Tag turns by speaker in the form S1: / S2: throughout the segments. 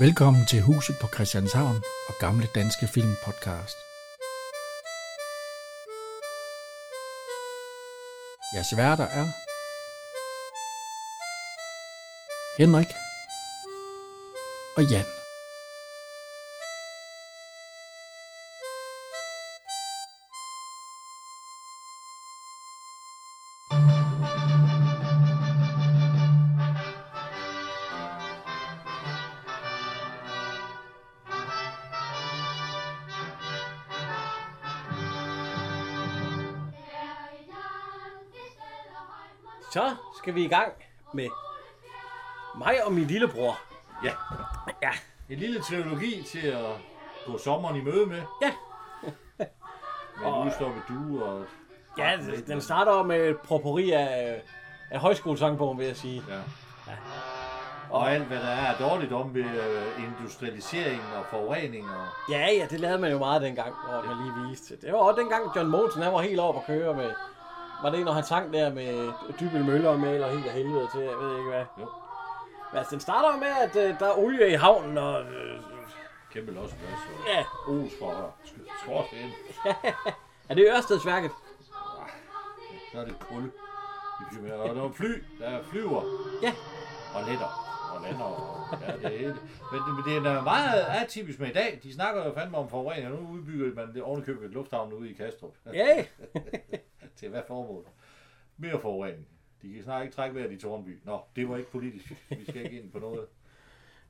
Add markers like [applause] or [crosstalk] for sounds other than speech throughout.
S1: Velkommen til Huset på Christianshavn og Gamle Danske Film Podcast. Jeres værter er Henrik og Jan.
S2: Så skal vi i gang med mig og min lillebror.
S3: Ja,
S2: Ja,
S3: en lille teologi til at gå sommeren i møde med.
S2: Ja.
S3: Med en udstoppet due og...
S2: ja den- den starter med et propori af, af højskolesangbogen, vil jeg sige.
S3: Ja. Og alt hvad der er af dårligt om ved øh, industrialisering og forurening og...
S2: Ja, ja, det lavede man jo meget dengang, hvor man lige viste det. Det var også dengang John Mogensen, han var helt over på køre med... Var det ikke, når han sang der med Dybel Møller med, eller helt af helvede til, jeg ved ikke hvad.
S3: Jo,
S2: Men altså, den starter jo med, at øh, der er olie i havnen, og... Øh,
S3: kæmpe losplads og...
S2: ja,
S3: Os fra skorsten.
S2: er det Ørstedsværket?
S3: Så er det kul. De flyver- Og der er fly, der flyver
S2: Ja,
S3: og letter og lander og... Ja, det er hele. Men, men det er da meget atypisk med i dag. De snakker jo fandme om forurening, og nu udbygger man det ovenikøbet lufthavnen ude i Kastrup. [laughs]
S2: ja,
S3: Til hvad formål? Mere forurening. De kan snart ikke trække vejret i Tornby. Nå, det var ikke politisk. Vi skal ikke ind på noget.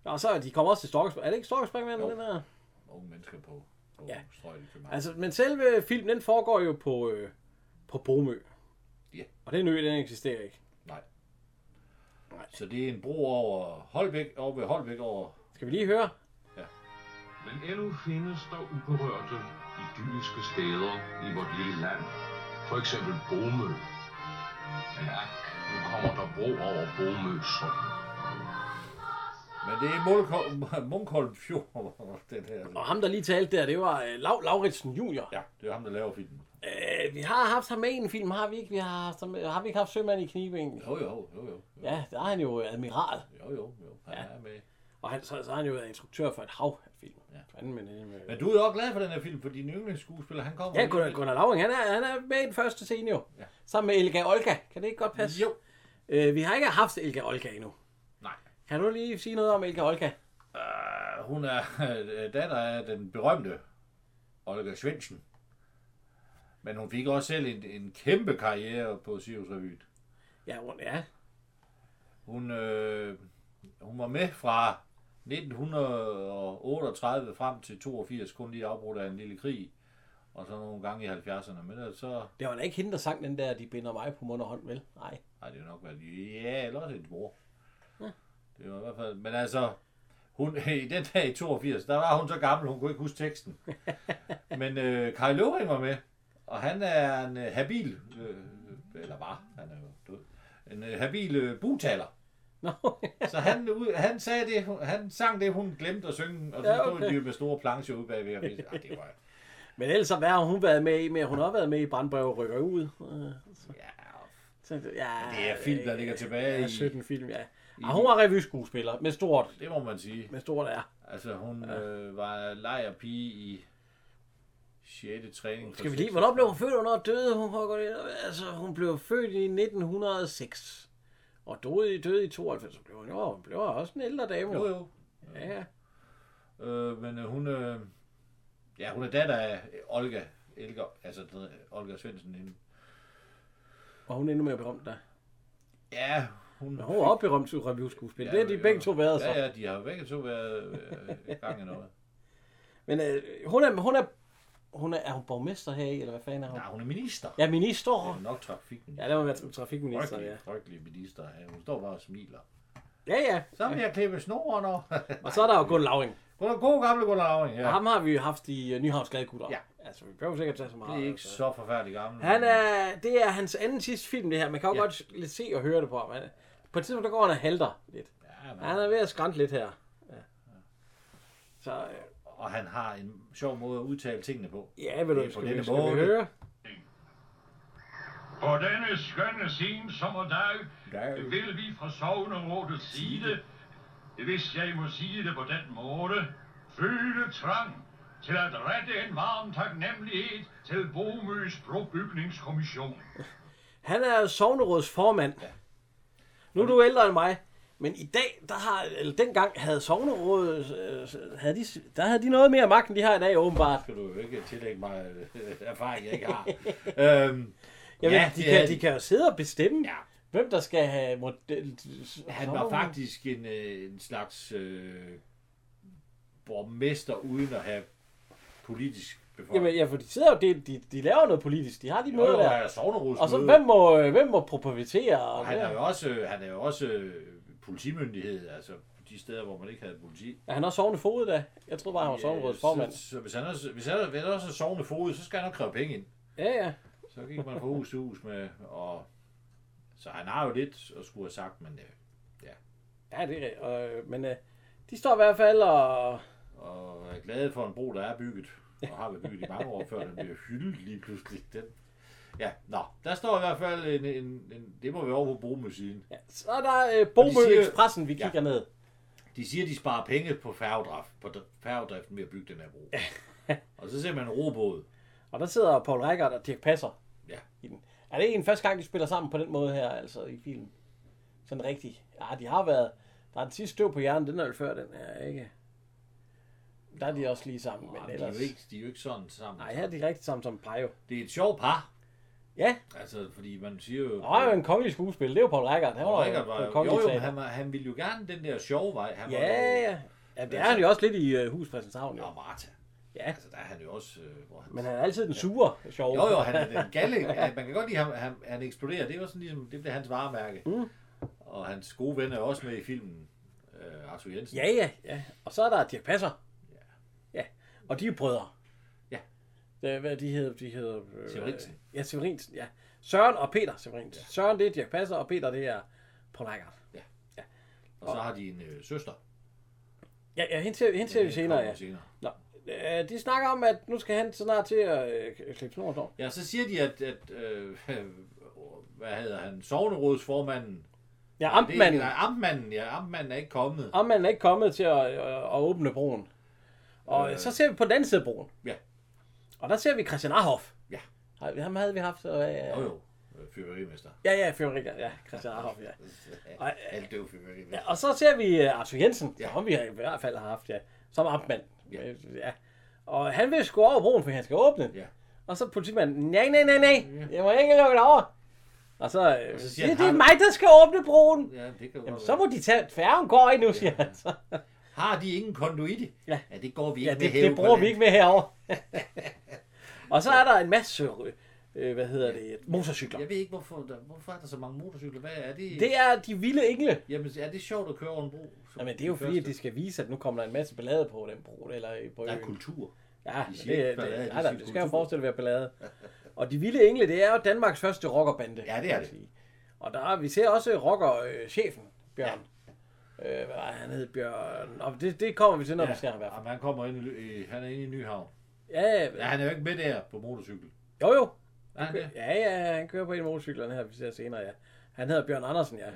S2: og så de kommer også til Storkespring. Er det ikke Storkespring, den
S3: Jo.
S2: der?
S3: Unge mennesker på, på
S2: Ja.
S3: ja. strøget i København. Altså,
S2: Altså, men selve filmen, den foregår jo på, øh, på Bomø.
S3: Ja.
S2: Og den ø, den eksisterer ikke.
S3: Nej. Så det er en bro over Holbæk, over ved Holbæk over...
S2: Skal vi lige høre?
S4: Men endnu findes der uberørte, idylliske steder i vort lille land. For eksempel Bomø. Men ak, nu kommer der bro over Bomø Sund.
S3: Men det er Munkholm, Munkholm Fjord, [laughs] den her.
S2: Og ham, der lige talte der, det var øh, Lav Lauritsen Junior.
S3: Ja, det er ham, der laver filmen.
S2: Øh, vi har haft ham med i en film, har vi ikke? Vi har, haft ham med, har vi ikke haft Sømand i knibe egentlig?
S3: Jo, jo, jo, jo. Jo,
S2: Ja, der er han jo admiral.
S3: jo, jo. jo. Han ja. er med.
S2: Og han, så, så har han jo været instruktør for et hav af film.
S3: Ja.
S2: Fanden med det. Med.
S3: Men du er jo også glad for den her film, for din yndlingsskuespiller, han kommer...
S2: Ja, Gunnar, Gunnar Lauring, han er, han er med i den første scene jo.
S3: Ja.
S2: Sammen med Elga Olga. Kan det ikke godt passe?
S3: Jo.
S2: Øh, vi har ikke haft Elga Olga endnu.
S3: Nej.
S2: Kan du lige sige noget om Elga Olga?
S3: Øh, Hun er øh, datter af den berømte Olga Svendsen. Men hun fik også selv en, en kæmpe karriere på Sirius Revyen.
S2: Ja, hun- ja.
S3: Hun, øh, hun var med fra 1938 frem til 82, kun lige afbrudt af en lille krig, og så nogle gange i 70'erne. Men ellers så
S2: Det var da ikke hende, der sang den der, de binder mig på mund og hånd, vel? Nej. [laughs]
S3: Nej, det er nok været... Ja, eller også hendes mor. Ja. Det var i hvert fald... Men altså, hun, [laughs] i den dag i 82, der var hun så gammel, hun kunne ikke huske [laughs] teksten. Men øh, Kai Løvring var med, og han er en øh, habil... Øh, eller var, han er jo død. En øh, habil øh, butaler.
S2: Nå,
S3: Så han, ud- han, sagde det, hun- han sang det, hun glemte at synge, og så
S2: Ja,
S3: ja, okay.
S2: okay.
S3: stod de jo med store plancher ude bagved. [laughs] Og vidste, "Ah, det var,
S2: men ellers så hvad har hun været med i? Men hun har også været med i Brandbrev og rykker ud. Øh,
S3: ja,
S2: Så, ja,
S3: Det er film, der
S2: øh,
S3: ligger tilbage
S2: ja,
S3: i-
S2: 17 film, ja. Og hun var revyskuespiller med stort,
S3: det må man sige.
S2: med stort er.
S3: Altså, hun ja. øh, var lejerpige i 6. træning.
S2: Skal vi
S3: for
S2: lige, hvornår blev hun født, og hvornår døde hun? Hvor går det- Altså, hun blev født i 1906. Og døde, i- døde i 92, så blev hun jo hun blev også en ældre dame.
S3: Jo,
S2: Jo.
S3: jo.
S2: Ja, ja.
S3: Øh, men øh, hun, øh, ja, hun er datter af Olga, Elga, altså den, øh, Olga Svendsen. Hende.
S2: Og hun er endnu mere berømt der.
S3: Ja, hun...
S2: Men hun var også berømt til revyskuespiller. Ja, det er de
S3: øh,
S2: begge to været så.
S3: Ja, ja, de har jo begge to været øh, gang
S2: [laughs]
S3: i noget.
S2: Men øh, hun er, hun er, hun er, er hun borgmester her i, eller hvad fanden er hun?
S3: Nej, hun er minister.
S2: Ja, minister.
S3: Hun er nok trafikminister.
S2: Ja, det må være tra- trafikminister, ja.
S3: Frygtelig, frygtelig minister. Ja, hun står bare og smiler.
S2: Ja, ja.
S3: Så vil jeg klippe snoren over.
S2: Og så er der jo Gunn Lauring.
S3: [laughs] Hun er god gamle Gunnar Auring,
S2: Ja.
S3: ja.
S2: Ham har vi jo haft i uh, Nyhavnsgadegutter.
S3: Ja.
S2: Altså, vi behøver sikkert tage så meget.
S3: Det er ikke
S2: altså.
S3: så forfærdelig gammel.
S2: Han er, det er hans anden sidste film, det her. Man kan jo ja.
S3: Ja.
S2: godt lidt se og høre det på ham. Han, på et tidspunkt, der går han og halter lidt.
S3: Ja, men-
S2: Han er ved at skrænte lidt her. Ja. Så øh,
S3: og han har en sjov måde at udtale tingene på.
S2: ja, ved
S3: Det
S2: du,
S3: er på
S2: skal vi,
S3: denne
S2: skal vi
S3: måde.
S2: høre?
S4: På denne skønne sen sommerdag
S3: Der er jo-
S4: vil vi fra Sognerådets side hvis jeg må sige det på den måde, føle trang til at rette en varm taknemmelighed til Bomøs brobygningskommission.
S2: Han er sovneråds formand. Ja. Nu er du ældre end mig. Men i dag, der har, eller dengang havde sovnerådet, øh, havde de, der havde de noget mere magt, end de har i dag åbenbart.
S3: Skal du jo ikke tillægge mig øh, [laughs] erfaring, jeg ikke
S2: [laughs]
S3: har. øhm,
S2: Jamen, ja, de, kan,
S3: havde
S2: de kan jo sidde og bestemme,
S3: Ja.
S2: ja. hvem der skal have model.
S3: Han var faktisk en, øh, en slags øh, borgmester uden at have politisk beføjelse.
S2: Jamen, ja, for de sidder jo, de, de, de laver noget politisk, de har de møder
S3: jo, der
S2: der.
S3: er sovneråds
S2: Og så, hvem må, øh, hvem må propavitere? Og
S3: han
S2: det-
S3: er jo også, øh, han er jo også øh, politimyndighed, altså de steder, hvor man ikke havde politi. øh,
S2: Er han også sovende fod da? Jeg troede bare, han var sovnerådets formand.
S3: Så, så hvis han også, hvis han hvis han også er sovende fod, så skal han nok kræve penge ind.
S2: Ja, ja.
S3: Så gik man fra hus til hus med, og så han har jo lidt at skulle have sagt, men øh,
S2: Ja, det er rigtigt. Øh, men øh, de står i hvert fald og...
S3: og er glad for en bro, der er bygget, og har været bygget i mange år, før den bliver hyldet lige pludselig. Den. Ja, nå, der står i hvert fald en, en, en det må være over på Bromø-siden.
S2: Ja, så er der øh,
S3: Og de siger-
S2: Bomø Expressen, vi kigger
S3: Ja.
S2: ja. ned.
S3: De siger, de sparer penge på færgedrift, på dr- færgedriften ved at bygge den her bro. [laughs] og så ser man en robåd.
S2: Og der sidder Paul Reichert og Dirk Passer.
S3: Ja.
S2: I den. Er det en første gang, de spiller sammen på den måde her, altså i filmen? Sådan rigtig. Ja, de har været... Der er en sidste støv på hjernen, den er vel før den her, ikke? Der er de også lige sammen, men
S3: Men de, er
S2: ellers...
S3: jo ikke, de er jo ikke sådan sammen.
S2: Nej, her er de rigtig sammen som Pejo.
S3: Det er et sjovt par.
S2: Ja,
S3: Altså, fordi man siger jo...
S2: der var jo en kongelig skuespil, det er jo Paul Reichert. Han var,
S3: Richard var
S2: jo,
S3: jo,
S2: en
S3: jo,
S2: kongelig
S3: jo, men
S2: teater.
S3: han, var- han ville jo gerne den der sjove vej. Han var
S2: Ja,
S3: jo,
S2: ja. Ja, det er han jo også lidt i uh, Hus Christianshavn, jo.
S3: Og Martha.
S2: Ja,
S3: Altså, der er han jo også... Øh, hvor han,
S2: men han er altid den sure, sjove.
S3: jo, jo, han er den galle. [laughs] Han- Man kan godt lide, at han, han, han eksploderer. Det er jo sådan ligesom... Det bliver hans varemærke. Mm. Og hans gode ven er også med i filmen. Øh, Arthur Jensen.
S2: Ja, ja, ja. Og så er der Dirk Passer. Ja. ja. Og de er brødre.
S3: Ja.
S2: Det, er- hvad de hedder? De hedder... Øh,
S3: Severinsen.
S2: Ja, Severinsen, ja. Søren og Peter Severinsen. Ja. Søren, det er Dirk Passer, og Peter, det er Paul Reichert.
S3: Og så har de en øh, søster. Øh,
S2: Ja, ja, hende ser, hende ser vi senere, ja.
S3: Kommer senere.
S2: Nå, øh, de snakker om, at nu skal han snart til at øh, klippe snoren over.
S3: Ja, så siger de, at... at øh, [laughs] hvad hedder han? Sovnerådsformanden.
S2: Ja, amtmanden.
S3: Det er- Nej, amtmanden, ja. Amtmanden er ikke kommet.
S2: Amtmanden er ikke kommet til at, øh, at åbne broen. Og øh. så ser vi på den anden side af broen.
S3: Ja.
S2: Og der ser vi Christian Arhoff.
S3: Ja.
S2: Har- Ham havde vi haft. Øh,
S3: Jo, jo. Øh,
S2: [laughs]
S3: Fyrverimester.
S2: Ja, ja, Fjordrikker. Ja, Christian Arhoff, ja. Ej,
S3: Alt døv fyrverimester.
S2: Ja, og så ser vi øh, Arthur Jensen,
S3: Ja.
S2: ja. som vi i hvert fald har haft, ja, som amtmand.
S3: Ja.
S2: Ja. ja. Og han vil sgu over broen, for han skal åbne den.
S3: Ja.
S2: Og så politimanden, nej, nej, nej, nej, jeg må ikke lukke den over. Og så, øh,
S3: så siger
S2: det,
S3: han,
S2: det er
S3: "Har du-"
S2: mig, der skal åbne broen.
S3: Ja, det kan jo
S2: Jamen,
S3: godt
S2: så
S3: være.
S2: må de tage, færgen går ikke nu, siger han så.
S3: Har de ingen konduite?
S2: Ja.
S3: ja det går vi ikke
S2: Ja,
S3: med
S2: det,
S3: have
S2: det
S3: på
S2: bruger vi
S3: land.
S2: ikke med
S3: [laughs]
S2: herover. og så er der en masse, øh, øh, hvad hedder det, motorcykler.
S3: Jeg ved ikke, hvorfor, der, hvorfor er der så mange motorcykler. Hvad er det?
S2: Det er de vilde engle.
S3: Jamen, er det sjovt at køre over en bro? Som
S2: Jamen, det er jo
S3: den
S2: fordi, at
S3: første?
S2: de skal vise, at nu kommer der en masse ballade på den bro, eller på
S3: Der er
S2: øen.
S3: kultur.
S2: Ja,
S3: De
S2: de
S3: siger
S2: det,
S3: ikke
S2: det,
S3: ballade, de
S2: det, nej, nej,
S3: siger
S2: det skal jo
S3: kultur.
S2: forestille at være
S3: [laughs]
S2: ballade. Og De Vilde Engle, det er jo Danmarks første rockerbande.
S3: Ja, det er
S2: kan man
S3: det.
S2: sige. Og der, er- vi ser også rockerchefen, Bjørn. Øh, hvad var han hed? Bjørn... Og det, det kommer vi til, når ja. vi ser ham i hvert fald.
S3: Jamen, han kommer ind i, Ly- i- han er inde i Nyhavn.
S2: Ja,
S3: Ja, han er jo ikke med der på motorcykel.
S2: jo jo.
S3: Er han det?
S2: Ja, ja, han kører på en af motorcyklerne her, vi ser senere, ja. Han hedder Bjørn Andersen, ja.
S3: Ja.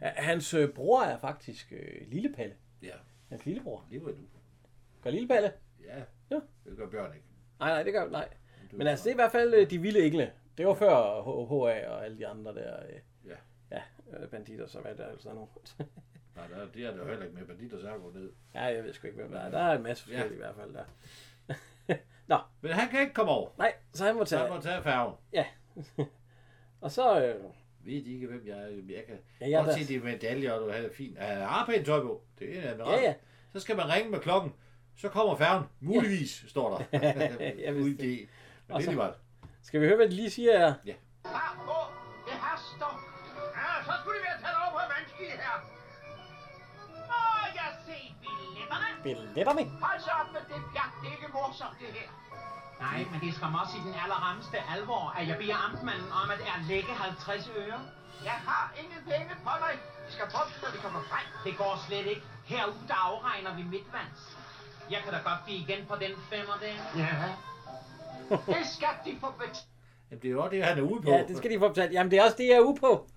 S2: ja. Hans øh, bror er faktisk øh, Lille Palle.
S3: Ja,
S2: Hans lillebror.
S3: det var du.
S2: Gør Lille Palle?
S3: Ja.
S2: Ja.
S3: Det gør Bjørn ikke.
S2: Nej, nej, det gør nej. Men altså, det er i hvert fald øh, de vilde engle. Det var før HA og alle de andre der. øh,
S3: Ja.
S2: Ja, øh, banditter, så hvad der er altså nu. [laughs]
S3: Nej, der, det er der jo heller ikke med. Bandit og Sarko ned.
S2: ja, jeg ved sgu ikke, hvem der er. Der er en masse forskellige
S3: Ja.
S2: ja. i hvert fald der. Nå,
S3: Men han kan ikke komme over.
S2: nej, så han må
S3: Så han
S2: tage.
S3: må tage færgen.
S2: Ja. og så, øh,
S3: Ved de ikke, hvem jeg er? Jamen, Jeg kan
S2: Ja, jeg
S3: ja,
S2: er
S3: jeg godt
S2: der.
S3: se de medaljer, og du havde fint. Ja, han har pænt tøj på. Det er en admiral.
S2: Ja, ja.
S3: Så skal man ringe med klokken. Så kommer færgen. Muligvis,
S2: [laughs]
S3: ja. står der.
S2: Jeg vidste
S3: Ude i det. Men det er
S2: så-
S3: lige meget.
S2: skal vi høre, hvad de lige siger her?
S5: Bare på! Det haster! Ja, så skulle det være taget over på vandski her. Må jeg se billetterne?
S2: Billetterne?
S5: Hold så op med det pjat, det er ikke morsomt det her. Nej, men det er skam også i den allerrammeste alvor, at jeg beder amtmanden om at erlægge 50 øre. Jeg har ingen penge på mig. Vi skal få dem, når vi kommer frem. Det går slet ikke. Herude, der afregner vi midtvands. Jeg kan da godt blive igen på den femmer der. Ja. Det skal de få betalt.
S3: Jamen, det er jo også det, han er ude på.
S2: Ja, det skal de få betalt. Jamen, det er også det, jeg er ude på. [laughs]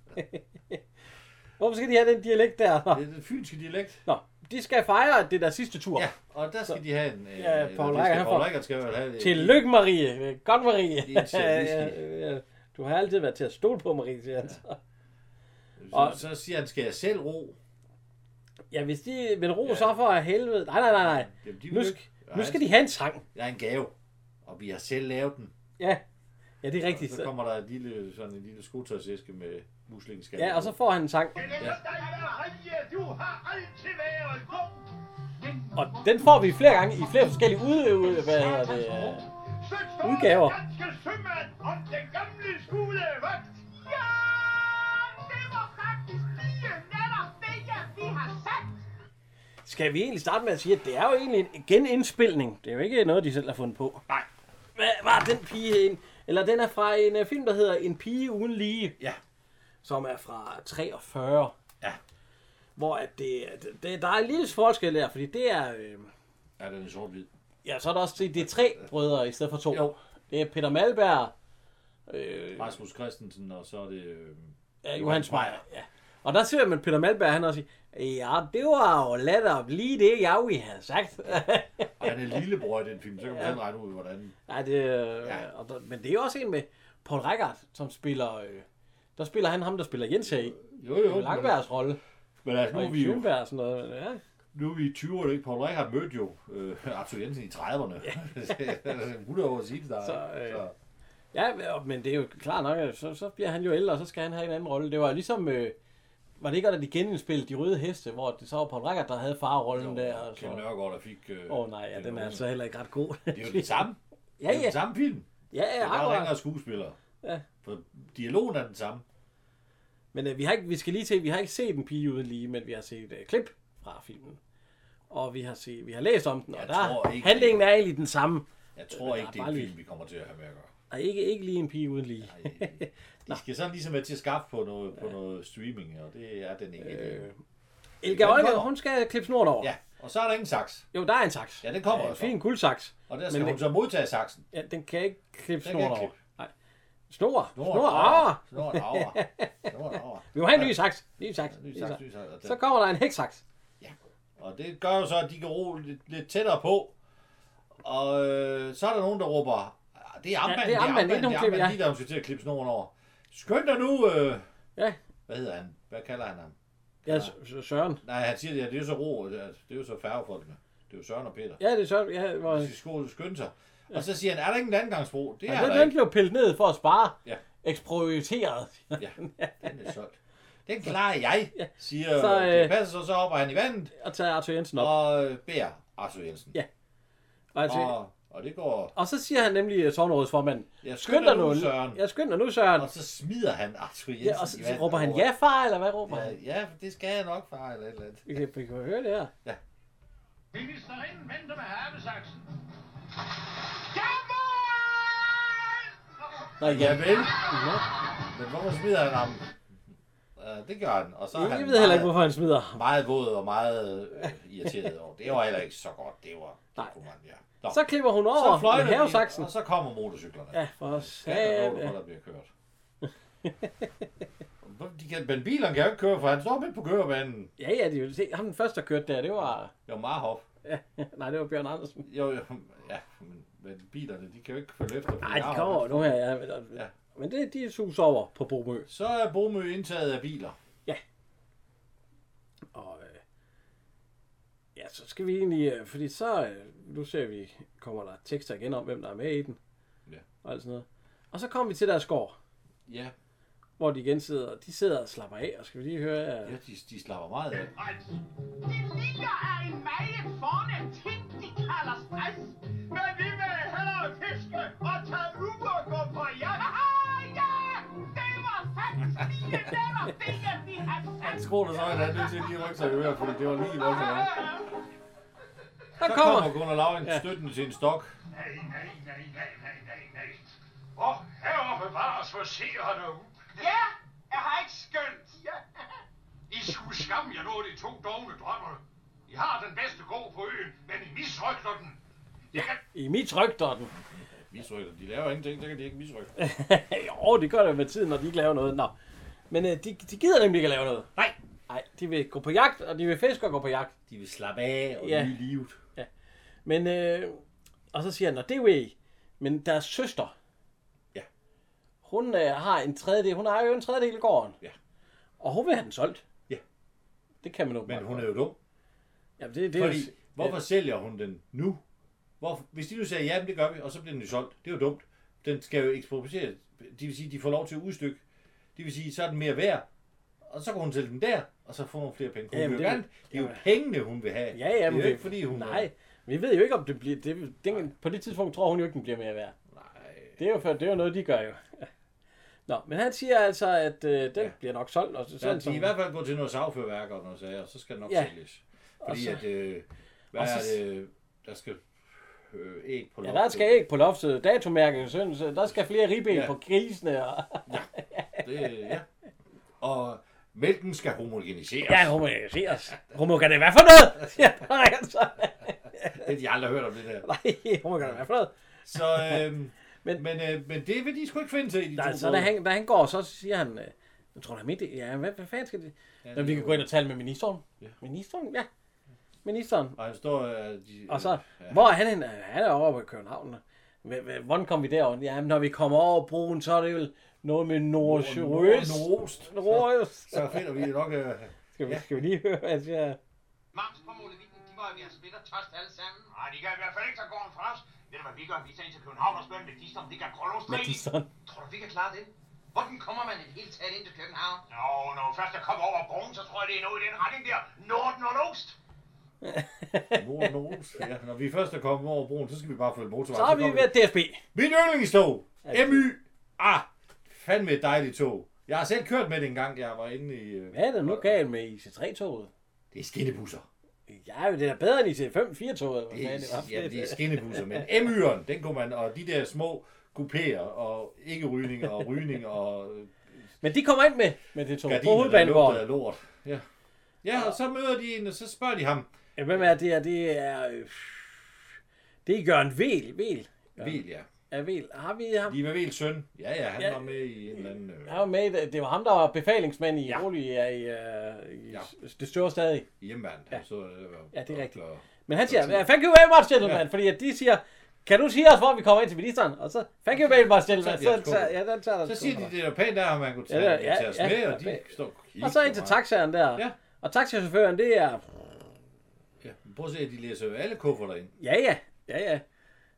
S2: Hvorfor skal de have den dialekt der? Nå.
S3: Det er den fynske dialekt.
S2: Nå. de skal fejre det der sidste tur.
S3: Ja, og der skal de have en... øh,
S2: Ja,
S3: eller
S2: Poul
S3: det
S2: Reichhardt,
S3: skal-
S2: han
S3: Poul
S2: får-
S3: Reichhardt skal vel have...
S2: Tillykke, Marie. Godt, Marie.
S3: Det er en sjældent
S2: [laughs] Ja, ja. Du har altid været til at stole på, Marie, siger han. så.
S3: Så, så siger han, skal jeg selv ro?
S2: Ja, hvis de vil ro, så for helvede. Nej, nej, nej, nej.
S3: Jamen, de vil
S2: Nu,
S3: jo
S2: sk-
S3: ikke.
S2: nu
S3: Nej,
S2: skal de have en sang.
S3: Jeg er en gave, og vi har selv lavet den.
S2: Ja, ja det er
S3: Og
S2: rigtigt.
S3: så kommer der en lille, sådan en lille skotøjsæske med muslingeskaller.
S2: Ja, og så får han en sang.
S5: Du har altid været god.
S2: Og den får vi flere gange i flere forskellige udøve, hvad hedder det, øh, udgaver.
S5: Danske sømand om den gamle skolevagt. Ja, det var faktisk lige netop det, jeg vi har sagt.
S2: Skal vi egentlig starte med at sige, at det er jo egentlig en genindspilning. Det er jo ikke noget, de selv har fundet på. Nej. Hvad var den pige en? Eller den er fra en øh, film, der hedder En pige uden lige.
S3: Ja.
S2: Som er fra 43.
S3: Ja.
S2: Hvor at det, det, der er en lille forskel der, fordi det er... Øh,
S3: Ja, den er sort-hvid.
S2: ja, så er der også det, det er tre brødre i stedet for to.
S3: Jo.
S2: Det er Peter Malberg, øh,
S3: Rasmus Christensen, og så er det... Øh,
S2: Ja, Johannes Meyer. Ja. Og der ser man Peter Malberg, han også siger, ja, det var jo lettere lige det, jeg vi havde sagt. [laughs]
S3: og han er lillebror i den film, så kan man selv regne ud, hvordan...
S2: Nej, det, ja. og der, men det er jo også en med Paul Reichhardt, som spiller... Øh, der spiller han ham, der spiller Jens her i.
S3: Jo, jo. men-
S2: Langbergs rolle.
S3: Men altså, nu
S2: Og
S3: er
S2: i
S3: vi jo
S2: Fjernberg og sådan noget. Ja.
S3: nu er vi i 20'erne, ikke? Paul Reichhardt mødte jo øh, Arthur Jensen i 30'erne. [laughs] Ja. 100 år siden, der
S2: Så, øh, ja, og- men det er jo klart nok, at så, så bliver han jo ældre, og så skal han have en anden rolle. Det var jo ligesom... Øh, var det ikke godt, at de genindspillede De Røde Heste, hvor det så var Paul Reichhardt, der havde farrollen der? og så-
S3: Kjell Nørgaard, der fik... Åh øh,
S2: Åh oh, nej, ja, den er altså heller ikke ret
S3: [laughs]
S2: god. [laughs]
S3: Det er jo den samme.
S2: ja,
S3: Det er
S2: ja.
S3: den samme film.
S2: Ja,
S3: Der
S2: ja,
S3: er bare
S2: akkurat.
S3: ringere skuespillere.
S2: Ja.
S3: For dialogen er den samme.
S2: Men øh, vi, har ikke, vi skal lige til, vi har ikke set en pige uden lige, men vi har set øh, klip fra filmen. Og vi har, set, vi har læst om den, og
S3: Jeg
S2: der
S3: tror ikke,
S2: handlingen er egentlig den samme.
S3: Jeg tror
S2: Øh,
S3: ikke,
S2: der er
S3: det er
S2: bare
S3: en
S2: lige-
S3: film, vi kommer til at have med at
S2: [laughs]
S3: gøre.
S2: Og ikke, ikke lige en pige uden lige.
S3: De skal sådan ligesom være til at skaffe på noget, på noget streaming, og det er den ikke. Øh,
S2: Elga
S3: den
S2: Øjne,
S3: kommer.
S2: hun skal klippe snort over.
S3: ja, og så er der ingen saks.
S2: Jo, der er en saks.
S3: Ja, den kommer
S2: en
S3: altså.
S2: fin guldsaks.
S3: Og der skal
S2: Men
S3: hun så modtage saksen.
S2: Ja, den kan ikke klippe
S3: Den kan
S2: snort
S3: ikke
S2: over. Nej. Snor. Snor.
S3: Snor,
S2: Snor.
S3: drager.
S2: Ah,
S3: Snor, drager. Snor, drager.
S2: vi må have en ny saks. Ny saks.
S3: Ny
S2: Ny
S3: saks,
S2: saks.
S3: ny saks. Og den-
S2: [laughs] Så kommer der en hæksaks.
S3: Og det gør jo så, at de kan ro lidt, lidt tættere på. Og øh, så er der nogen, der råber, "Ah, det er
S2: Ja,
S3: armbanden,
S2: det er armbanden, ikke nogen
S3: det er
S2: klip,
S3: armbanden, lige der hun skal til at klippe snoren over. Skynd dig nu, øh,
S2: Ja,
S3: hvad hedder han? Hvad kalder han ham?
S2: ja S- S- Søren.
S3: Nej, han siger, ja, det er jo så ro, det er, det er jo så færgefolkene. Det er jo Søren og Peter.
S2: Ja, det er Søren. Ja, hvor...
S3: De skal sko- skynde sig. Og så siger han, er der ikke en landgangsbro? Det er
S2: Ja, den,
S3: der
S2: den
S3: ikke.
S2: blev pillet ned for at spare.
S3: Ja.
S2: Eksproprieret.
S3: Ja,
S2: [laughs]
S3: den er solgt. Den klarer jeg, siger
S2: Så,
S3: så,
S2: øh,
S3: øh, det passer, så, så hopper han i vandet
S2: Og tage Arthur Jensen op.
S3: og øh, bærer Arthur Jensen.
S2: Ja, Og, Arthur...
S3: Og, og det går
S2: og så siger han nemlig øh, sognerådsformanden,
S3: Jeg
S2: skynd dig nu, Søren.
S3: Søren.
S2: Jeg skynder nu, Søren.
S3: Og så smider han Arthur Jensen.
S2: Ja, og så,
S3: i
S2: så
S3: vandet
S2: råber han,
S3: over.
S2: ja far, eller hvad råber han?
S3: Ja, Ja, for det skal jeg nok, far, eller et eller andet.
S2: Vi kan, vi kan høre det her.
S5: Ministerinden venter med havesaksen. Jawohl!
S2: Nå, ja.
S3: Ja, vel.
S2: Nå.
S3: Men hvorfor smider han ham? Uh, det gør han. Og så er
S2: Jeg
S3: han
S2: ved heller ikke,
S3: meget,
S2: hvorfor han smider.
S3: meget våd og meget øh, irriteret over. Det var heller ikke så godt. Det var...
S2: Nej.
S3: Det kunne man, ja. Nå,
S2: Så klipper hun over
S3: så fløjter
S2: med havesaksen.
S3: og så kommer motorcyklerne.
S2: Ja, for
S3: Ja, der,
S2: satan.
S3: er
S2: ja.
S3: der, der bliver kørt. Hvor- De kan, men bilerne kan jo ikke køre, for han står midt på kørebanen.
S2: Ja, ja, det er jo se. Ham den første, der kørte der, det var... [laughs]
S3: Jo, Marhoff.
S2: Ja, nej, det var Bjørn Andersen.
S3: Jo, jo, ja, men, men bilerne, de kan jo ikke følge efter. for
S2: Nej, de
S3: Marhoff,
S2: kommer
S3: han
S2: over nu her, ja. Men,
S3: Ja.
S2: men det, de suser over på Bomø.
S3: Så er Bomø indtaget af biler.
S2: Og øh, ja, så skal vi egentlig, øh, fordi så, øh, nu ser vi, kommer der tekster igen om, hvem der er med i den.
S3: Ja.
S2: Og alt sådan noget. Og så kommer vi til deres gård,
S3: Ja,
S2: hvor de igen sidder, de sidder og slapper af, og skal vi lige høre, øh,
S3: ja de, de slapper meget af.
S5: Det ligger af en maje foran en ting, de kalder stress. Men vi vil hellere fiske og tage uber og gå på jagt. Haha, ja! Det var faktisk lige netop det, jeg vi har sagt.
S3: Skruer der så, at han er nødt til lige at rykke sig i øret, fordi det var lige voldsomt. meget.
S2: der
S3: Så
S2: kommer,
S3: kommer Gunnar Lavring ja. støttende til en stok.
S4: Nej, nej, nej, nej, nej, nej, nej. Og herre bevares for seerne ud.
S5: Ja, jeg har ikke skønt. Ja.
S4: I skulle skamme jer nåede de to dogne drømmer. I har den bedste gård på øen, men I misrygter den. Jeg kan
S2: i mit ryg, der er [laughs] den.
S3: Misrykker. De laver ingenting, så kan de ikke misrykke.
S2: jo, det gør det jo med tiden, når de ikke laver noget. Nå. Men øh, de, de gider nemlig ikke at lave noget.
S3: Nej.
S2: Nej, de de vil gå på jagt, og de vil fiske og gå på jagt.
S3: De vil slappe af og
S2: Ja.
S3: ja. nyde livet.
S2: Men, øh, og så siger han, "Nå, det er jo ikke. Men deres søster,
S3: Ja.
S2: hun øh, har en tredjedel, hun har jo en tredjedel af gården.
S3: Ja.
S2: Og hun vil have den solgt.
S3: Ja.
S2: Det kan man jo
S3: Men hun er jo dum.
S2: Ja, det, det er
S3: Fordi,
S2: jo...
S3: hvorfor sælger hun den nu? Hvorfor, hvis de nu sagde, ja, men det gør vi, og så bliver den jo solgt. Det er jo dumt. Den skal jo eksproprieres. Det vil sige, de får lov til at udstykke. Det vil sige, så er den mere værd. Og så kan hun sælge den der, og så får hun flere penge. Hun
S2: Jamen,
S3: Jamen, det,
S2: det-
S3: gerne, det er jo
S2: jamen.
S3: pengene, hun vil have.
S2: Ja, ja,
S3: det
S2: men
S3: er jo ikke, fordi hun...
S2: Nej, vi ved jo ikke, om det bliver... Det, den, på det tidspunkt tror hun jo ikke, den bliver mere værd.
S3: Nej.
S2: Det er jo, for, det er jo noget, de gør jo. [laughs] Nå, men han siger altså, at øh, den ja.
S3: Ja.
S2: bliver nok solgt. Og så,
S3: Så
S2: sådan,
S3: de i
S2: som,
S3: hvert fald gå til noget sagførværk og noget sager, og så skal det nok
S2: Ja.
S3: ja. sælges. Fordi
S2: så-
S3: så, at, øh, hvad
S2: og så-
S3: er det, der skal øh, æg på
S2: ja,
S3: loftet.
S2: der skal æg på loftet, datomærket, sådan, så der skal flere ribben ja.
S3: Ja.
S2: på grisene. Og,
S3: Det, ja. Og mælken skal homogeniseres.
S2: ja, homogeniseres. Homo kan det være for noget, siger han så.
S3: Det har de aldrig hørt om det der.
S2: Nej, homo kan det være for noget.
S3: Så, øhm,
S2: [laughs] Men-
S3: men, men, øh, men det vil de sgu ikke finde sig i, de
S2: Der,
S3: to
S2: så da
S3: brødre.
S2: han, da han går, så siger han, øh, jeg tror, han mente, det. ja, hvad, hvad fanden skal det? Ja,
S3: det
S2: Nå, vi
S3: er
S2: kan
S3: jo-
S2: gå ind og tale med ministeren. Ja.
S3: Ja.
S2: Ministeren, ja. Ministeren.
S3: Og han står... Øh, de,
S2: Og så, ja.
S3: ja.
S2: hvor er han henne? Han er over ved København. Hv- hv- Hvordan kom vi derover? Jamen, når vi kommer over broen, så er det vel noget med nordsjøst.
S3: Nordøst.
S2: Nordøst.
S3: Så finder vi nok... Øh,
S2: Skal vi, skal vi lige høre, hvad jeg siger?
S5: Max på Molevitten, de var jo ved at splitte og toste alle sammen. Nej, de kan i hvert fald ikke tage gården fra os. Ved du hvad vi gør? Vi tager ind til København og spørger en vægtist, om det kan kolde os
S2: Mathisson.
S5: Tror du, vi kan klare det? Hvordan kommer man et helt taget ind til København? Nå, når man først er kommet over broen, så tror jeg, det er noget i den retning der. Nord, nordøst.
S3: nord, nordøst. Ja. Når vi først er kommet over broen, så skal vi bare følge motorvejen.
S2: Så er vi
S3: kommer
S2: ved DSB.
S3: Mit yndlingstog,
S2: Altså-
S3: MY. Ah, fandme et dejligt tog. Jeg har selv kørt med det en gang, jeg var inde i... øh,
S2: Hvad er der nu galt med IC3-toget?
S3: Det er skinnebusser.
S2: Ja, det er da bedre end IC5-4-toget.
S3: Det er, ja,
S2: [laughs]
S3: det er skinnebusser, men MY'eren, den kunne man... Og de der små kupéer og ikke rygning og rygning og øh,
S2: Men de kommer ind med, med det tog på
S3: gardiner, der lugtede
S2: hovedbanegården.
S3: af lort. Ja. ja, og så møder de en, og så spørger de ham.
S2: Ja, hvem er det her? Det er... øh, Det er Jørgen Vel. Vel.
S3: Vil, ja.
S2: Er Vel. Har vi ham?
S3: De var vel søn. Ja, ja, han
S2: Ja.
S3: var med i en eller anden... Øh,
S2: Han var med, i det det var ham, der var befalingsmand i ja. Rolig, ja, i, uh, i
S3: Ja.
S2: det større stadig.
S3: hjemmeværende. Ja. Så, øh,
S2: Ja, det er rigtigt.
S3: Og,
S2: Men han siger, "Yeah, thank you very much, gentlemen, ja. fordi at de siger, kan du sige os, hvor vi kommer ind til ministeren? Og så, thank you very much, gentlemen.
S3: Så tager de
S2: Så,
S3: deres
S2: så, ja, den tager
S3: så
S2: deres
S3: siger de,
S2: kufferter.
S3: det er jo pænt, der har man kunne
S2: Ja,
S3: tage, ja,
S2: det er- ja,
S3: tage os
S2: ja,
S3: med,
S2: ja,
S3: og de
S2: bag-
S3: står og kigger
S2: Og så ind
S3: på
S2: til
S3: mig.
S2: taxaen der.
S3: Ja.
S2: Og taxachaufføren, det er,
S3: Ja. men Prøv at se, at de læser jo alle kufferter ind.
S2: ja, ja, ja, ja.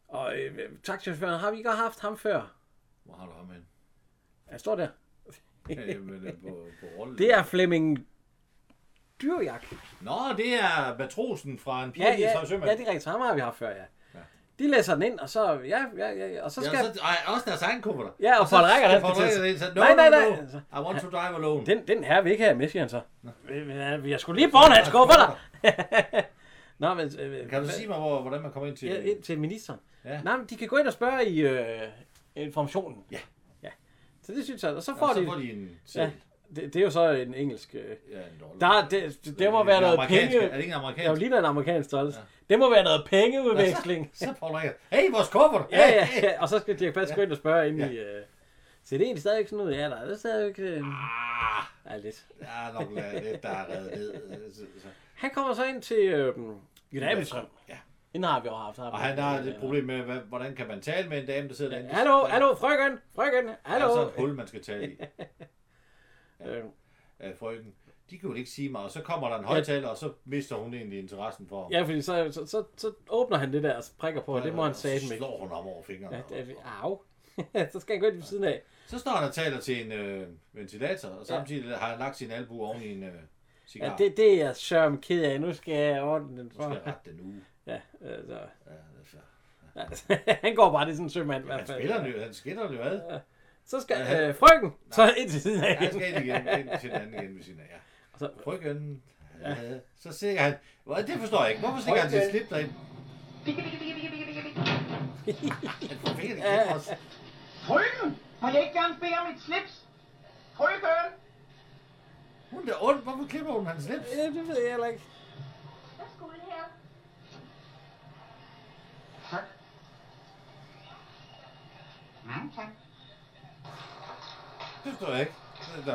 S2: Og øh, taxachaufføren, har vi ikke haft ham før?
S3: Hvor har du ham
S2: [laughs]
S3: hen?
S2: Han står der.
S3: Øh, men, øh, på, på rollen.
S2: Det er Flemming Dyrjak.
S3: Nå, det er matrosen fra en pige,
S2: Ja, ja,
S3: sømand.
S2: ja, det er rigtigt. Ham har vi haft før, ja. De læser den ind, og så, ja, ja, ja, og så skal...
S3: Ja, så, ej, også deres egen kufferter.
S2: Ja, og Paul Reichert, han
S3: han
S2: skal til-
S3: skal til.
S2: Nej, nej, nej.
S3: I want to drive alone.
S2: Den, den her vil ikke have med, siger han så. Vi har sgu lige bånd hans kufferter. [laughs] Nå, men... Øh,
S3: Kan du
S2: hvad-
S3: sige mig, hvor, hvordan man kommer ind til...
S2: Ja, ind til ministeren. Ja.
S3: Ja.
S2: Nej, men de kan gå ind og spørge i øh, informationen.
S3: Ja.
S2: ja. Så det synes jeg. Og så
S3: Og
S2: får
S3: så
S2: de...
S3: får de en
S2: ja,
S3: seddel.
S2: det, det er jo så en engelsk... Øh,
S3: Ja, en dollar.
S2: der, er- det, det, det må være
S3: en
S2: noget
S3: amerikansk-
S2: penge...
S3: Er Øh, det ikke
S2: Det er
S3: en
S2: jo
S3: amerikansk?
S2: lige en amerikansk stolse. Ja. Det må være noget pengeudveksling.
S3: [laughs] Så får du Hey, vores kuffert!
S2: ja, ja, ja. Og så skal Dirk Pass gå ind og spørge ind ja. i... Øh, så det er egentlig stadigvæk sådan ud. Ja, der er det stadigvæk... Øh,
S3: Ah,
S2: ja, lidt.
S3: der er nok lidt, der er reddet ned. Så- så-
S2: Han kommer så ind til... Øh, Jørgen Abelstrøm.
S3: Ja.
S2: Hende har vi jo haft. øh,
S3: Og han har et problem med, hvad- hvordan kan man tale med en dame, der sidder derinde?
S2: Hallo, hallo, frøken, frøken,
S3: Der
S2: hallo.
S3: er så et hul, man skal tale i
S2: Øh,
S3: af frøken. De kan jo ikke sige mig, og så kommer der en højtaler, og så mister hun egentlig interessen for ham.
S2: Ja, fordi så, så, så, så åbner han det der og prikker på, og det må han
S3: sige
S2: sige
S3: Så
S2: med.
S3: slår hun ham over fingrene.
S2: Ja, det er- Au. [laughs] så skal han gå ind ved siden af.
S3: Så står han og taler til en øh, ventilator, og samtidig har han lagt sin albu oven i en øh, cigar.
S2: Ja,
S3: Ja, det...
S2: det, det er jeg sørme ked af. Nu skal jeg ordne den
S3: Nu skal jeg
S2: for.
S3: rette den uge.
S2: Ja, øh, så.
S3: Ja, altså.
S2: Altså, [laughs] han går bare, det er sådan en sømand i hvert
S3: Han
S2: fald.
S3: spiller den jo, han skiller den jo ad.
S2: Så skal
S3: Ja, han-
S2: øh, frøken, så ind til siden af.
S3: Ja, han skal ind igen, ind til den anden igen ved siden af. Ja.
S2: Og så-
S3: Frøken. Ja. Så stikker han. Hvor- Det forstår jeg ikke. Hvorfor stikker han til slip derind? Han får fingrene i kæft også.
S5: Frøken! Må jeg ikke gerne bede om et slips? Frøken!
S3: Hun er da ond. Hvorfor klipper hun hans slips?
S2: [laughs] Ja, det ved jeg heller ikke.
S5: Tak. Mange tak.
S3: Det forstår jeg ikke. Nå.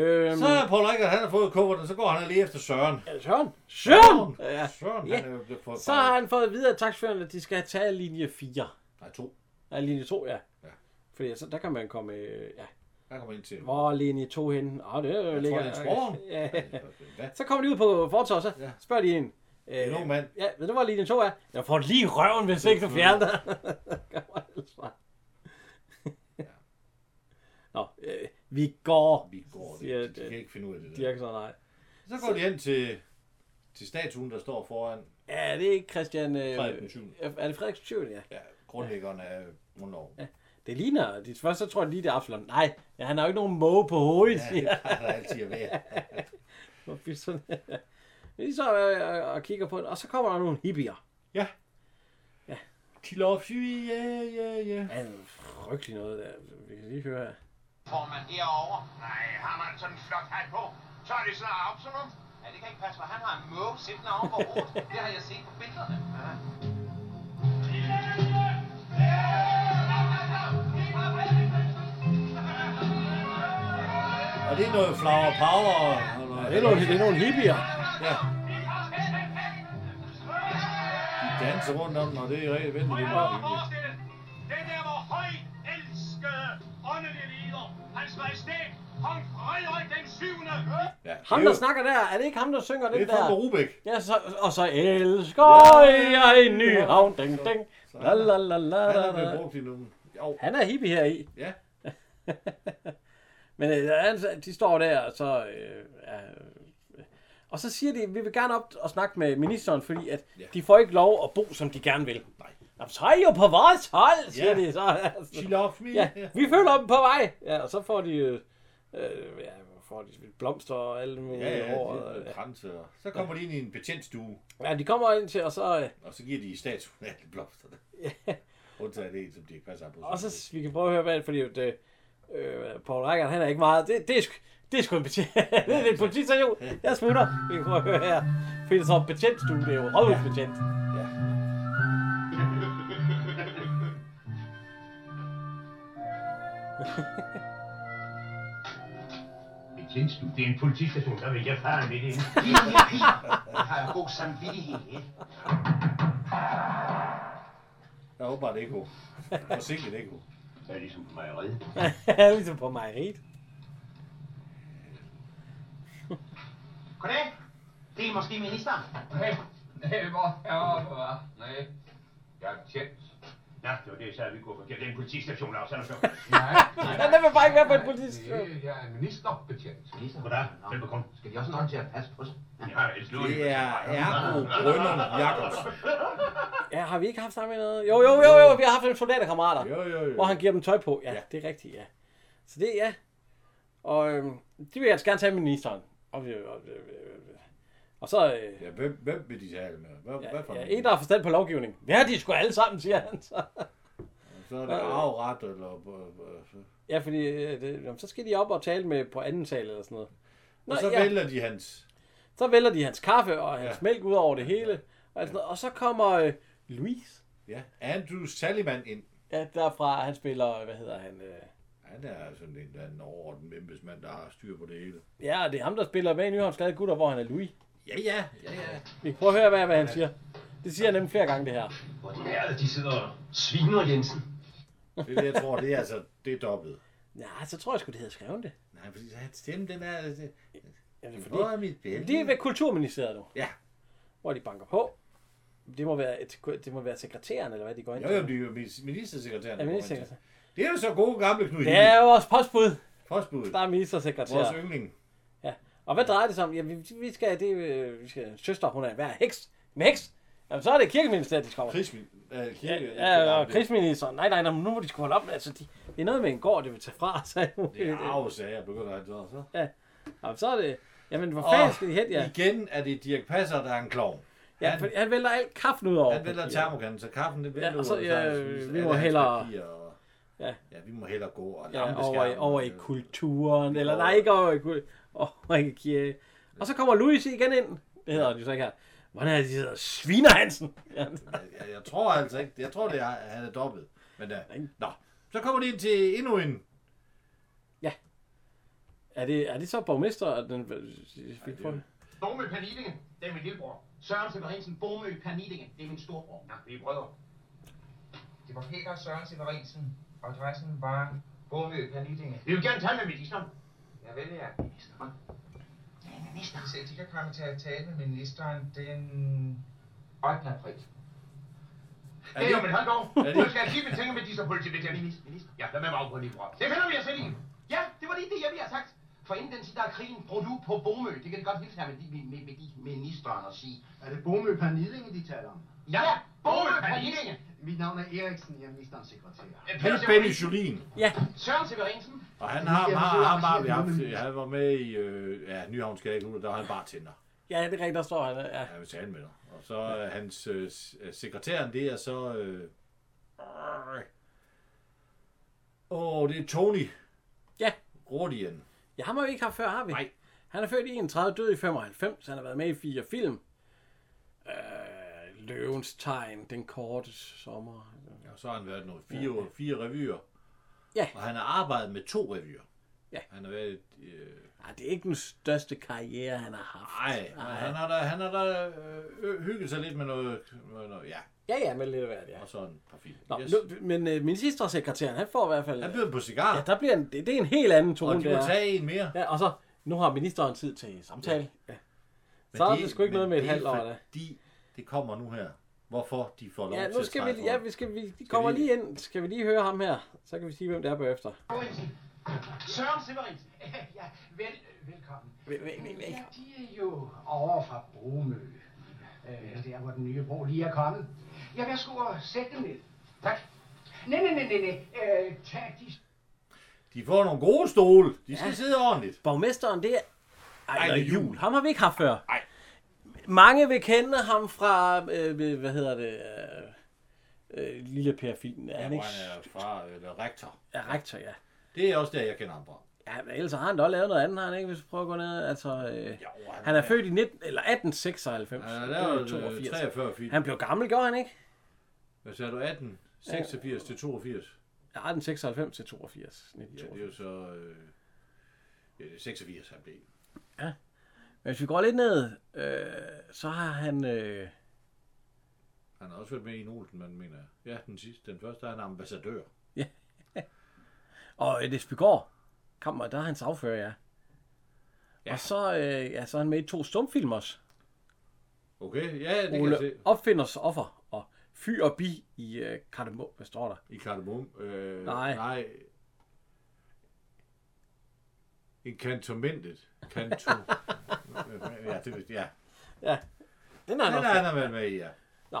S2: Øhm,
S3: Så er Paul Rikard, han har fået kuffert, så går han lige efter Søren.
S2: Ja, Søren. Søren! Ja.
S3: Ja. Søren,
S2: Ja.
S3: han er jo blevet fået
S2: Så har han fået at vide af taxaføren, at de skal have taget linje 4.
S3: Nej, to.
S2: Ja, linje 2, ja.
S3: Ja.
S2: Fordi så der kan man komme... øh, Ja.
S3: Han kommer ind til. Jeg
S2: Hvor er linje 2 henne? Åh, det er jo
S3: tror,
S2: lækkert.
S3: det er en skoven.
S2: Ja.
S3: Hvad?
S2: Så kommer de ud på fortorvet, så
S3: Ja.
S2: spørger de en. Øh,
S3: En ung mand.
S2: Ja, ved du, hvor linje 2 er? Jeg får lige i røven, hvis ikke du fjerner dig. [laughs] Kommer ellers fra. [laughs] Nå, øh, vi går.
S3: Vi går
S2: Ja,
S3: det. De
S2: det-
S3: kan ikke finde ud af det der.
S2: Dirk så nej.
S3: Så går de hen til, til statuen, der står foran
S2: Ja, det er ikke Christian... Øh,
S3: Frederik den syvende.
S2: Er det Frederik 7. Ja.
S3: ja, grundlæggeren af grundloven. Ja,
S2: Det ligner... De, først så tror jeg lige, det er Absalom. Nej, ja, han har jo ikke nogen måge på hovedet, ja.
S3: det
S2: siger
S3: plejer der altid
S2: [laughs]
S3: at være.
S2: han. [laughs] Sådan. Men de så øh, og kigger på det, og så kommer der nogle hippier.
S3: Ja. De loves you, yeah, yeah, yeah.
S2: Ja, det er frygteligt noget der. Vi kan lige høre her.
S5: Får man derovre? Nej, har man sådan en flot hat på, så er det snart Absalom. Ja, det kan ikke passe, for han har en måge siddende oven på hovedet. det har jeg set på billederne. Ja.
S3: Og det er noget flower power. Og noget,
S2: Det er nogle, det er nogle hippier.
S3: Ja. De danser rundt om den, og det er rigtig vildt. Det er meget hyggeligt.
S5: Den der var højt elskede åndelige lider, hans majestæt, kong Frederik den 7.
S3: Ja,
S2: Ham,
S3: det er
S2: der
S3: jo-
S2: snakker der, er det ikke ham, der synger
S3: Det
S2: den
S3: er fra
S2: der?
S3: Rubik.
S2: Ja, så, og så elsker jeg en ny havn, ding, ding. La, la, la, la,
S3: Han
S2: la,
S3: har blevet
S2: la.
S3: brugt i nogle... Jo,
S2: Han er hippie her i.
S3: ja.
S2: Men øh, han- de står der, og så... Øh, ja, øh, og så siger de, vi vil gerne op og snakke med ministeren, fordi at
S3: Ja.
S2: de får ikke lov at bo, som de gerne vil.
S3: Nej.
S2: Jamen, så er I jo på vores hold, siger
S3: Ja.
S2: de så. Altså.
S3: She loves me.
S2: Ja, vi følger dem på vej. Ja, og så får de, øh, øh, ja, får de blomster og alle
S3: Ja,
S2: mulige
S3: ja,
S2: over.
S3: det
S2: og,
S3: er kranse. og- Så kommer de ind i en betjentstue,
S2: Ja, de kommer ind til, og så, øh,
S3: og så giver de statuen alle blomsterne. Undtagen det som de ikke passer på.
S2: og så vi kan prøve at høre, hvad det er, fordi at, øh, øh, Paul Reichert, han er ikke meget, det, det, er, sgu- det er sgu en betjent, [laughs] det er en politistation, jeg smutter, vi kan prøve at høre her, fordi det er så en betjentstue, det er jo rådhusbetjent.
S3: Ja.
S6: Betjentstue, det er en politistation, der vil jeg fare midt
S5: [laughs]
S6: ind.
S5: Jeg har jo god samvittighed. ikke?
S3: Jeg håber, det er ikke Forsinket ikke
S6: Så er det ligesom på mejeriet.
S2: [laughs] Han er ligesom på mejeriet.
S5: Goddag. Det er måske ministeren.
S4: Nej, nej, hvor herre, hvor var? Nej, jeg er tjent.
S6: Nå, det var det, jeg sagde, at vi kunne forkert. Det er en politistation, der også er der
S4: Nej, nej,
S2: Han vil bare ikke være på en politistation.
S4: nej, jeg er ministerbetjent.
S6: Goddag, velbekomme.
S5: Skal de også have nogen til at passe på sig?
S6: Ja, jeg slår
S3: Det er Ergo Brøndum Jacobsen.
S2: Ja, har vi ikke haft sammen med noget? Jo, jo, jo, jo, vi har haft en soldaterkammerater.
S3: Jo, jo, jo.
S2: Hvor han giver dem tøj på. Ja, ja.
S3: Ja.
S2: det er rigtigt, ja. Så det, ja. Og øhm, de vil altså gerne tage med ministeren. Og, vi- og, øh, øh, og så... Øh,
S3: Ja, hvem, hvem vil de tale med? Hvad,
S2: ja,
S3: hvad for
S2: ja,
S3: en?
S2: en, der har forstand på lovgivning. Ja, de er sgu alle sammen, siger han så.
S3: Så er det arveret, eller...
S2: Ja, fordi øh, det, jamen, så skal de op og tale med på anden sal eller sådan noget. Nå,
S3: Og så
S2: ja,
S3: vælger de hans...
S2: så vælger de hans kaffe og hans ja.
S3: Ja.
S2: mælk ud over det hele. Og, alt sådan noget. og så kommer øh, Louise,
S3: Ja, Andrew Saliman ind.
S2: ja, derfra, han spiller, hvad hedder han? Øh,
S3: Han er sådan en eller anden overordnet embedsmand, der har styr på det hele.
S2: ja, det er ham, der spiller med i Nyhavns Glade Gutter, hvor han er Louis.
S3: Ja, ja, ja, ja.
S2: Vi kan prøve at høre, hvad, hvad han siger. Det siger jeg nemlig flere gange, det her.
S5: Hvor de er, de sidder og sviner, Jensen.
S3: Det er det, jeg tror, det er altså, det er dobbelt.
S2: Nej, så tror jeg sgu, det havde skrevet det.
S3: Nej, fordi hans stemme, den er... Det,
S2: Ja, det er fordi,
S3: hvor er mit billede?
S2: det er ved Kulturministeriet nu,
S3: Ja,
S2: hvor de banker på. Det må være, et, det må være sekretæren, eller hvad de går ind
S3: jo,
S2: til.
S3: jo, det er jo mis- ministersekretæren.
S2: Ja,
S3: der kommer ind til.
S2: ministersekretær.
S3: Det er jo så gode gamle Knud
S2: Det er
S3: Hille.
S2: jo vores postbud,
S3: Postbud.
S2: der er
S3: Vores
S2: ministersekretær.
S3: yndling.
S2: Ja. Og hvad drejer det sig om? Ja, vi, vi skal, det, øh, vi skal, søster, hun er hver heks. En heks? Jamen, så er det kirkeministeriet, de skal over.
S3: Krigsmin. Øh,
S2: Ja,
S3: kirke.
S2: ja, og krigsministeren. Nej, nej, nej, men nu må de sgu holde op med. Altså, de, det er noget med en gård, det vil tage fra [laughs] sig.
S3: Det er arvesager, begynder han så. så.
S2: Jamen, så er det... Jamen, hvor
S3: Og
S2: fanden skal de hen, ja?
S3: igen er det Dirk Passer, der er en klovn.
S2: ja
S3: han-
S2: fordi han vælter alt kaffen ud over.
S3: Han vælger
S2: papiret.
S3: termokanden, så kaffen det vælger
S2: Ja, og så,
S3: ud,
S2: ja,
S3: han smider
S2: vi
S3: alle
S2: må
S3: hans
S2: hellere-
S3: papirer, og,
S2: Ja.
S3: ja. ja, vi må hellere gå og
S2: Ja,
S3: lampeskærmen,
S2: over, i, over i
S3: øh,
S2: kulturen, eller
S3: over-
S2: nej, ikke over i kulturen, over i kirke. Og så kommer Louise igen ind. Det hedder han jo så ikke her. Hvordan er det, de hedder? Sviner Hansen! [laughs] Ja,
S3: Jeg, jeg tror altså ikke, jeg tror, det er, han er dobbelt. øh, Men uh, nå, så kommer de ind til endnu en.
S2: Er det, er det så borgmester, at den fik på?
S6: Bormø Pernillingen, det er min lillebror. Søren Severinsen, Bormø Pernillingen, det er min storbror. Ja, vi er brødre.
S7: Det var Peter Søren Severinsen, og adressen var Bormø per Nidinge.
S6: Vi vil gerne tale med ministeren.
S7: Jeg vil ja.
S6: Ja, minister.
S7: Hvis ikke jeg kommer til at tale med ministeren den 8. april.
S3: Er
S6: Det er om
S3: det,
S6: et halvt år.
S3: Er det-
S6: Nu skal jeg give mine ting med disse politibetjente. Minister. Ja, lad mig bare på lige Det finder vi os selv i. Ja, det var lige det, jeg ville have sagt. For inden den tid af krigen, brug du på Bomø. Det kan de godt hilse her med, de- med, med, med de ministeren og sige.
S5: Er det Bomø Pernillinge, de taler om?
S6: Ja, ja Bomø Pernillingen.
S5: Mit navn er Eriksen, jeg er ministerens sekretær.
S6: Øh,
S3: han
S6: Per
S3: er Benny
S6: Severinsen.
S3: Jolin,
S2: Ja,
S6: Søren Severinsen.
S3: og han har, har, har, har, vi haft, han var med i øh, ja, Nyhavnskade, der var han bartender.
S2: ja, det er rigtigt, der står han. Ja.
S3: Han vil tale med dig. Og så er hans øh, s- øh, sekretæren, det er så... Øh, øh, Åh, oh, det er Tony
S2: ja.
S3: Rodien.
S2: Ja, ham har vi ikke haft før, har vi?
S3: Nej.
S2: Han er født i 31, død i 95. Han har været med i fire film. Øh, Løvens Tegn, Den Korte Sommer.
S3: Og så har han været noget fire, ja. fire revyer.
S2: Ja.
S3: Og han har arbejdet med to revyer.
S2: Ja.
S3: Han har været... Øh,
S2: Ej, det er ikke den største karriere, han har haft.
S3: ej, men han har da, han har da øh, hygget sig lidt med noget, noget, noget ja,
S2: Ja, ja, men lidt af hvert, ja.
S3: og så en par film.
S2: Nå,
S3: yes.
S2: yes. nu, men øh, ministersekretæren, han får i hvert fald...
S3: Han byder på cigar,
S2: ja,
S3: ja,
S2: der bliver en, det, det er en helt anden
S3: og
S2: tone,
S3: de
S2: der.
S3: må tage en mere.
S2: Ja, og så, nu har ministeren tid til samtale. Ja. ja. Så er det sgu ikke noget med et halvt år, da.
S3: da. Fordi det kommer nu her. Hvorfor de får lov
S2: Ja,
S3: til
S2: nu
S3: at
S2: skal
S3: trække
S2: vi,
S3: rundt.
S2: ja, vi skal, vi de kommer
S3: vi-
S2: lige ind. Skal vi lige høre ham her? Så kan vi sige, hvem det er bagefter.
S6: Severinsen. Søren Severinsen. Ja, vel, velkommen.
S2: Vel- vel- vel-
S6: Ja, de er jo over fra Bromø. Øh, der, hvor den nye bro lige er kommet. Ja, værsgo og sæt dem ned. Tak. Nej, nej, nej, nej, nej. Øh, tag de...
S3: De får nogle gode stole. De skal ja. sidde ordentligt.
S2: Borgmesteren, det er Ejler
S3: Ejner Juhl.
S2: Jul. Ham har vi ikke haft før.
S3: Ej.
S2: Mange vil kende ham fra, øh, hvad hedder det, øh, øh, Lille Per filmen. Er
S3: Ja,
S2: han
S3: hvor
S2: ikke
S3: han er fra eller rektor.
S2: er rektor, ja.
S3: Det er også der, jeg kender ham fra.
S2: Ja, men ellers har han da også lavet noget andet, har han ikke, hvis vi prøver at gå ned. Altså, øh,
S3: Jo,
S2: han, han er født i 19, eller 1896.
S3: Han er
S2: Det var i
S3: lavet 82. 43 film.
S2: Han blev gammel, gjorde han ikke?
S3: Hvad sagde du? 18? 86 til 82?
S2: Ja, 1896 til 82.
S3: Ja, det er jo
S2: 1982.
S3: så... Øh, ja, det er 86, han blev.
S2: Men hvis vi går lidt ned, øh, så har han... Øh,
S3: Han har også været med i en Olsen, man mener. jeg. Ja, den sidste. Den første, han er ambassadør.
S2: og et Esbygård. Kom, og der er hans affører, ja. ja. Og så, øh, ja, så er han med i to stumfilm også.
S3: Okay, ja, det kan jeg
S2: Ole
S3: se.
S2: Opfinders Offer og Fy og Bi i øh, Kardemå. Hvad står der?
S3: I Kardemum. Øh,
S2: Nej.
S3: nej. En kantomentet. Kanto. ja, det ved ja.
S2: Den er han
S3: Han,
S2: også.
S3: er, han har været med i, ja.
S2: Nå.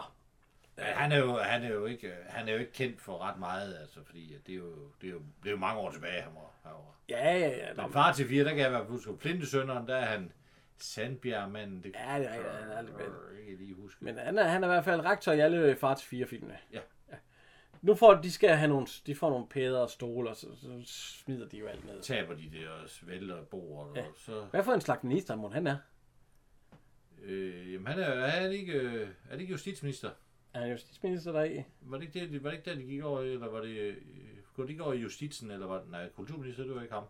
S3: Ja, Han er, jo, han, er jo ikke, øh, han er jo ikke kendt for ret meget, altså, fordi at det, er jo, det, er jo, det er jo mange år tilbage, han var herovre.
S2: Ja, ja, ja. Nå,
S3: Men far til fire, der kan jeg i hvert fald huske, Plintesønderen, der er han Sandbjergmanden. Det
S2: Ja, det er rigtigt, han er lidt
S3: kan
S2: med.
S3: jeg ikke lige huske.
S2: men han er, han er i hvert fald rektor i alle far til fire filmene.
S3: Ja.
S2: Nu får de skal have nogle, de får nogle pæder og stole, og så, så smider de jo alt ned.
S3: taber de det og svælter bordet, ja. og så...
S2: Hvad for en slags minister, mon han er?
S3: Øh, jamen, han er, er, han ikke, øh, er det ikke justitsminister?
S2: Er han justitsminister der i?
S3: Var det ikke der, de, var det ikke der, de gik over, i, eller var det... Øh, går de ikke over i justitsen, eller var det... Nej, kulturminister, det var ikke ham.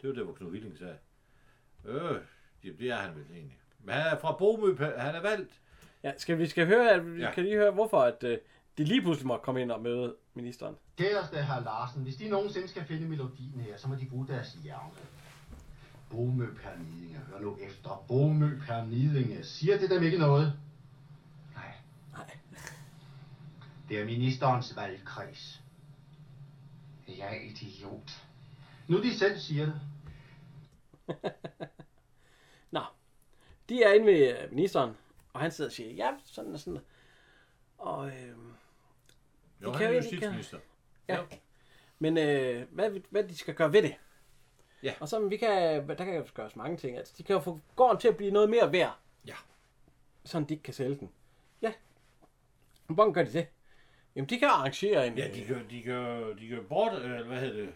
S3: Det var det, hvor Knud Willing sagde. Øh, jamen, det er han vel egentlig. Men han er fra Bomø, han er valgt.
S2: Ja, skal vi skal høre, at vi ja.
S3: Ja.
S2: kan lige høre, hvorfor at, øh, de lige pludselig måtte komme ind og møde ministeren.
S5: Kæreste herr Larsen, hvis de nogensinde skal finde melodien her, så må de bruge deres hjerne. Bomø Pernillinge, hør nu efter. Bomø Pernillinge, siger det dem ikke noget? Nej.
S2: Nej.
S5: Det er ministerens valgkreds.
S6: Jeg er idiot.
S5: Nu de selv siger det.
S2: Nå, de er inde ved øh, ministeren, og han sidder og siger, ja, sådan og sådan. Og, øh,
S3: Jo,
S2: kan
S3: han er
S2: jo egentlig gøre.
S3: justitsminister.
S2: ja. Men øh, hvad, hvad de skal gøre ved det?
S3: Ja.
S2: Og så men vi kan, der kan jo gøres mange ting. Altså, de kan jo få gården til at blive noget mere værd.
S3: Ja.
S2: Sådan de ikke kan sælge den. Ja. Men Hvordan gør de det? Jamen, de kan arrangere en... øh,
S3: Ja, de gør, de gør, de gør bort, øh, eller hvad hedder det?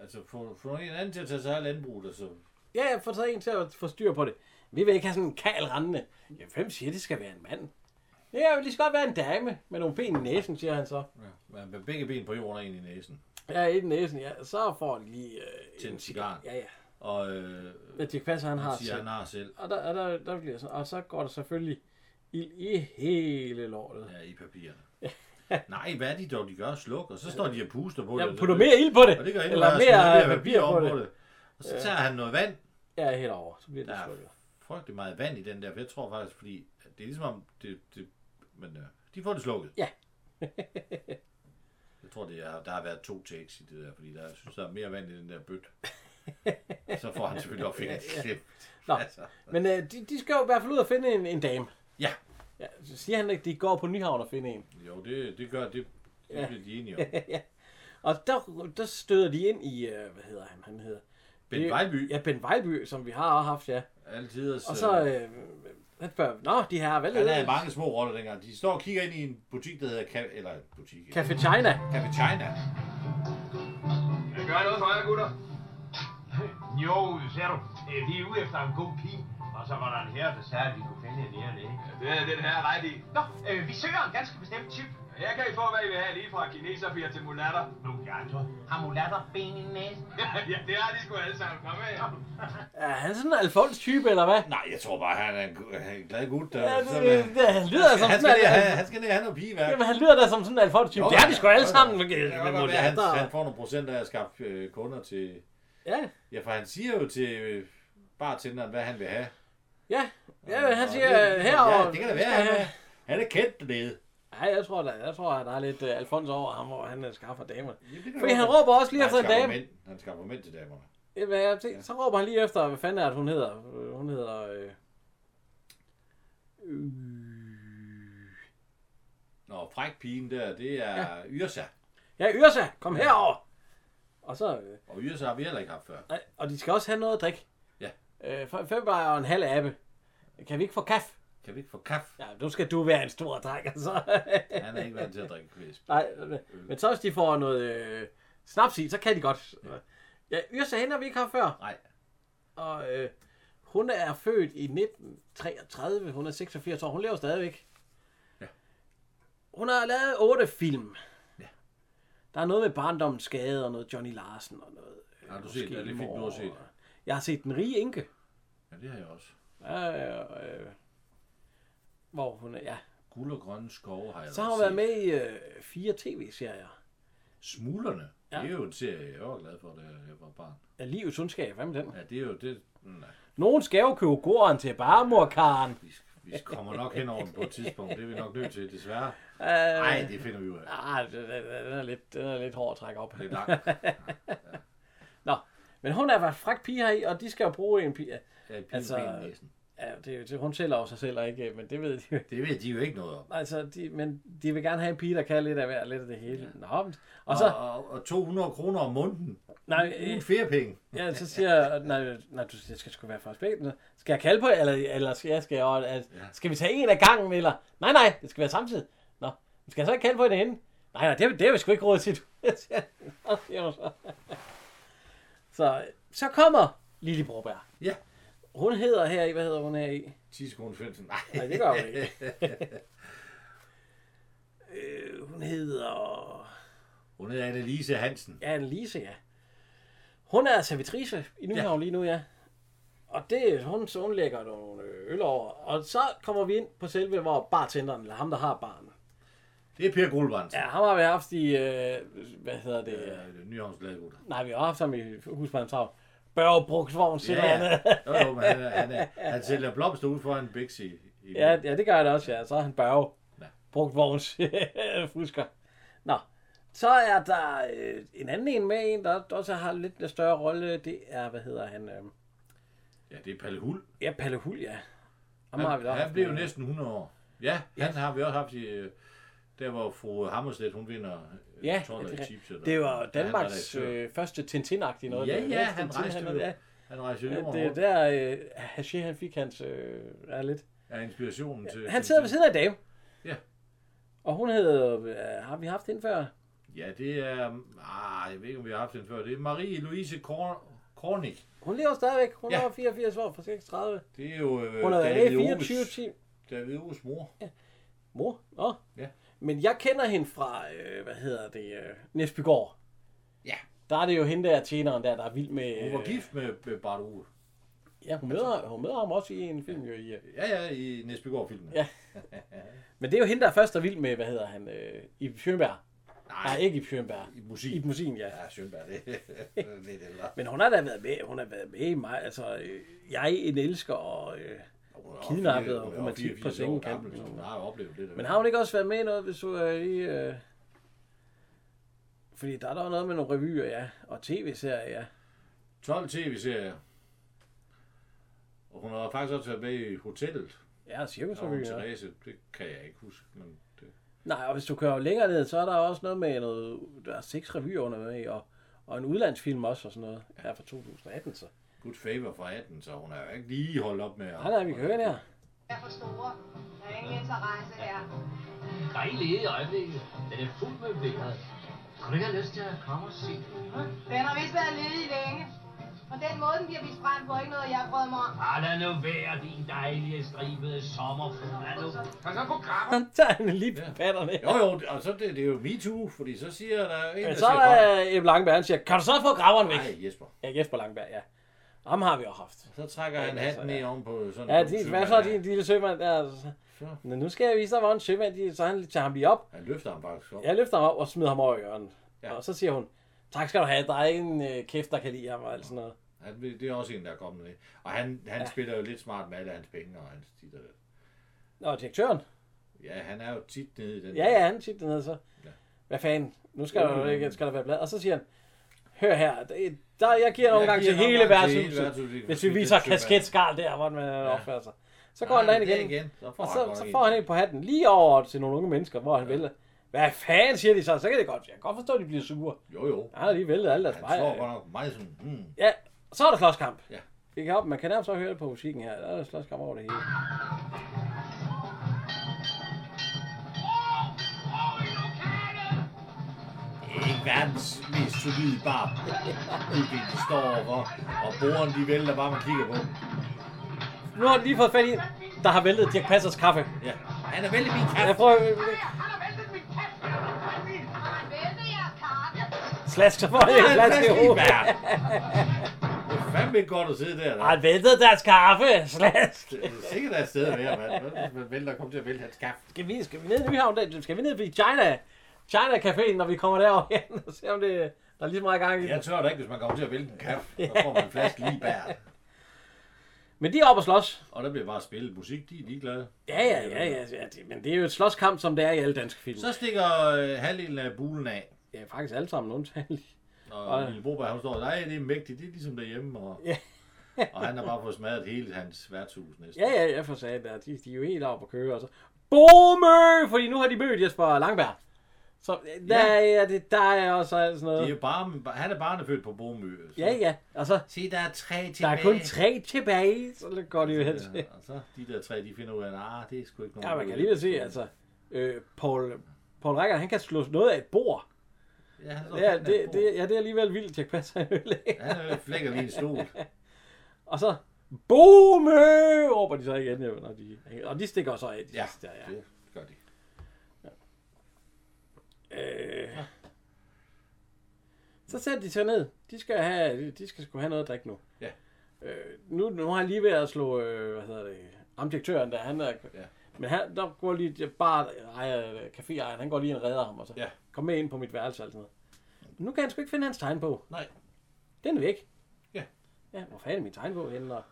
S3: Altså, få, få en anden til at tage sig af landbruget, altså.
S2: Ja, jeg får taget en til at få styr på det. Vi vil ikke have sådan en kal rendende. Jamen, hvem siger, det skal være en mand? Ja, men det skal godt være en dame med nogle ben i næsen, siger han så.
S3: Ja. Med, med begge ben på jorden og en i næsen.
S2: Ja, i næsen, ja. Så får de lige... Øh,
S3: Til en cigar.
S2: Ja, ja.
S3: og øh,
S2: Men Dirk Passer, han har
S3: han
S2: et
S3: siger,
S2: selv.
S3: han har selv
S2: Og der, og der, der bliver sådan, og så går der selvfølgelig ild i hele lortet.
S3: ja, i
S2: [laughs]
S3: papirerne. Nej, hvad er de dog, de gør? Sluk, og så står de og puster på
S2: Jeg
S3: det.
S2: putter mere ild på det,
S3: og det gør endnu
S2: eller
S3: værre, så
S2: mere
S3: smider
S2: papir på det.
S3: Og så tager han noget vand.
S2: Ja, helt over. Så bliver det
S3: Der
S2: ja.
S3: er frygtelig meget vand i den der, for jeg tror faktisk, fordi at det er ligesom om, det, det, men øh, de får det slukket.
S2: Ja.
S3: jeg tror, det er, der har været to takes i det der, fordi der, jeg synes, der er mere vand i den der
S2: [laughs]
S3: bøt. så får han selvfølgelig også fingeren ja, ja.
S2: Nå, men øh, de, de skal jo i hvert fald ud og finde en, en dame.
S3: Altså. Ja.
S2: ja. Så siger han ikke, de går på Nyhavn og finder en.
S3: Jo, det, det gør det. Det bliver de enige om.
S2: [laughs] Og der, der støder de ind i, øh, hvad hedder han, han hedder?
S3: Ben
S2: Det-
S3: Vejlby.
S2: Ja, Ben Vejlby, som vi har haft, ja.
S3: Altid.
S2: Og så, øh, han spørger, nå, de her, hvad
S3: han
S2: hedder
S3: havde mange små roller dengang. De står og kigger ind i en butik, der hedder... Ka- eller butik...
S2: Café China.
S3: Café China.
S4: Kan I gøre noget for jer, gutter?
S6: Jo, ser du, øh, vi er ude efter en god pige. Og så var der en herre, der sagde, at vi kunne finde en herre ikke?
S4: Ja, det er den her ret i.
S5: Nå, øh, vi søger en ganske bestemt type.
S4: Her kan I få, hvad I vil have, lige fra kineserpiger til mulatter.
S6: Nogle af de andre.
S5: Har mulatter ben i næsen?
S4: [laughs] ja, det har de sgu alle sammen. Kom med her.
S2: Er han sådan en alfons type, eller hvad?
S3: Nej, jeg tror bare, han er en, gu- han er en glad gut. Der,
S2: Ja,
S3: som,
S2: det,
S3: øh,
S2: det, det, han lyder som
S3: han, skal
S2: sådan
S3: ned,
S2: en...
S3: han, han skal ned og have noget pigeværk.
S2: Jamen, han lyder da som sådan en alfons type.
S3: Jo,
S2: Det er de
S3: ja,
S2: sgu alle
S3: jo, jo.
S2: sammen.
S3: Det kan
S2: Med
S3: godt være, han,
S2: mulatter.
S3: han får nogle procenter af at skaffe øh, kunder til...
S2: Ja,
S3: Ja, for han siger jo til øh, bartenderen, hvad han vil have.
S2: ja. Ja, han
S3: Og
S2: siger øh,
S3: det-
S2: herovre...
S3: Ja, det kan da være, han, er- han er kendt dernede.
S2: Nej, jeg tror da, jeg tror, at der er lidt uh, Alfons over ham, hvor han øh, skaffer damer.
S3: Ja, det kan
S2: Fordi
S3: godt
S2: han
S3: være.
S2: råber også lige efter
S3: Nej,
S2: en
S3: han skaffer
S2: dame.
S3: mænd. Han skaffer mænd til damerne.
S2: Ja, hvad jeg tænker, så råber han lige efter, hvad fanden er det, hun hedder? Øh, Hun hedder... Øh, Øh.
S3: Nå, fræk pigen der, det er ja. Yrsa.
S2: ja, Yrsa, kom herover! Og så... Øh,
S3: Og Yrsa har vi heller ikke haft før.
S2: nej, og de skal også have noget at drikke.
S3: Ja.
S2: Øh, f- fem bajer og en halv abe. Kan vi ikke få kaffe?
S3: Kan vi ikke få kaffe?
S2: Ja, nu skal du være en stor dreng, altså. [laughs]
S3: Han er ikke vant til at drikke kvisp.
S2: Nej, men så hvis de får noget øh, snaps i, så kan de godt. Ja, Yrsa hende har vi ikke haft før.
S3: Nej.
S2: Og øh, hun er født i 1933, hun er 86 år, hun lever stadigvæk.
S3: Ja.
S2: Hun har lavet otte film.
S3: Ja.
S2: Der er noget med barndommens skade og noget Johnny Larsen og noget. øh,
S3: Har du set?
S2: måske
S3: Ja, det er fint, du har
S2: mor.
S3: set.
S2: Jeg har set Den Rige Enke.
S3: Ja, det har jeg også.
S2: Øh, øh, hvor hun er, ja.
S3: Guld og grønne skove har jeg
S2: Så har hun
S3: set.
S2: været med i øh, fire tv-serier.
S3: Smuglerne.
S2: Ja.
S3: Ja. Det er jo en serie, jeg var glad for, da jeg var barn.
S2: Ja, livets ondskab, hvad med den?
S3: Ja, det er jo det. mm, Nej,
S2: Nogen skal jo købe gården til barmorkaren.
S3: vi, vi kommer nok hen over den på et tidspunkt. Det er vi nok nødt til, desværre.
S2: Øh,
S3: Nej, det finder vi ud af.
S2: Ah, den er- den er lidt, den er lidt hård at trække op.
S3: Det er langt.
S2: [laughs] Nå, men hun er bare fræk pige her i, og de skal jo bruge en pige.
S3: Ja, pigen
S2: Altså-
S3: altså, næsen.
S2: Ja, det, er jo- det, hun sælger jo sig selv, og ikke, øh, men det ved de jo ikke.
S3: Det ved de jo ikke noget om.
S2: Altså, de, men de vil gerne have en pige, der kan lidt af hver, lidt af det hele. Ja. Nå, men, og
S3: Og,
S2: så,
S3: og, og 200 kroner om munden.
S2: nej,
S3: Uden
S2: øh,
S3: feriepenge.
S2: ja, så siger jeg, nej, nej, du det skal sgu være for aspekten. Skal jeg kalde på, jer, eller, eller skal jeg, skal, jeg, altså, skal vi tage en af gangen, eller? Nej, nej, det skal være samtidig. Nå, men skal jeg så ikke kalde på en ende? Nej, nej, det, har vi- det har vi sgu ikke råd til. du. [laughs] Nå, siger hun så. så, så kommer Lili Broberg.
S3: Ja.
S2: Hun hedder her i, hvad hedder hun her i?
S3: 10 sekunder Svendsen. Nej.
S2: Nej, det gør hun ikke. øh, hun hedder...
S3: [laughs] Hun hedder Annelise Hansen.
S2: Ja, Annelise, ja. Hun er servitrice i Nyhavn ja. lige nu, ja. Og det, hun, så hun lægger nogle øh, øl over. Og så kommer vi ind på selve, hvor bartenderen, eller ham, der har baren.
S3: Det er Per Guldbrandsen.
S2: Ja,
S3: Ja.
S2: ham har vi haft i, øh, hvad hedder det? Øh,
S3: Nyhavns Gladgutter.
S2: nej, vi har haft ham i husmandshavn. Børgebrugsvogn,
S3: Ja,
S2: siger ja,
S3: ja.
S2: ja.
S3: Jo, jo, men han, er, han, er, han sælger blomster ud foran Bixi. I,
S2: [laughs] Ja, ja, det gør han også, ja. Så er han børge. Ja.
S3: Ja.
S2: Brugt vogns [laughs] fusker. Nå, så er der øh, en anden en med, en der også har lidt en større rolle. Det er, hvad hedder han? Øh,
S3: ja, det er Palle Hul.
S2: ja, Palle Hul, ja. Ham har vi
S3: Han,
S2: da
S3: han
S2: haft
S3: blev jo
S2: med.
S3: næsten 100 år. Ja, han har vi også haft i... øh, Der hvor fru Hammerstedt, hun vinder øh,
S2: Ja,
S3: tror jeg,
S2: det,
S3: i
S2: er-
S3: chips. Eller,
S2: det
S3: Ja,
S2: var
S3: han
S2: Danmarks
S3: redaktør.
S2: øh, første Tintin-agtige noget.
S3: Ja,
S2: Det-
S3: ja,
S2: det-
S3: han
S2: Tintin,
S3: rejste jo.
S2: ja.
S3: Han rejser jorden
S2: Det er
S3: rundt.
S2: der, øh, Haché, han fik hans... Øh, er lidt.
S3: Er inspirationen til...
S2: Han sidder ved siden af Dave.
S3: Ja.
S2: Og hun hedder... Øh, har vi haft hende før?
S3: Ja, det er... Ah, jeg ved ikke, om vi har haft den før. Det er Marie-Louise Kor- Kornik.
S2: Hun lever stadigvæk. Hun
S3: Ja.
S2: er 84 år, for 36.
S3: Det er jo øh,
S2: Hun er
S3: David
S2: A24
S3: Oves,
S2: team.
S3: David Oves mor.
S2: Mor? Nå.
S3: Ja.
S2: Men jeg kender hende fra, øh, hvad hedder det, øh, Næsbygård.
S3: Ja.
S2: der er det jo hende der, tjeneren der, der er vild med...
S3: Hun var
S2: øh,
S3: gift med, med Bart Uwe.
S2: Ja, hun møder, hun møder ham også i en film, jo i... øh,
S3: Ja, ja, i Næsbygård-filmen.
S2: Ja. Men det er jo hende, der først er vild med, hvad hedder han, øh, Ib Schønberg. Nej. Nej, ikke Ib Schønberg.
S3: I musik.
S2: Ib Musin, ja.
S3: Ja, Sjønberg, det [laughs] det er lidt ældre.
S2: Men hun har da været med, hun har været med i mig, altså, øh, jeg en elsker, og... Øh,
S3: Hun er
S2: Kidnappet
S3: også
S2: og
S3: fire-
S2: romantik
S3: fire- fire-
S2: på
S3: fire år
S2: sengekanten.
S3: gammel, så Hun har jo oplevet det. Der.
S2: men har hun ikke også været med i noget, hvis du er i... Øh, fordi der er der noget med nogle revyer, ja, og tv-serier, ja.
S3: 12 tv-serier. Og hun har faktisk også været med i Hotellet.
S2: Ja, og
S3: Så hun
S2: cirkusrevyer. ja.
S3: Therese, det kan jeg ikke huske. Men det...
S2: Nej, og hvis du kører længere ned, så er der også noget med noget... Der er seks revyer under med, i, og, og en udlandsfilm også og sådan noget. Her fra 2018, så.
S3: Good favor fra 18, så hun er jo ikke lige holdt op med at...
S2: Nej, nej, vi kan høre det her.
S8: er for store. Der er ingen interesse her.
S6: Dejlig i øjeblikket. Den er fuld med blikket. Kunne du ikke have lyst til at komme og se den? hva'?
S8: Den har vist været ledig længe. Og den måde, den bliver vist brændt på, er ikke noget, jeg har prøvet mig om.
S6: Ah, lad nu være, din dejlige stribede sommerfugl. Lad nu
S9: Hold så på krabber!
S2: Han tager hende lige på
S3: Ja.
S2: patterne.
S3: Jo, jo, og så det, det er jo MeToo, fordi så siger der en, der
S2: Men så
S3: siger... "Kom."
S2: er Ebbe Langberg, han siger, kan du så få graveren væk?
S3: Nej, Jesper.
S2: Ja, Jesper Langberg, ja. Og ham har vi jo haft.
S3: Så trækker
S2: Ja,
S3: han
S2: altså,
S3: hatten ned
S2: ja.
S3: ovenpå sådan
S2: Ja,
S3: en
S2: din,
S3: sømand
S2: hvad så
S3: her.
S2: din lille sømand der? Så-
S3: Så.
S2: Men nu skal jeg vise dig, hvor en sømand, de, så han tager ham lige op.
S3: Han løfter ham faktisk op. Ja.
S2: Jeg løfter ham op og smider ham over i hjørnet.
S3: Ja.
S2: Og så siger hun, tak skal du have, der er ingen øh, kæft, der kan lide ham og alt sådan noget.
S3: Han, vil- det er også en, der er kommet ned. Og han, han ja. spiller jo lidt smart med alle hans penge og hans titter.
S2: Nå, direktøren?
S3: Ja, han er jo tit nede i den...
S2: Ja, ja, han siger dernede så.
S3: Ja. Mm.
S2: Hvad fanden, nu skal der, jo ikke, skal der være blad. Og så siger han, hør her, det- der, jeg giver
S3: Jeg
S2: nogle gange
S3: giver
S2: til
S3: en
S2: hele
S3: omgang til hele
S2: værtshuset,
S3: værtshuset.
S2: hvis vi
S3: Det er
S2: viser
S3: sømand.
S2: kasketskarl der, hvor man opfører sig. Så går han derind
S3: der
S2: igen.
S3: igen. Så får
S2: Og
S3: han
S2: så,
S3: godt
S2: så
S3: en.
S2: får han en på hatten lige over til nogle unge mennesker, hvor han ja. vælter. Hvad fanden siger de så? Så kan det godt. Jeg kan godt forstå, at de bliver sure.
S3: Jo, jo.
S2: Han har lige væltet alle deres
S3: Han
S2: vej.
S3: tror godt nok meget sådan... Hmm.
S2: Ja, så er der slåskamp.
S3: Ja.
S2: Vi kan hoppe. Man kan nærmest også høre det på musikken her. Der er slåskamp over det hele.
S3: Ikke verdens mest solide bar. Det de står overfor. Og borgerne, de vælter bare, man kigger på dem.
S2: Nu har de lige fået fat i, der har væltet Dirk Passers kaffe.
S3: Ja. Han er vældig min
S2: Jeg
S3: kæft.
S2: prøver
S5: Han har væltet min kæft!
S8: Har han væltet jeres karte?
S2: slask, så får jeg en slask i hovedet.
S3: Det er fandme ikke godt at sidde der.
S2: Har han væltet deres kaffe? Slask.
S3: Det er sikkert, der er et sted at være, mand. Hvad hvis man vælter og kommer til at vælte hans kæft?
S2: Skal vi, skal vi ned i Nyhavn? Der? Skal vi ned i China? China Caféen, når vi kommer derover hen [laughs] og ser, om det, der er lige så meget gang i
S3: Jeg
S2: det.
S3: tør da ikke, hvis man kommer til at vælte en kæft. Så får man en flaske lige bær.
S2: Men de er oppe og slås.
S3: Og der bliver bare spillet musik, de er ligeglade.
S2: Ja, ja, ja, ja, ja. det- Men det er jo et slåskamp, som det er i alle danske film.
S3: Så stikker øh, halvdelen af bulen af.
S2: Ja, faktisk alle sammen undtagen.
S3: Og
S2: Og-
S3: Lille Broberg, han står, nej, det er mægtigt, det er ligesom derhjemme. Og,
S2: Ja.
S3: [laughs] og han har bare fået smadret hele hans værtshus
S2: [laughs]
S3: næsten.
S2: Ja, ja, jeg får sagt, der. De, de er jo helt oppe at køre. Og så. Bomø! Fordi nu har de mødt Jesper Langberg. Så øh, der ja. er det dig og så alt sådan
S3: Det
S2: noget.
S3: er jo bare, han er barnefødt på Bromø. Så.
S2: Ja, ja. Og så,
S3: Se, der er tre tilbage.
S2: der er kun tre tilbage. Så går det jo hen til.
S3: Ja, og så de der tre, de finder ud af, nah, det er sgu ikke nogen.
S2: Ja, man
S3: god
S2: kan
S3: idé."
S2: lige se, altså. Øh, Paul, Paul Rækker, han kan slå noget af et bord.
S3: Ja, han står
S2: Ja,
S3: fandme
S2: det,
S3: på.
S2: det, ja, det er alligevel vildt, jeg passer en øl af.
S3: Han øh, flækker lige en
S2: [laughs]
S3: stol.
S2: Og så BOMØ! råber de så igen, jo, når de, og de stikker så af. De
S3: Ja,
S2: sidste der, ja.
S3: det gør de.
S2: Øh. Så sætter de sig ned. De skal, have, de skal sgu have noget at drikke nu.
S3: Ja.
S2: Øh, nu, nu har han lige ved at slå, øh, hvad hedder det, ham direktøren der, han er,
S3: Ja.
S2: men han, der går lige, bare ejer, øh, caféejeren, han går lige og redder ham, og så,
S3: Ja.
S2: kom med ind på mit værelse og sådan noget. Nu kan han sgu ikke finde hans tegnbog.
S3: Nej.
S2: Den er væk.
S3: Ja.
S2: Ja, hvor fanden er min tegnbog henne? Og...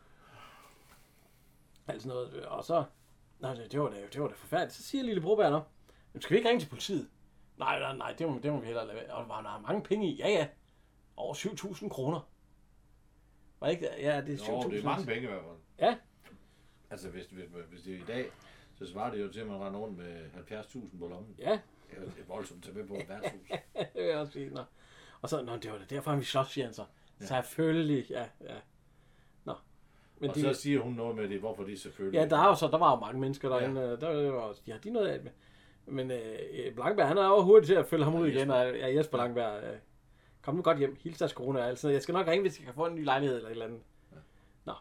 S2: Alt sådan noget. Og så... Nå, det, det, var da, det var da forfærdeligt. Så siger Lille Broberg nu, "Men skal vi ikke ringe til politiet? Nej, nej, nej, det må, det må vi hellere lade være. Og han har mange penge i. Ja, ja. Over 7.000 kroner. Var det ikke? Ja, det er 7.000.
S3: Jo, det er mange penge i hvert fald.
S2: Ja.
S3: Altså, hvis, hvis, hvis det er i dag, så svarer det jo til, at man render rundt med 70.000 på lommen.
S2: Ja, [laughs]
S3: Det er jo- det er voldsomt at tage med på et værtshus.
S2: det vil jeg også sige. Nå. Og så, nå, det var da derfor, han vi slås, siger han så. Ja. Selvfølgelig, ja, ja. Nå. Men
S3: Og så siger hun noget med det, hvorfor det selvfølgelig.
S2: Ja, der, er jo så, der var jo mange mennesker derinde. Ja. Der, der var, også- ja, de noget af det. Men øh, Blankberg, han er jo hurtig til at følge ham ud igen. Og, ja, Jesper Blankberg, øh, kom nu godt hjem. Hils deres kone og alt sådan noget. Jeg skal nok ringe, hvis jeg kan få en ny lejlighed eller et eller andet. Nå.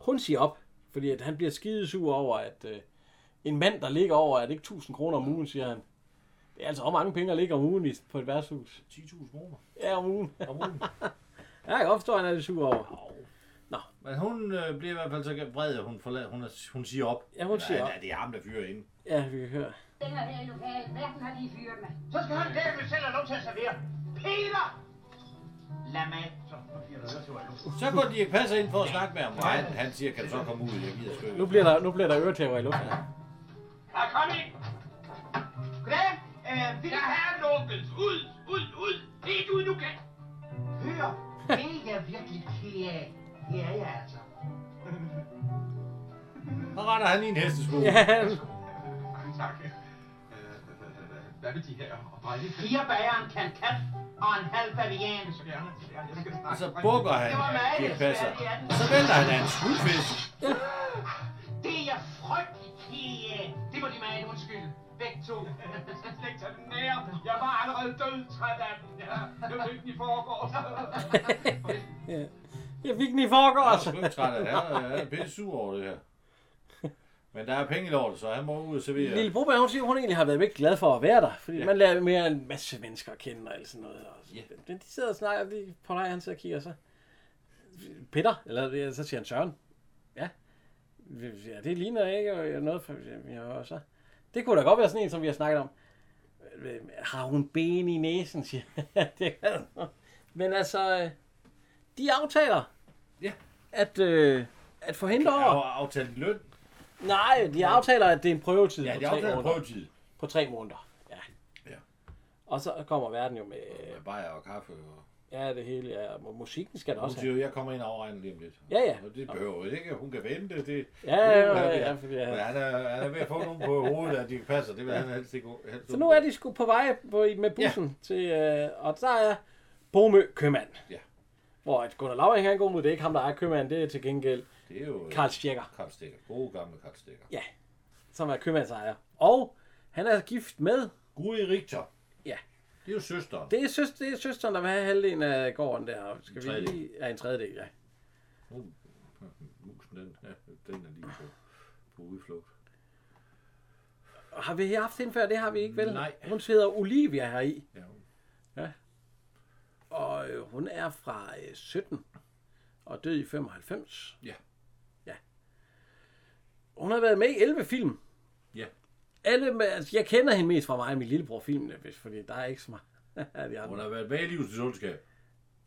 S2: Hun siger op, fordi at han bliver skidesur over, at øh, en mand, der ligger over, er det ikke 1000 kroner om ugen, siger han. Det er altså også mange penge, der ligger om ugen i- på et værtshus.
S3: 10.000 kroner
S2: Ja, om ugen.
S3: om ugen.
S2: [laughs] Ja, jeg kan godt forstå, at han er lidt sur over.
S3: Men hun øh, bliver i hvert fald så vred, at hun, forlader, hun, er, hun siger op.
S2: Ja, hun
S3: Eller,
S2: siger op.
S3: Ja, det er ham, der fyrer ind.
S2: Ja, vi kan høre.
S8: Den her her i lokalet, verden har lige fyret med.
S5: Så skal han dæmme selv have lov til at servere. Peter! Lad mig. Så nu bliver der til at
S3: Så går Dirk Passer ind for at snakke med ham. Og han, han siger, kan du så komme ud? Jeg gider sgu
S2: Nu
S3: ikke.
S2: bliver der, nu bliver der øretæver i luften.
S5: Ja, kom ind. Goddag. Øh, vi
S6: Ja, herre Lorenz, ud, ud, ud. Helt ud nu, kan.
S5: Hør, det er jeg virkelig ked af. Det er jeg altså.
S3: Så render han i en hestesko.
S2: Ja,
S6: Mange tak. Øh, Hvad med de her og drenge?
S5: Fire bager, en kankat og en halv bavian.
S6: Så gerne. Ja, jeg skal snakke.
S3: Og så bukker han
S5: Det var meget
S3: Dirk Passer.
S5: svært, det er den.
S3: Og så vælter han af en skudfisk.
S5: Det er jeg frygtelig ked af. Det må de meget undskylde. Begge
S6: [laughs]
S5: to.
S6: Jeg skal slet ikke tage den nære. Jeg var allerede dødtræt af den. Ja, det var ikke i forgårs.
S2: jeg fik den i
S3: Han
S2: forgårs.
S3: er skøntræt af det. Han er- Han er pisse sur over det her. Men der er penge i lortet, så han må ud og servere.
S2: Lille Broberg, hun siger, hun egentlig har været virkelig glad for at være der. Fordi ja. man lærer mere en masse mennesker at kende og alt sådan noget. Og
S3: Ja.
S2: Men de sidder og snakker, og de på dig, han sidder og kigger, og så... Peter, eller ja, så siger han Søren. Ja. Ja, det ligner ikke og noget fra... Ja, og så. Det kunne da godt være sådan en, som vi har snakket om. Øh, Har hun ben i næsen, siger han. [laughs] det kan hun. Men altså, øh, de aftaler,
S3: Ja.
S2: at, øh, at forhindre...
S3: Jeg har aftalt løn.
S2: Nej, de aftaler, at det er en prøvetid
S3: Ja,
S2: på
S3: de
S2: tre
S3: aftaler
S2: måneder.
S3: prøvetid.
S2: På tre måneder. Ja.
S3: Ja.
S2: Og så kommer verden jo med,
S3: Med bajer og kaffe. Og...
S2: ja, det hele, ja, og musikken skal der
S3: Hun
S2: også have.
S3: siger, jeg kommer ind og afregner lige om lidt.
S2: Ja, ja.
S3: Og det behøver hun ikke. Hun kan vente. Det...
S2: Ja, ja,
S3: Uha,
S2: ja, ja, for-
S3: Men
S2: ja.
S3: Han er, han er ved at få nogen på hovedet, at de ikke passer. Det vil han helst ikke. Helst
S2: Så nu er de sgu på vej på, med bussen ja. til, øh, og der er Bomø Købmand.
S3: Ja.
S2: Hvor at Gunnar Lauring han går mod, det er ikke ham, der er købmand, det er til gengæld
S3: Det er jo Karl,
S2: Karl Stjekker,
S3: Karl Stikker. Gode gamle Karl Stikker.
S2: som er købmandsejer. Og han er gift med,
S3: Guri Richter.
S2: Ja.
S3: Det er jo søsteren.
S2: det er, søster, det er søsteren, der vil have halvdelen af gården der. Skal vi
S3: tredjedel.
S2: lige, ja, en tredjedel, ja.
S3: [laughs] Musen, den, ja, den er lige på, på udflugt.
S2: Og Har vi haft hende før? Det har vi ikke, vel?
S3: Nej.
S2: Hun hedder Olivia her i.
S3: Ja, hun-
S2: Og øh, hun er fra øh, 17 og død i 95.
S3: Ja.
S2: Ja. Hun har været med i 11 film.
S3: Ja.
S2: Alle med, altså, jeg kender hende mest fra mig og min lillebror filmene, hvis- fordi der er ikke så meget. [laughs] af de
S3: Hun
S2: andre.
S3: har været med i livets ondskab.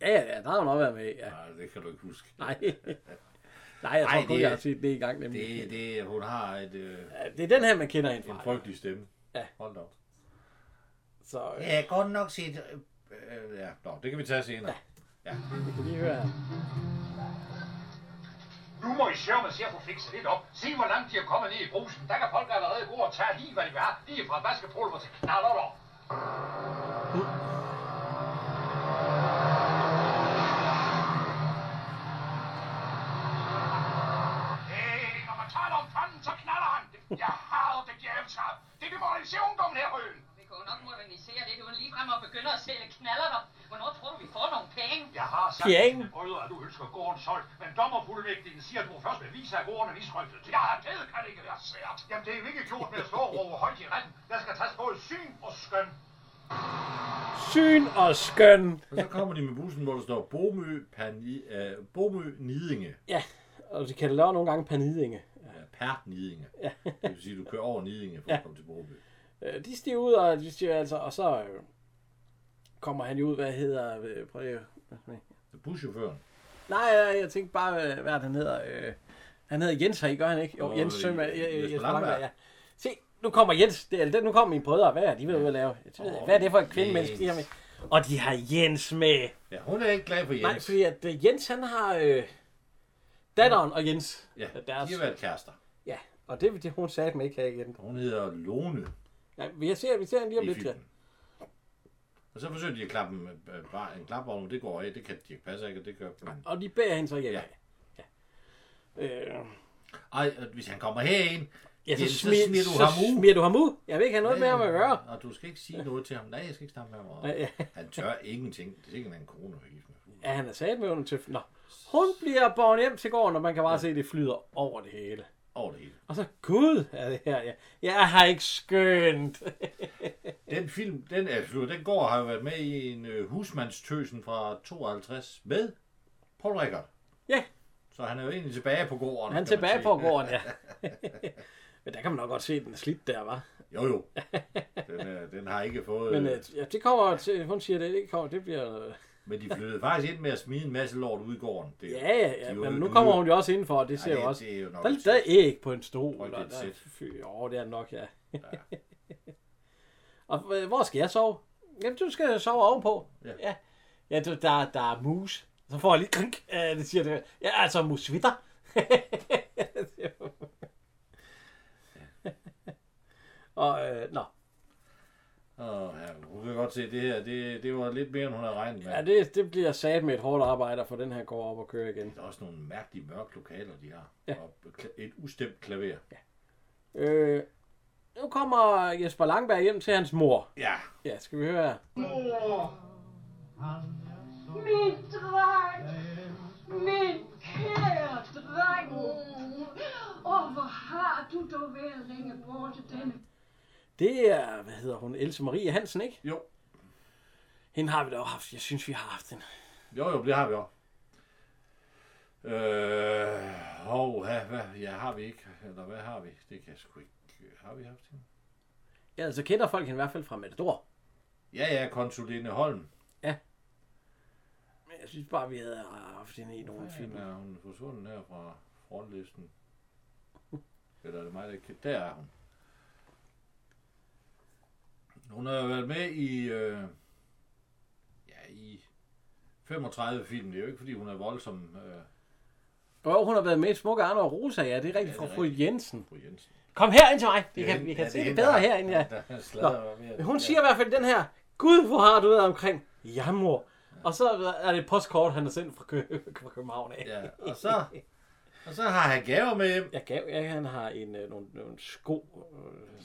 S2: ja, ja, ja, der har hun også været med. i, Ja.
S3: [laughs] Nej, det kan du ikke huske.
S2: Nej. Nej, jeg tror
S3: Ej,
S2: kun,
S3: det-
S2: jeg har set det i gang. Nemlig.
S3: Det, det, hun har et, øh,
S2: Ja, det er den her, man kender hende
S3: en
S2: fra.
S3: frygtelig stemme.
S2: Ja.
S3: Hold da op.
S2: Så øh,
S3: Ja, godt nok set. øh, øh, Ja, Nå, det kan vi tage senere.
S2: vi kan lige høre her.
S6: Nu må I sørge med se at få fikset lidt op. Se, hvor langt de er kommet ned i brusen. Der kan folk allerede gå og tage lige, hvad de vil have. Lige fra vaskepulver til knallerter.
S4: Hey, når man taler om fanden, så knaller han. Jeg hader det djævelskab. Det er demoraliserer ungdommen her, Høen.
S10: Vi kunne jo nok modernisere lidt, uden ligefrem at begynde at sælge knaller der. Hvornår tror du, vi får nogle penge?
S6: Jeg har sagt
S2: Ja,
S6: ja,
S2: ikke?
S6: til brødre, at du ønsker gården solgt, men dommerfuldmægtigen siger, at du først vil vise, at gården er misrøgtet. Jeg er ked, kan det ikke være svært. Jamen, det er jo ikke klogt med at stå og råbe højt i retten. Der skal tages både syn og skøn.
S2: Syn og skøn.
S3: Og så kommer de med bussen, hvor der står Bomø, Pani, øh, Bomø Nidinge.
S2: Ja, og de kan da lave nogle gange panidinge.
S3: Ja, per Nidinge. Ja. det vil sige, at du kører over Nidinge for ja. at komme til Bomø.
S2: Øh, de stiger ud, og de stiger altså, og så øh, kommer han jo ud, hvad hedder, øh, prøv lige, at-
S3: Så buschaufføren.
S2: nej, nej, jeg tænkte bare, øh, hvad er det, han hedder, øh, han hedder Jens her, ikke? gør han ikke? Jo,
S3: Nå,
S2: Jens
S3: øh,
S2: Sømmer, øh, øh,
S3: Jesper
S2: Jesper
S3: Langberg.
S2: Langberg, ja. Se, nu kommer Jens, det, eller, det- nu kommer mine brødre, hvad er de ved at lave? Jeg ved,
S3: Åh,
S2: hvad er det for et kvindemenneske, de har med?
S3: Jens.
S2: Og de har Jens med. Jens.
S3: Ja, hun er ikke glad for Jens.
S2: Nej, fordi at øh, Jens, han har øh, datteren og Jens.
S3: ja,
S2: øh,
S3: deres...
S2: deres,
S3: de har været kærester.
S2: ja, og det vil det, hun sagde mig ikke her igen.
S3: Hun hedder Lone
S2: Ja, vi ser, vi ser hende lige om
S3: i
S2: lidt, ja.
S3: filmen. Og så forsøger de at klappe en, øh, bare en klapvogn, men det går af. Det kan de ikke passe ikke, og det gør man.
S2: Og de bærer hende så hjem. Ja.
S3: Ja.
S2: Ja. Øh,
S3: Ej, og hvis han kommer herind,
S2: ja, så,
S3: Jamen, så
S2: smier, så
S3: smider du ham ud.
S2: smier du ham ud. Jeg vil ikke have noget med ham at gøre.
S3: Øh, og du skal ikke sige noget til ham. Nej, jeg skal ikke snakke med ham. Og
S2: Ja, ja.
S3: Han tør ingenting. Det er sikkert, at han er en corona er gift med.
S2: Ja, han er sat med under tøffen. Nå. Hun bliver borgen hjem til gården, og man kan bare ja. se, at det flyder over det hele.
S3: over det hele.
S2: Og så, gud, er det her, ja. Jeg har ikke skønt. [laughs]
S3: Den film, den, er, den går har jo været med i en øh, husmandstøsen fra 52 med Paul Rickard.
S2: Ja.
S3: Så han er jo egentlig tilbage på gården.
S2: Han er
S3: kan
S2: tilbage
S3: man sige.
S2: på gården, ja. [laughs] Men der kan man nok godt se, at den er slidt der, var.
S3: jo,
S2: [laughs]
S3: jo. Den, øh, den har ikke fået...
S2: Men øh, ja, det kommer til, hun siger, det ikke kommer, det bliver... øh,
S3: Men de flyttede faktisk ind med at smide en masse lort ud i gården. Det,
S2: Ja, ja,
S3: de er
S2: ja.
S3: jo
S2: Men nu
S3: nødt-
S2: kommer hun jo også indenfor, og det
S3: Ej,
S2: ser jo
S3: det-
S2: også...
S3: det er jo nok
S2: der,
S3: et
S2: der er æg på en stol.
S3: Tror ikke, det er et
S2: og der-
S3: sæt.
S2: fy, Jo, det er det nok, ja. [laughs] og øh, hvor skal jeg sove? Jamen, du skal sove ovenpå.
S3: Ja.
S2: Ja, ja du, der, der er mus. Så får jeg lige krink. Øh, det siger det. Ja, altså musvitter. [laughs] og, øh, nå.
S3: Åh, ja, hun kan godt se, det her, det, det var lidt mere, end hun havde regnet med.
S2: Ja, det, det bliver sat med et hårdt arbejde, for den her går op og kører igen.
S3: Der er også nogle mærkelige mørke lokaler, de har. Ja. Og kla- et ustemt klaver. Ja.
S2: Øh, nu kommer Jesper Langberg hjem til hans mor.
S3: ja.
S2: Ja, skal vi høre her.
S5: Mor! Min dreng!
S6: Øh.
S5: Min kære dreng! Åh, hvor har du dog ved at ringe bort denne
S2: Det er, hvad hedder hun, Else Marie Hansen, ikke?
S3: Jo.
S2: Hende har vi da også haft. Jeg synes, vi har haft den.
S3: Jo, jo, det har vi også. Øh, hov, ja, hvad, ja, har vi ikke? Eller hvad har vi? Det kan jeg sgu ikke. Har vi haft hende?
S2: Ja, altså kender folk hende i hvert fald fra Matador.
S3: Ja, ja, konsulene Holm.
S2: Men jeg synes bare, vi havde haft hende i nogle film.
S3: Fint. Er hun forsvundet her fra frontlisten? Eller er det mig, der ikke kan- Der er hun. Hun har jo været med i... Øh, ja, i 35 film. Det er jo ikke, fordi hun er voldsom. Øh,
S2: Jo, hun har været med i Smukke Arne og Rosa, ja, det er rigtigt,
S3: det
S2: fra
S3: er
S2: fru Jensen.
S3: fru Jensen.
S2: Kom her ind til mig. Vi
S3: Det er
S2: kan,
S3: hende-
S2: vi
S3: ja,
S2: kan
S3: det
S2: se
S3: er
S2: det
S3: hende,
S2: bedre
S3: der-
S2: herinde, ja.
S3: der sladrer mig mere.
S2: Men hun siger i hvert fald den her, Gud, hvor har du været omkring? Ja, mor. Og så er det et postkort, han har sendt fra, Kø- [laughs] fra København af.
S3: Ja, og så, og så har han gaver med hjem.
S2: [laughs] Jeg gav, ja, han har en, øh, nogle, nogle sko,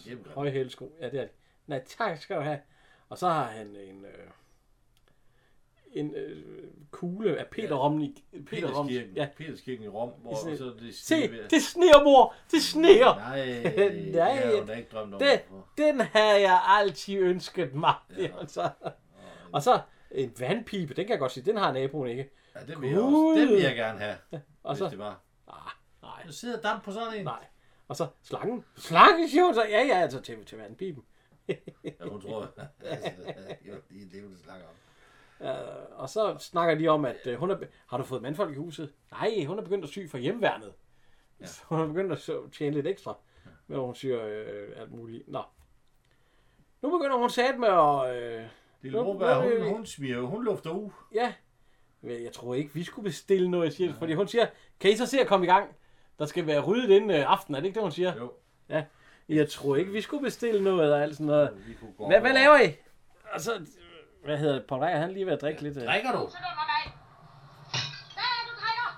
S3: Hjem,
S2: øh, højhælet sko. Ja, det er det. Nej, tak skal du have. Og så har han en, øh, en øh, kugle af Peter ja. Romnik. Peter Romnik.
S3: Peterskirken,
S2: Ja.
S3: ja. Peterskirken i Rom, hvor
S2: I sådan-
S3: så er det
S2: Se,
S3: stive-
S2: det sneer, mor! Det sneer! [laughs]
S3: Nej, det
S2: Nej,
S3: har hun da ikke drømt om.
S2: det, den havde jeg altid ønsket mig. Ja. Så. Og så en vandpipe, den kan jeg godt sige, den har naboen ikke.
S3: Ja, det vil jeg også. Det vil jeg gerne have,
S2: Og
S3: hvis
S2: så, Ah,
S3: det var.
S2: nej,
S3: Du sidder og damper på sådan en.
S2: nej. Og så slangen. Slangen, siger hun så. Ja, ja, altså til, til vandpipen.
S3: Ja, hun tror, [laughs] altså,
S2: [laughs]
S3: jo, det er det, hun snakker om.
S2: Og så snakker de om, at øh, hun er, be- har du fået mandfolk i huset? Nej, hun er begyndt at sy for hjemværnet. Ja. Så hun er begyndt at så- tjene lidt ekstra. Men hun siger øh, alt muligt. Nå. Nu begynder hun sat med at... Øh,
S3: Lille
S2: Nu-
S3: Robert,
S2: nu er det-
S3: hun, hun smiger, hun lufter u.
S2: ja. Men Jeg tror ikke, vi skulle bestille noget, siger, ja. fordi hun siger, kan I så se at komme i gang? Der skal være ryddet inden øh, aftenen, er det ikke det, hun siger?
S3: Jo,
S2: Ja. Jeg tror ikke, vi skulle bestille noget og alt sådan noget.
S3: vi kunne gå
S2: Hvad,
S3: over.
S2: hvad laver I? Og så, øh, hvad hedder det, Paul Reier, han er lige ved at drikke lidt. øh.
S3: Drikker du?
S10: Så dunder mig. Hvad er det, du drikker?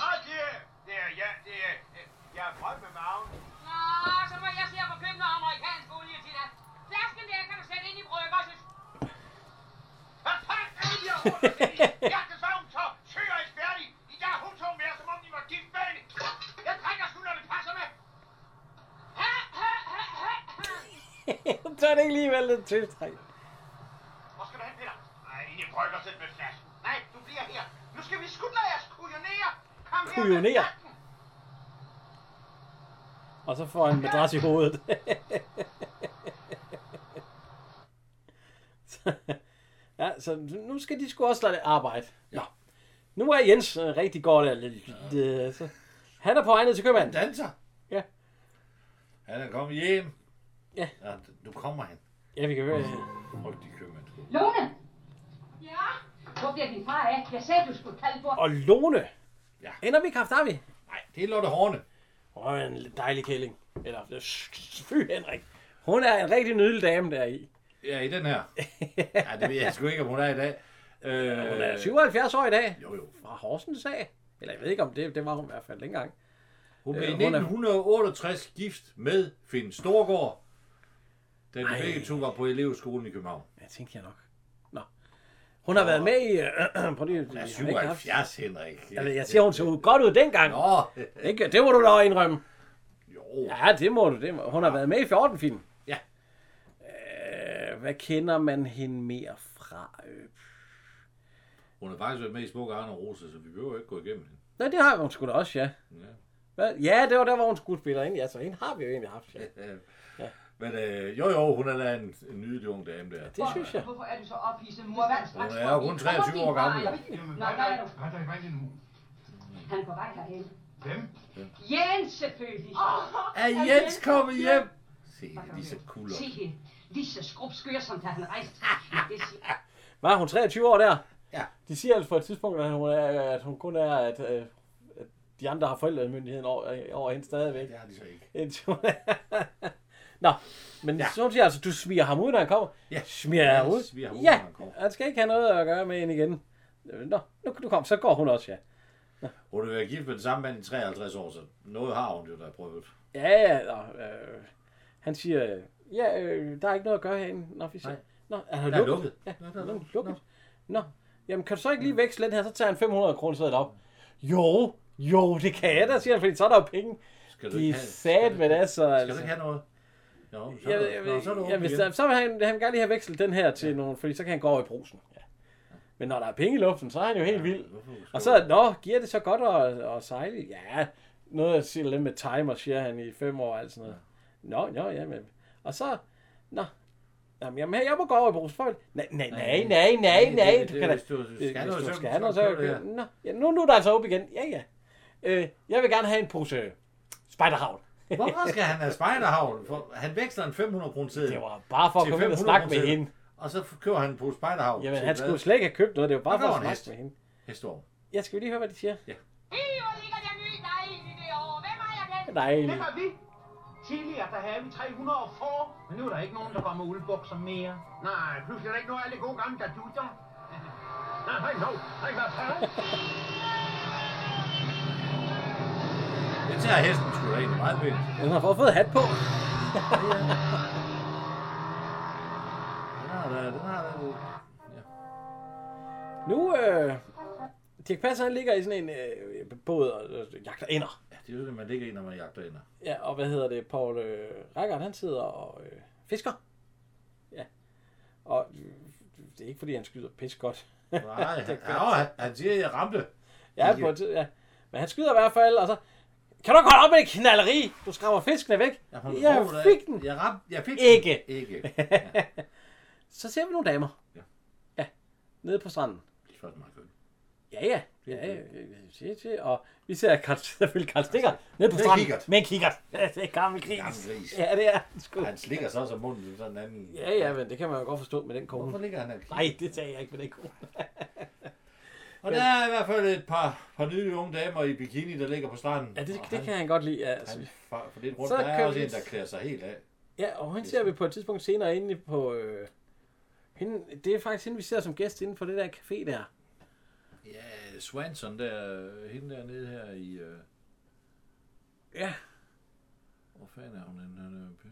S6: Nå, det er... Det er... Ja, det er... Jeg er prøvet med maven.
S10: Nå, så må jeg se at få købt noget amerikansk olie til dig. Flasken der kan du sætte ind i bryggerset.
S6: Hvad fanden er det, de har rundt om det? Jeg er desværre så søger I færdig. I dag hun så mere, som om de var gift med hende. Jeg drikker sgu, når det passer med.
S10: Ha, ha, ha, ha, ha.
S2: [laughs] så er det ikke alligevel lidt tiltræk.
S6: Hvor skal du hen, Peter? Nej, ind i bryggerset med flasken. Nej, du bliver her. Nu skal vi sgu lade os kujonere. Kom her med
S2: Kujonere?
S6: flasken.
S2: Og så får han en madras i hovedet. [laughs] så, ja, så nu skal de sgu også lade det arbejde. Ja. Nå. Nu er Jens øh, rigtig godt. Eller, øh, så. Han er på vej ned til
S3: Han
S2: købmanden.
S3: danser.
S2: Ja.
S3: Han er kommet hjem.
S2: Ja.
S3: ja nu kommer han.
S2: Ja, vi kan høre.
S3: Frygtig købmand.
S7: Lone,
S10: Ja,
S7: hvor bliver din far af? Jeg sagde, du skulle kalde bort.
S2: Og Lone.
S3: Ja.
S2: Ender vi kraft, har vi?
S3: Nej, det er Lotte Horne.
S2: Åh, en dejlig kælling. Eller, øh, fy Henrik. Hun er en rigtig nydelig dame der i.
S3: Ja, i
S2: [laughs]
S3: den her. Ja, det ved jeg sgu ikke, om hun er i dag. Øh,
S2: Hun er 77 år i dag.
S3: Jo, jo.
S2: Fra Horsens af. Eller jeg ved ikke om det, det var hun i hvert fald dengang.
S3: Hun blev i
S2: Øh, hun er-
S3: 1968 gift med Finn Storgård, da de
S2: Ej.
S3: begge to var på elevskolen i København.
S2: Jeg tænkte jeg nok. Nå. Hun har været med i... Øh, [clears throat] øh, prøv lige,
S3: Hun er
S2: jeg har ikke haft-
S3: 77, Henrik.
S2: Jeg, ved, jeg siger, hun så ud- godt ud dengang.
S3: Nå, [laughs]
S2: Ikke? Det må du da indrømme.
S3: år.
S2: Ja, det må du. Det må. Hun har været med i 14 film.
S3: Ja.
S2: Øh, hvad kender man hende mere fra? Øh,
S3: Hun har faktisk været med i Smukke Arne og Rosa, så vi behøver ikke gå igennem hende.
S2: nej, det har hun sgu da også, ja.
S3: Ja.
S2: Hvad? Ja, det var der, hvor hun skuespiller ind. Ja, så hende har vi jo egentlig haft, ja.
S3: Ja. [laughs] Men øh, jo, jo, hun er da en, en nydelig ung dame der.
S2: Det synes jeg.
S7: Hvorfor er du så ophidset, mor? Hvad
S3: Hun er jo kun 23 år gammel. jo.
S7: Nå, der er du.
S11: Hvad er der i vejen nu?
S7: Han er på vej herhen.
S11: Hvem?
S7: Jens selvfølgelig.
S3: Er Jens kommet hjem? Se, det er lige så cool op.
S7: Se hende. Lige så skrubskør, som da han rejste.
S10: [laughs]
S7: Det siger
S2: Var hun 23 år der?
S3: Ja.
S2: De siger altså på et tidspunkt, at hun, er, at hun kun er, at, øh, at de andre har forældremyndigheden over, over hende stadigvæk.
S3: Det har de så ikke.
S2: Indtil hun er... [laughs] Nå, men ja. så hun siger altså, du smiger ham ud, når han kommer.
S3: Ja.
S2: Smiger ham
S3: Ja,
S2: ud?
S3: smiger ham ud,
S2: ja,
S3: når han kommer.
S2: han skal ikke have noget at gøre med hende igen. Øh, Nå, nu kan du komme. Så går hun også, ja.
S3: Hun har været gift med den samme mand i 53 år, så noget har hun jo da prøvet.
S2: Ja, ja, nå, øh, han siger, øh, ja, øh, der er ikke noget at gøre herinde. Nå, vi siger,
S3: Nej.
S2: nå, er han
S3: Der er
S2: lukket?
S3: lukket.
S2: Ja, nå, der er lukket. lukket. Nå, jamen kan du så ikke lige veksle den her, så tager han 500 kroner sædet op. Jo, jo, det kan jeg da, siger han, fordi så er der jo penge.
S3: Skal du
S2: De
S3: ikke
S2: er
S3: have-
S2: sat med det, så... altså.
S3: Skal du ikke have noget? Jo, så,
S2: Ja,
S3: er du-
S2: ja,
S3: nå, så er du
S2: ja, hvis der, så vil han, han vil gerne lige have vekslet den her til nogen, fordi så kan han gå over i brusen. Ja. Men når der er penge i luften, så er han jo helt vild. Og så, nå, giver det så godt at, at sejle? Ja, noget at sige lidt med timer, siger han i fem år og alt sådan noget. Nå, nå, ja, men. Og så, nå, jamen, jamen her, jeg må gå over i brusen. for- Nej, nej, nej, nej, nej, nej, du kan da... øh,
S3: Hvis du
S2: Hvis
S3: skal noget,
S2: du
S3: så
S2: skal noget, så kan jeg... Nå, ja, nu, nu er der altså op igen. Ja, ja. Øh, jeg vil gerne have en pose spejderhavn.
S3: Hvorfor skal han have spejderhavn? For han veksler en 500 kroner seddel.
S2: Det var bare for at
S3: til
S2: komme ind og
S3: 500
S2: snakke med
S3: kroner
S2: hende.
S3: seddel. Og så kører han en pose spejderhavn.
S2: Jamen,
S3: til
S2: han
S3: hvad?
S2: skulle slet ikke have købt noget. Det var bare
S3: Der
S2: for at
S3: var en
S2: snakke
S3: hest.
S2: med hende.
S3: Hestorm.
S2: Ja, skal vi lige høre, hvad de siger?
S3: Ja.
S10: Hi, hvor ligger der nye dejlige derovre. Hvem har jeg den?
S2: Dejligt.
S5: Hvem er vi? Tidligere, der havde vi 300 og få, men nu er der ikke nogen, der går med uldbukser mere. Nej, pludselig er der ikke noget af alle gode gamle gadutter. Nej, nej, no. Nej, hvad fanden?
S3: Jeg tager hesten sgu da egentlig meget pænt.
S2: Den har fået fået hat på.
S3: Den har da, den har da...
S2: Nu, øh, Dirk Passer, han ligger i sådan en øh, båd og øh, jagter ender.
S3: Ja, det er jo det, man ligger i, når man jagter ender.
S2: Ja, og hvad hedder det? Paul øh, Rækkert, han sidder og øh, fisker. Ja. Og øh, det er ikke, fordi han skyder pis godt. [laughs]
S3: Nej,
S2: Det
S3: han,
S2: er
S3: han, han, han siger, at jeg ramte.
S2: Ja, på et tid, ja. Men han skyder i hvert fald, og så... Kan du ikke holde op med det knalleri? Du skræmmer fiskene væk.
S3: Jeg, holdt
S2: Jeg
S3: hovedet af.
S2: fik den.
S3: Jeg, ramte, jeg fik
S2: Ikke.
S3: den. Ikke.
S2: Så ser vi nogle damer.
S3: Ja.
S2: Ja. Nede på stranden.
S3: Lige før den var køn.
S2: Ja, ja. ja, ja, ja, ja, ja. Og vi ser Karl, [laughs] selvfølgelig øh, Karl Stikker ned på
S3: Med
S2: stranden
S3: kikkert.
S2: med en kikkert. [laughs] Ja, det er gammel gris.
S3: Gammel gris.
S2: Ja, det er han sgu.
S3: Han slikker så også om munden til sådan en anden...
S2: Ja, ja, men det kan man jo godt forstå med den
S3: Hvorfor
S2: kone.
S3: ligger han her?
S2: Nej, det tager jeg ikke med den kone.
S3: Og der er i hvert fald et par, par nydelige unge damer i bikini, der ligger på stranden.
S2: Ja, det,
S3: Og
S2: det kan han godt lide. ja, Altså.
S3: Han, for, for det rundt,
S2: Så
S3: der er
S2: kører
S3: også
S2: vi-
S3: en, der klæder sig helt af.
S2: Ja, og hende ser vi på et tidspunkt senere inde på... Øh, hende, det er faktisk hende, vi ser som gæst inde på det der café der.
S3: Ja, Øh, Swanson der, øh, hende der nede her i... Øh,
S2: Ja.
S3: hvor fanden er hun? henne? Han er-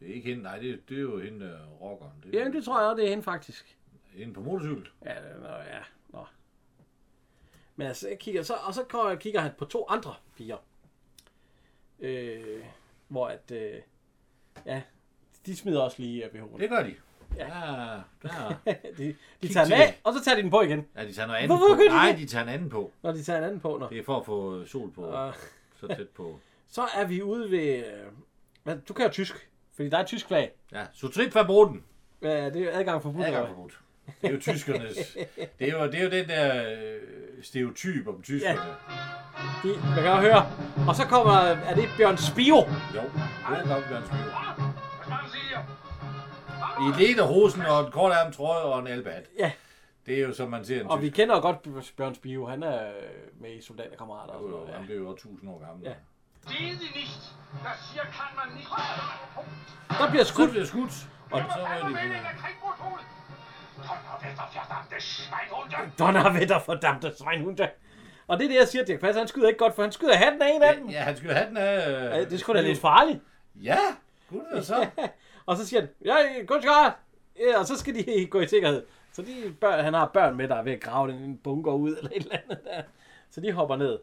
S3: Det er ikke hende, nej, det, det er jo hende der rockeren. Det er,
S2: Jamen, det tror jeg også, det er hende faktisk.
S3: Hende på motorcykel.
S2: Ja, det, nå, ja. Nå. Men altså, jeg kigger, så, og så kommer, kigger han på to andre piger. Øh, hvor at, øh, ja, de smider også lige BH'en.
S3: Det gør de.
S2: Ja.
S3: ja der.
S2: [laughs] de, de
S3: Kig
S2: tager den
S3: til
S2: af,
S3: det.
S2: og så tager de den på igen,
S3: Ja, de tager noget andet
S2: Hvorfor
S3: på.
S2: gør de
S3: Nej,
S2: det?
S3: de tager en anden på.
S2: når de tager en anden på. Når.
S3: Det er for at få sol på.
S2: Og,
S3: Så tæt på.
S2: så er vi ude ved, øh, hvad, du kan jo tysk, fordi der er et tysk flag.
S3: Ja, så trip verboten.
S2: Ja, det er jo adgang for
S3: Adgang
S2: budder.
S3: forbudt. Det er jo tyskernes. det, er jo, det er jo den der øh, stereotyp om tyskerne. Ja.
S2: De, man kan jo høre. Og så kommer, er det Bjørn Spio?
S3: Jo, det er nok Bjørn Skjød.
S4: Hvad skal du sige?
S3: I lederhosen og en kort arm trøje og en albat.
S2: Ja.
S3: Det er jo som man ser en
S2: Og vi
S3: tysker.
S2: kender jo godt Bjørn Spio, han er øh, med i Soldaterkammerater og
S3: Jo,
S2: sådan
S3: jo,
S2: noget. Ja.
S3: Han blev jo også 1000 år gammel.
S2: Ja.
S4: Rede Sie nicht. Das hier kann man nicht.
S2: Der bliver
S3: Så
S2: skudt.
S3: blev det skudt. Og så var de
S4: Anmelden der Kriegmotol. Donnerwetter, verdammte Schweinhunde.
S2: Donnerwetter, fordammte svejnhunde. Og det er det, jeg siger, Dirk Passer, han skyder ikke godt, for han skyder hatten af en af dem.
S3: Ja, han skulle have den af... øh,
S2: Ja, det er sgu da lidt farligt.
S3: Ja, kunne det så.
S2: Og så siger han, ja, godt skart. Ja, og så skal de [laughs] gå i sikkerhed. Så de børn, han har børn med, der er ved at grave den i en bunker ud, eller et eller andet der. Så de hopper ned.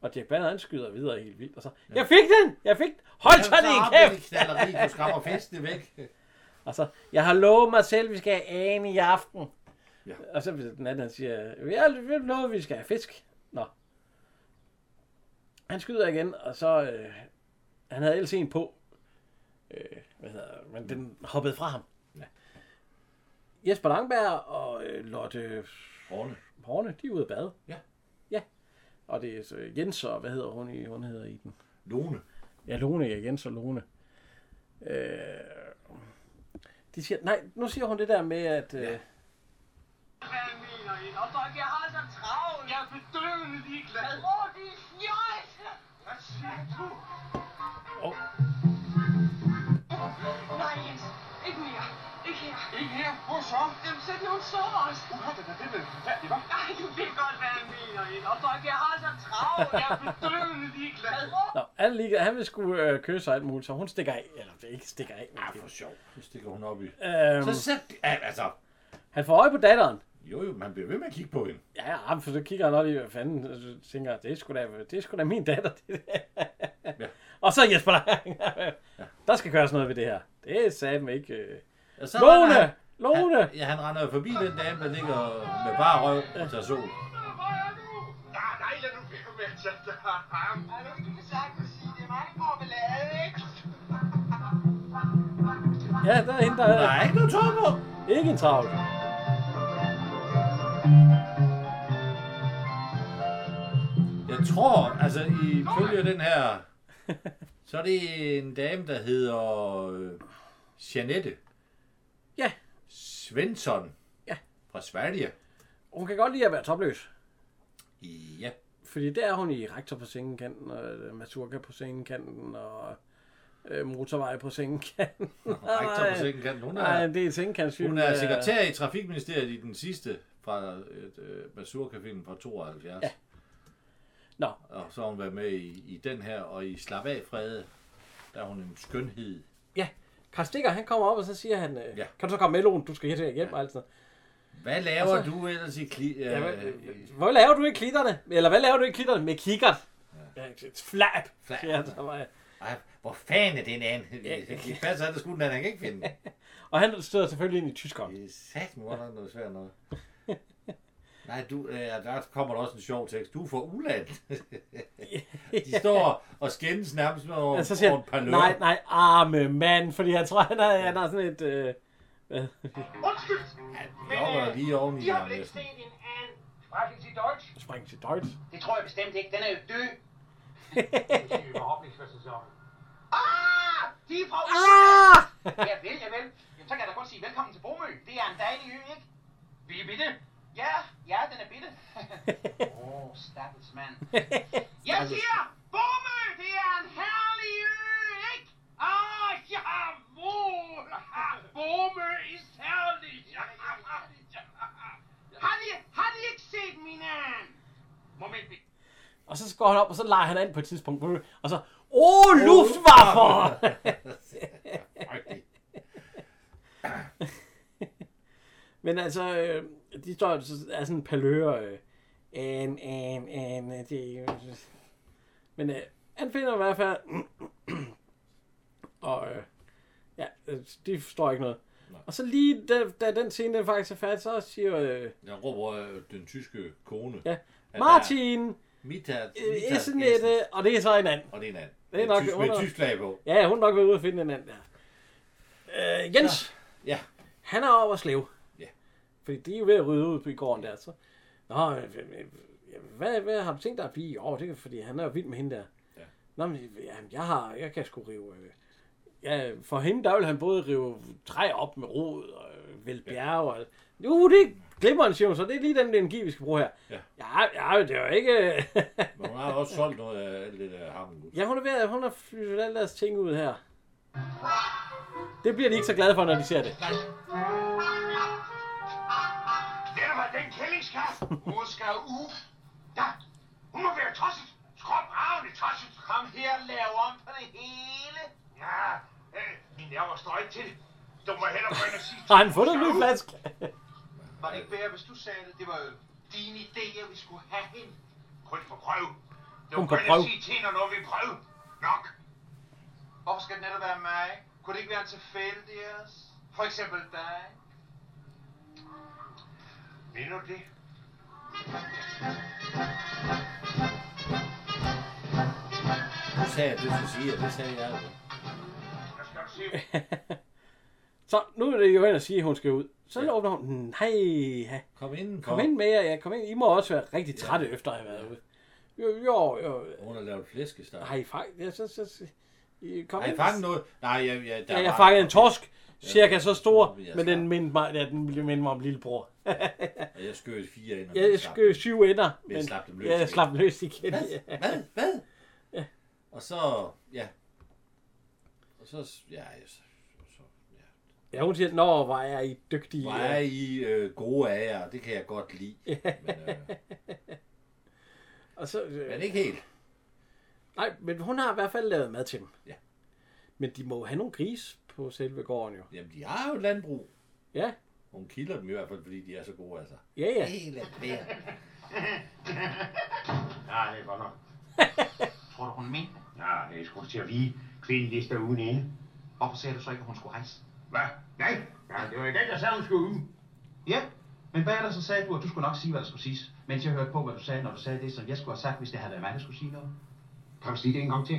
S2: Og Jack Banner han skyder videre helt vildt. Og så, jeg fik den! Jeg fik den! Hold så det i kæft!
S3: knalderi, du skræmmer festene væk.
S2: Og så, Altså, jeg har lovet mig selv, vi skal have an i aften.
S3: Ja.
S2: Og så den anden, han siger, vi har vi har lovet, vi skal have fisk. Nå. Han skyder igen, og så, øh, han havde ellers en på. Øh, hvad hedder, men den hoppede fra ham. Ja. Jesper Langberg og øh, Lotte
S3: Horne.
S2: Horne, de er ude at bade.
S3: Ja.
S2: Ja. Og det er så Jens og, hvad hedder hun i, hun hedder i den?
S3: Lone.
S2: Ja, Lone, ja, Jens og Lone. Øh, de siger, nej, nu siger hun det der med, at... Øh,
S10: Hvad mener I? Og folk, jeg har så travlt. Jeg er bedøvende ligeglad. Åh, de er fjøjt. Hvad siger du?
S2: Åh.
S10: Nej, Jens. Ikke mere. Ikke her. Ikke her? Hvor så? Jamen, sæt nogle sår også. Uha, det er det med forfærdeligt, hva'? Nej, du ved godt, hvad jeg mener, Jens. Og folk, jeg har så travlt. Jeg er bedøvende ligeglad.
S2: Nå, han, lige, han vil skulle øh, kysse og alt muligt, så hun stikker af. Eller det ikke stikker af.
S3: Ah, for sjov. Det stikker hun op i.
S2: Øhm.
S3: Så sæt... Ja, altså...
S2: Han får øje på datteren.
S3: Jo, jo, man bliver ved med at kigge på hende.
S2: Ja, ja, for så kigger han også lige, hvad fanden, og så tænker, jeg, det er sgu da, det er sgu da min datter, det der. Ja. [laughs] Og så Jesper Lang. Der skal køres noget ved det her. Det sagde mig ikke. Øh.
S3: Og
S2: Lone!
S3: render han-
S2: Lone!
S3: Han, ja, han render jo forbi den dame, der ligger med bare røv og tager sol.
S6: Nej, nej, lad nu være med at tage dig ham.
S5: Hallo, du kan sagtens sige, det er mig, der går ballade, ikke?
S2: Ja, der er hende, der
S3: Der er ikke noget tøj på.
S2: Ikke en travl.
S3: Jeg tror, altså ifølge den her, så er det en dame, der hedder øh, Janette
S2: Ja,
S3: Svensson
S2: Ja.
S3: fra Sverige.
S2: hun kan godt lide at være topløs.
S3: Ja,
S2: Fordi der er hun i rektor på sengekanten, og øh, Masurka på sengekanten, og øh, motorvej på sengekanten.
S3: rektor på sengekanten, hun er-
S2: Nej, det er sengekantsfilm.
S3: hun er
S2: øh,
S3: sekretær i Trafikministeriet i den sidste fra øh, Mazurka-filmen fra 72. Ja.
S2: Nå.
S3: Og så har hun været med i, i den her, og i Slap af Frede, der er hun en skønhed.
S2: Ja, Karl Stikker, han kommer op, og så siger han, øh,
S3: Ja.
S2: ja. kan du så komme med, Lone? Du skal hjem hjem og alt sådan noget.
S3: Hvad laver
S2: Altså-
S3: altså, du ellers i kli... Øh,
S2: Ja, hvad,
S3: i-
S2: hvor laver du i klitterne? Eller hvad laver du i klitterne med kikkert? Ja. Flap!
S3: Flap.
S2: Ja, der var jeg.
S3: Ej, hvor fanden er den anden? [laughs] Det passer, at der skulle den anden, han kan ikke finde den.
S2: Og han støder selvfølgelig ind i tyskeren.
S3: Det er sat mig godt nok noget
S2: [laughs]
S3: svært noget. Nej, du, øh, der kommer der også en sjov tekst. Du er fra
S2: [laughs]
S3: Uland. De står og skændes nærmest med over,
S2: Og så siger
S3: over et par
S2: han, nej, nej, arme mand, fordi jeg tror, han har, han har sådan et... Øh, hvad?
S6: Undskyld!
S3: Jeg var lige oven i
S5: øh, De har
S3: ham
S5: vel ikke
S3: næsten.
S5: set en anden. Sprechen Sie Deutsch?
S2: Spring til Deutsch. [laughs]
S5: Det tror jeg bestemt ikke. Den er jo død.
S6: Det er überhaupt nicht, was du sagst.
S5: Ah! De er fra
S2: Ah!
S5: Ja vel, ja vel. Jamen, så kan jeg da godt sige velkommen til Bromø. Det er en dejlig ø, ikke?
S6: Wie bitte?
S5: Ja, ja, den er bitte. Åh, oh, stakkels mand. Jeg siger, Bromø, det er en herlig ø, ikke? Ah, [laughs] jawohl! Ah, Bromø is [laughs] herlig! Ja, ja, ja, ja. Har de, har de ikke set min an? Moment, vi-
S2: Og så går han op, og så leger han an på et tidspunkt. Og så, åh, oh, luftwaffe!
S3: Frygteligt.
S2: [laughs] Men altså, øh, de står så er sådan en palør. Øh, en, en, en, øh, det, er jo- men øh, han finder i hvert fald, [clears throat] og øh, ja, øh, de forstår ikke noget. Og så lige da, da den scene den faktisk er færdig, så siger øh,
S3: Jeg råber øh, den tyske kone.
S2: ja,
S3: der-
S2: Martin,
S3: Mita,
S2: øh,
S3: Mita
S2: Essenette, og det er så en anden.
S3: Og det er en anden.
S2: Det er nok
S3: tysk,
S2: under-
S3: med tysk flag på.
S2: Ja, hun er nok ved ude at finde en anden. Ja. Øh, Jens,
S3: Ja,
S2: Han er over slev.
S3: Ja.
S2: Fordi de er jo ved at rydde ud på i gården der. Så. Nå, øh, øh, øh, hvad, hvad har du tænkt dig at blive? Jo, det er fordi, han er jo vild med hende der.
S3: Ja.
S2: Nå, men jamen, jeg, har, jeg kan sgu rive... Øh, ja, for hende, der vil han både rive træ op med rod og øh, vælge bjerge. Og, jo, det glemmer han, siger hun, så det er lige den energi, vi skal bruge her.
S3: Ja.
S2: ja, ja det er jo ikke... øh,
S3: men hun har også solgt noget af alt det der hammelgud.
S2: [laughs] ja, hun er ved at, hun har flyttet alle deres ting ud her. Det bliver de ikke så glade for, når de ser det.
S6: Der var den
S5: [laughs]
S6: kællingskast. Hun skal ud. Da. Hun må være tosset. Skrop ravne tosset.
S5: Kom her og lav om på det hele.
S6: Ja, øh, min nerver står ikke til det. Du må hellere gå ind
S5: [laughs]
S6: og sige...
S2: Har han fundet en ny flaske?
S5: Var det ikke bedre, hvis du sagde det? Det var jo din idé, at vi skulle have hende.
S6: Kun på prøve.
S2: Hun på prøve.
S6: sige til hende, når vi prøve. Nok.
S5: Hvorfor skal det netop være mig? Kunne det ikke være en tilfældig ellers? For eksempel dig?
S6: Mener du det?
S3: Nu sagde jeg det, du siger, det sagde jeg.
S2: Så nu er det jo hen at sige, at hun skal ud. Så ja. åbner hun. den. Nej, ja.
S3: Kom ind.
S2: Kom ind med jer. Ja, kom ind. I må også være rigtig trætte ja. efter at have været ude. Jo, jo, jo.
S3: Hun har lavet flæskesteg.
S2: Har I fanget? Ja, så, så, så. I, kom
S3: Har I
S2: ind.
S3: fanget noget? Nej, jeg, jeg, der
S2: Ja, jeg
S3: var-
S2: fangede en torsk. Cirka så stor.
S3: Ja,
S2: Men den mindte mig, ja, den ville minde mig om lillebror.
S3: Og jeg skød fire ind.
S2: Jeg skød syv ender.
S3: Men jeg slap dem løs
S2: Ja, jeg
S3: igen.
S2: slap dem løs igen.
S3: Hvad?
S2: ja.
S3: Hvad? Hvad? Og så, ja. Og så, ja, jeg- så, så
S2: Ja, hun siger, nå, hvor er I dygtige.
S3: Hvor er I øh, gode af jer, det kan jeg godt lide. Men, øh,
S2: Og så, øh,
S3: men ikke helt.
S2: Nej, men hun har i hvert fald lavet mad til dem.
S3: Ja.
S2: Men de må jo have nogle gris på selve gården jo.
S3: Jamen, de har jo et landbrug.
S2: Ja.
S3: Hun kilder dem i hvert fald, fordi de er så gode af sig.
S2: Ja, ja.
S3: Helt af hver.
S11: Nej, det er godt nok.
S5: [laughs] Tror du, hun mente det?
S11: Ja, jeg skulle til at vige kvindeliste ugen inde.
S5: Hvorfor sagde du så ikke, at hun skulle rejse?
S11: Hvad? Nej, ja, det var i dag, jeg sagde, hun skulle ud.
S5: Ja, men hvad er der så sagde du, at du skulle nok sige, hvad der skulle siges, mens jeg hørte på, hvad du sagde, når du sagde det, som jeg skulle have sagt, hvis det havde været mig, der skulle sige noget?
S11: Kan du sige det en gang til?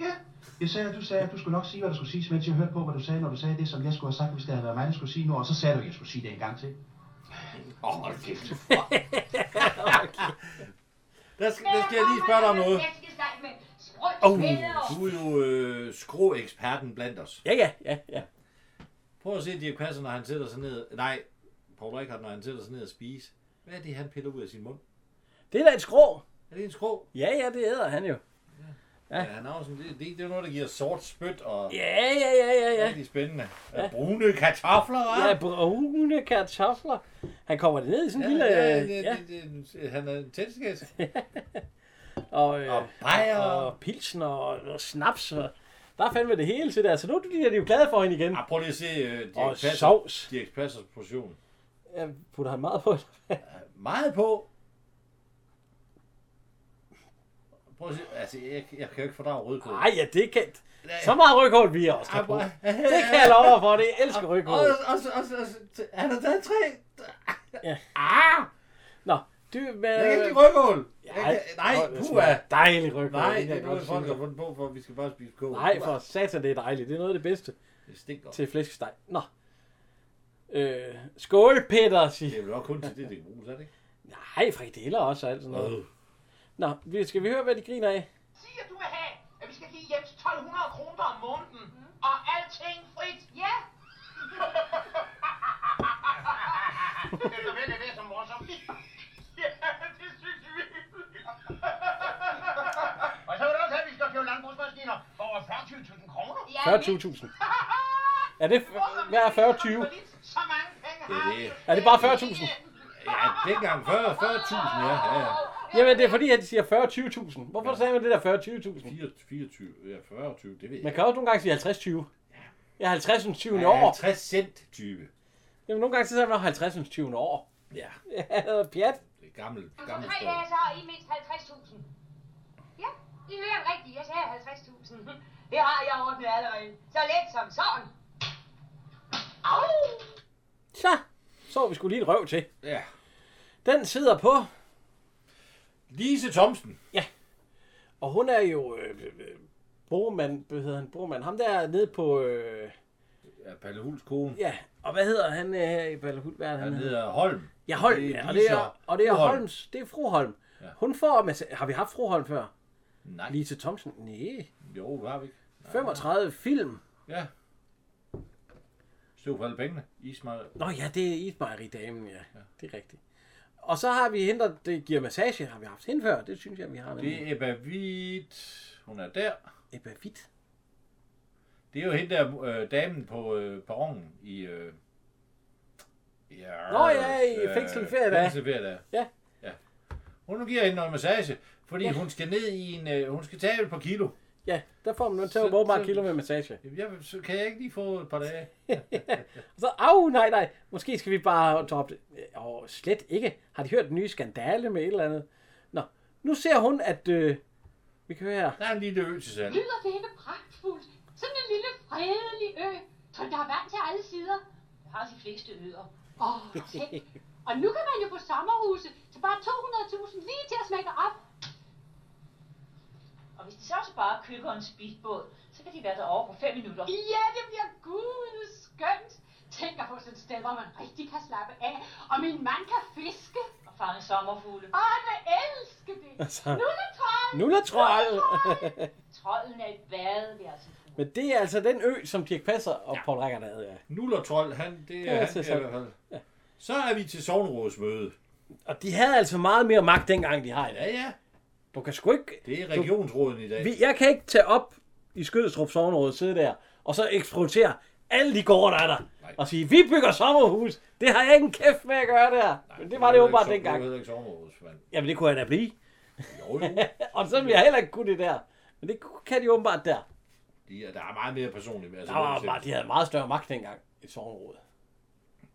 S5: Ja, jeg sagde, at du sagde, at du skulle nok sige, hvad der skulle siges, mens jeg hørte på, hvad du sagde, når du sagde det, som jeg skulle have sagt, hvis det havde været mig, der skulle sige noget, og så sagde du, at jeg skulle sige det en gang til.
S3: Åh, oh, hold kæft.
S2: [laughs]
S3: Der skal, der skal jeg lige spørge dig om noget.
S7: Oh.
S3: Du er jo øh, skråeksperten blandt os.
S2: Ja, ja, ja, ja.
S3: Prøv at se Dirk Passer, når han sætter sig ned. Nej, Paul Rickard, når han sætter sig ned og spiser. Hvad er det, han piller ud af sin mund?
S2: Det er da et skrå.
S3: Er det en skrå?
S2: Ja, ja, det æder han jo.
S3: Ja. han har jo sådan, det, det, det er noget, der giver sort spyt og
S2: Ja, ja, ja, ja, ja.
S3: rigtig spændende. Ja. Brune kartofler, hva'?
S2: Ja, brune kartofler. Han kommer det ned i sådan en lille...
S3: ja,
S2: øh,
S3: det, det, det, han er en tændskæs.
S2: Og, øh,
S3: Og bajer.
S2: Og pilsen og, og snaps. Og, der er fandme det hele til der. Så nu er de, de er jo glade for hende igen.
S3: Ah, prøv lige at se uh, Dirk,
S2: Og
S3: Passer,
S2: sovs.
S3: Dirk Passers portion.
S2: Jeg putter han meget på.
S3: [laughs] Meget på. Prøv at se, altså, jeg, jeg kan jo ikke fordrage Ah, rødkål.
S2: Nej, ja, det kan... Så meget rygkål vi også kan bruge. Det kan jeg love dig for, det jeg elsker
S3: Og,
S2: rygkål.
S3: og, og, og, og, han har taget tre. Ah!
S2: Nå, du... øh, Med,
S3: Jeg kan ikke lide rødkål. Jeg
S2: Ja,
S3: kan- Nej,
S2: det smager
S3: puha.
S2: Dejlig rygkål.
S3: Nej,
S2: kan
S3: det er
S2: jeg
S3: noget,
S2: godt
S3: folk
S2: sige
S3: har fundet på, for vi skal bare spise kål.
S2: dig. Nej, for satan, det er dejligt. Det er noget af det bedste
S3: Det stinker.
S2: til flæskesteg. Nå. Øh, skål, Peter, siger
S3: Det er jo nok kun til det, det kan bruges, er det ikke?
S2: Nej, frikadeller også og alt sådan noget.
S3: Øh.
S2: Nå, vi- skal vi høre, hvad de griner af?
S5: Sig, at du vil have, at vi skal give Jens 1200 kroner om måneden, og alting frit. [laughs]
S8: Ja,
S5: Det er vel, det er så morsomt. [laughs] Ja, det synes vi. og så er det også, at vi skal købe landbrugsmaskiner for over 40.000 kroner.
S8: ja
S2: 40.000. Er det hvad er 40-20?
S5: Så mange penge
S3: Det
S5: har
S3: er det.
S2: Er det bare 40.000?
S3: Ja, dengang 40 40.000, ja. ja, ja.
S2: Jamen, det er fordi, at de siger 40-20.000. Hvorfor sagde man det der 40-20.000?
S3: 4, 24, ja, 40, 20, det ved jeg
S2: Man kan også nogle gange sige 50-20. Ja, 50 20.
S3: Ja,
S2: år.
S3: 50 cent type.
S2: Jamen, nogle gange så sagde man 50 20. år.
S3: Ja,
S2: Ja, det var pjat.
S3: det er gammel,
S8: om
S3: gammel
S8: tre
S3: stol.
S8: dage så har I mindst 50.000. Ja, I hører rigtigt. Jeg sagde 50.000. Det har jeg ordnet allerede. Så let som sådan. Au!
S2: Så, så vi skulle lige et røv til.
S3: Ja.
S2: Den sidder på,
S3: Lise Thomsen.
S2: og hun er jo øh, øh, øh, Bormand, hvad hedder han? Bormand. Ham der nede på, øh,
S3: Ja, Palle Huls kone.
S2: ja, og hvad hedder han øh, her i Ballehult? Hvad er det,
S3: Han
S2: han hedder?
S3: hedder Holm.
S2: Ja, Holm,
S3: Det er
S2: ja, og det
S3: Lise
S2: er, og det er
S3: Holm.
S2: Holms, det er fru Holm.
S3: Ja.
S2: Hun får, massa- har vi haft fru Holm før?
S3: Nej,
S2: Lise Thomsen? Nej.
S3: jo, det har vi ikke.
S2: 35 film.
S3: Ja. Støv for alle pengene. Ismail.
S2: Nå ja, det er Ismejeri-damen, ja. Det er rigtigt. Og så har vi hende, der det giver massage. Har vi haft hende før? Det synes jeg, vi har.
S3: Det er Ebba Witt. Hun er der.
S2: Ebba Witt.
S3: Det er jo hende der øh, damen på øh, perronen i... Øh, ja, øh,
S2: Nå ja, i Fængsel Feriedag.
S3: Fængsel Feriedag.
S2: Ja.
S3: ja. Hun giver hende noget massage, fordi ja. hun skal ned i en... Øh, hun skal tage et par kilo.
S2: Ja, der får man
S3: Så-
S2: til at bare
S3: så-
S2: kilo med massage.
S3: Jamen, Jeg, så kan jeg ikke lige få et par dage?
S2: Og [laughs] så, au, nej, nej. Måske skal vi bare droppe det. Og slet ikke. Har de hørt den nye skandale med et eller andet? Nå, nu ser hun, at øh, Vi kan høre her.
S3: Der er en lille ø til salg.
S12: Lyder det ikke pragtfuldt? Sådan en lille fredelig ø, som der er vand til alle sider.
S7: Jeg har de fleste øder.
S12: Åh, oh, Og nu kan man jo få sommerhuse til bare 200.000 lige til at smække op.
S7: Og hvis de så også bare køber en speedbåd, så kan de være derovre på 5 minutter.
S12: Ja, det bliver gud skønt. Tænk at få sådan et sted, hvor man rigtig kan slappe af. Og min mand kan fiske.
S7: Og fange sommerfugle.
S12: Åh, jeg elsker det.
S2: Altså.
S12: Nulletrold!
S2: Nu er der
S8: [laughs]
S2: trold!
S7: Trolden er et badeværelse.
S2: Men det er altså den ø, som Dirk Passer og ja. Paul Rækker havde. Ja.
S3: Nuller Trold, han, det, det er han
S2: altså
S3: i
S2: sådan.
S3: hvert fald. Så er vi til sovnerådsmøde.
S2: Og de havde altså meget mere magt dengang, de har i dag.
S3: Ja, ja.
S2: Du kan sgu ikke...
S3: Det er regionsråden i dag.
S2: Vi, jeg kan ikke tage op i Skødestrup Sovnråd, sidde der, og så eksploitere alle de gårde, der er der. Nej. Og sige, vi bygger sommerhus. Det har jeg ikke en kæft med at gøre der. Nej, Men det var det åbenbart dengang.
S3: Det er ikke sovnerådsmand.
S2: Jamen, det kunne han da blive.
S3: Jo, jo.
S2: [laughs] og så ville jeg heller ikke kunne det der. Men det kan de åbenbart der.
S3: De, er- der er meget mere personligt. altså,
S2: Der var bare, de havde meget større magt dengang i sovnrådet.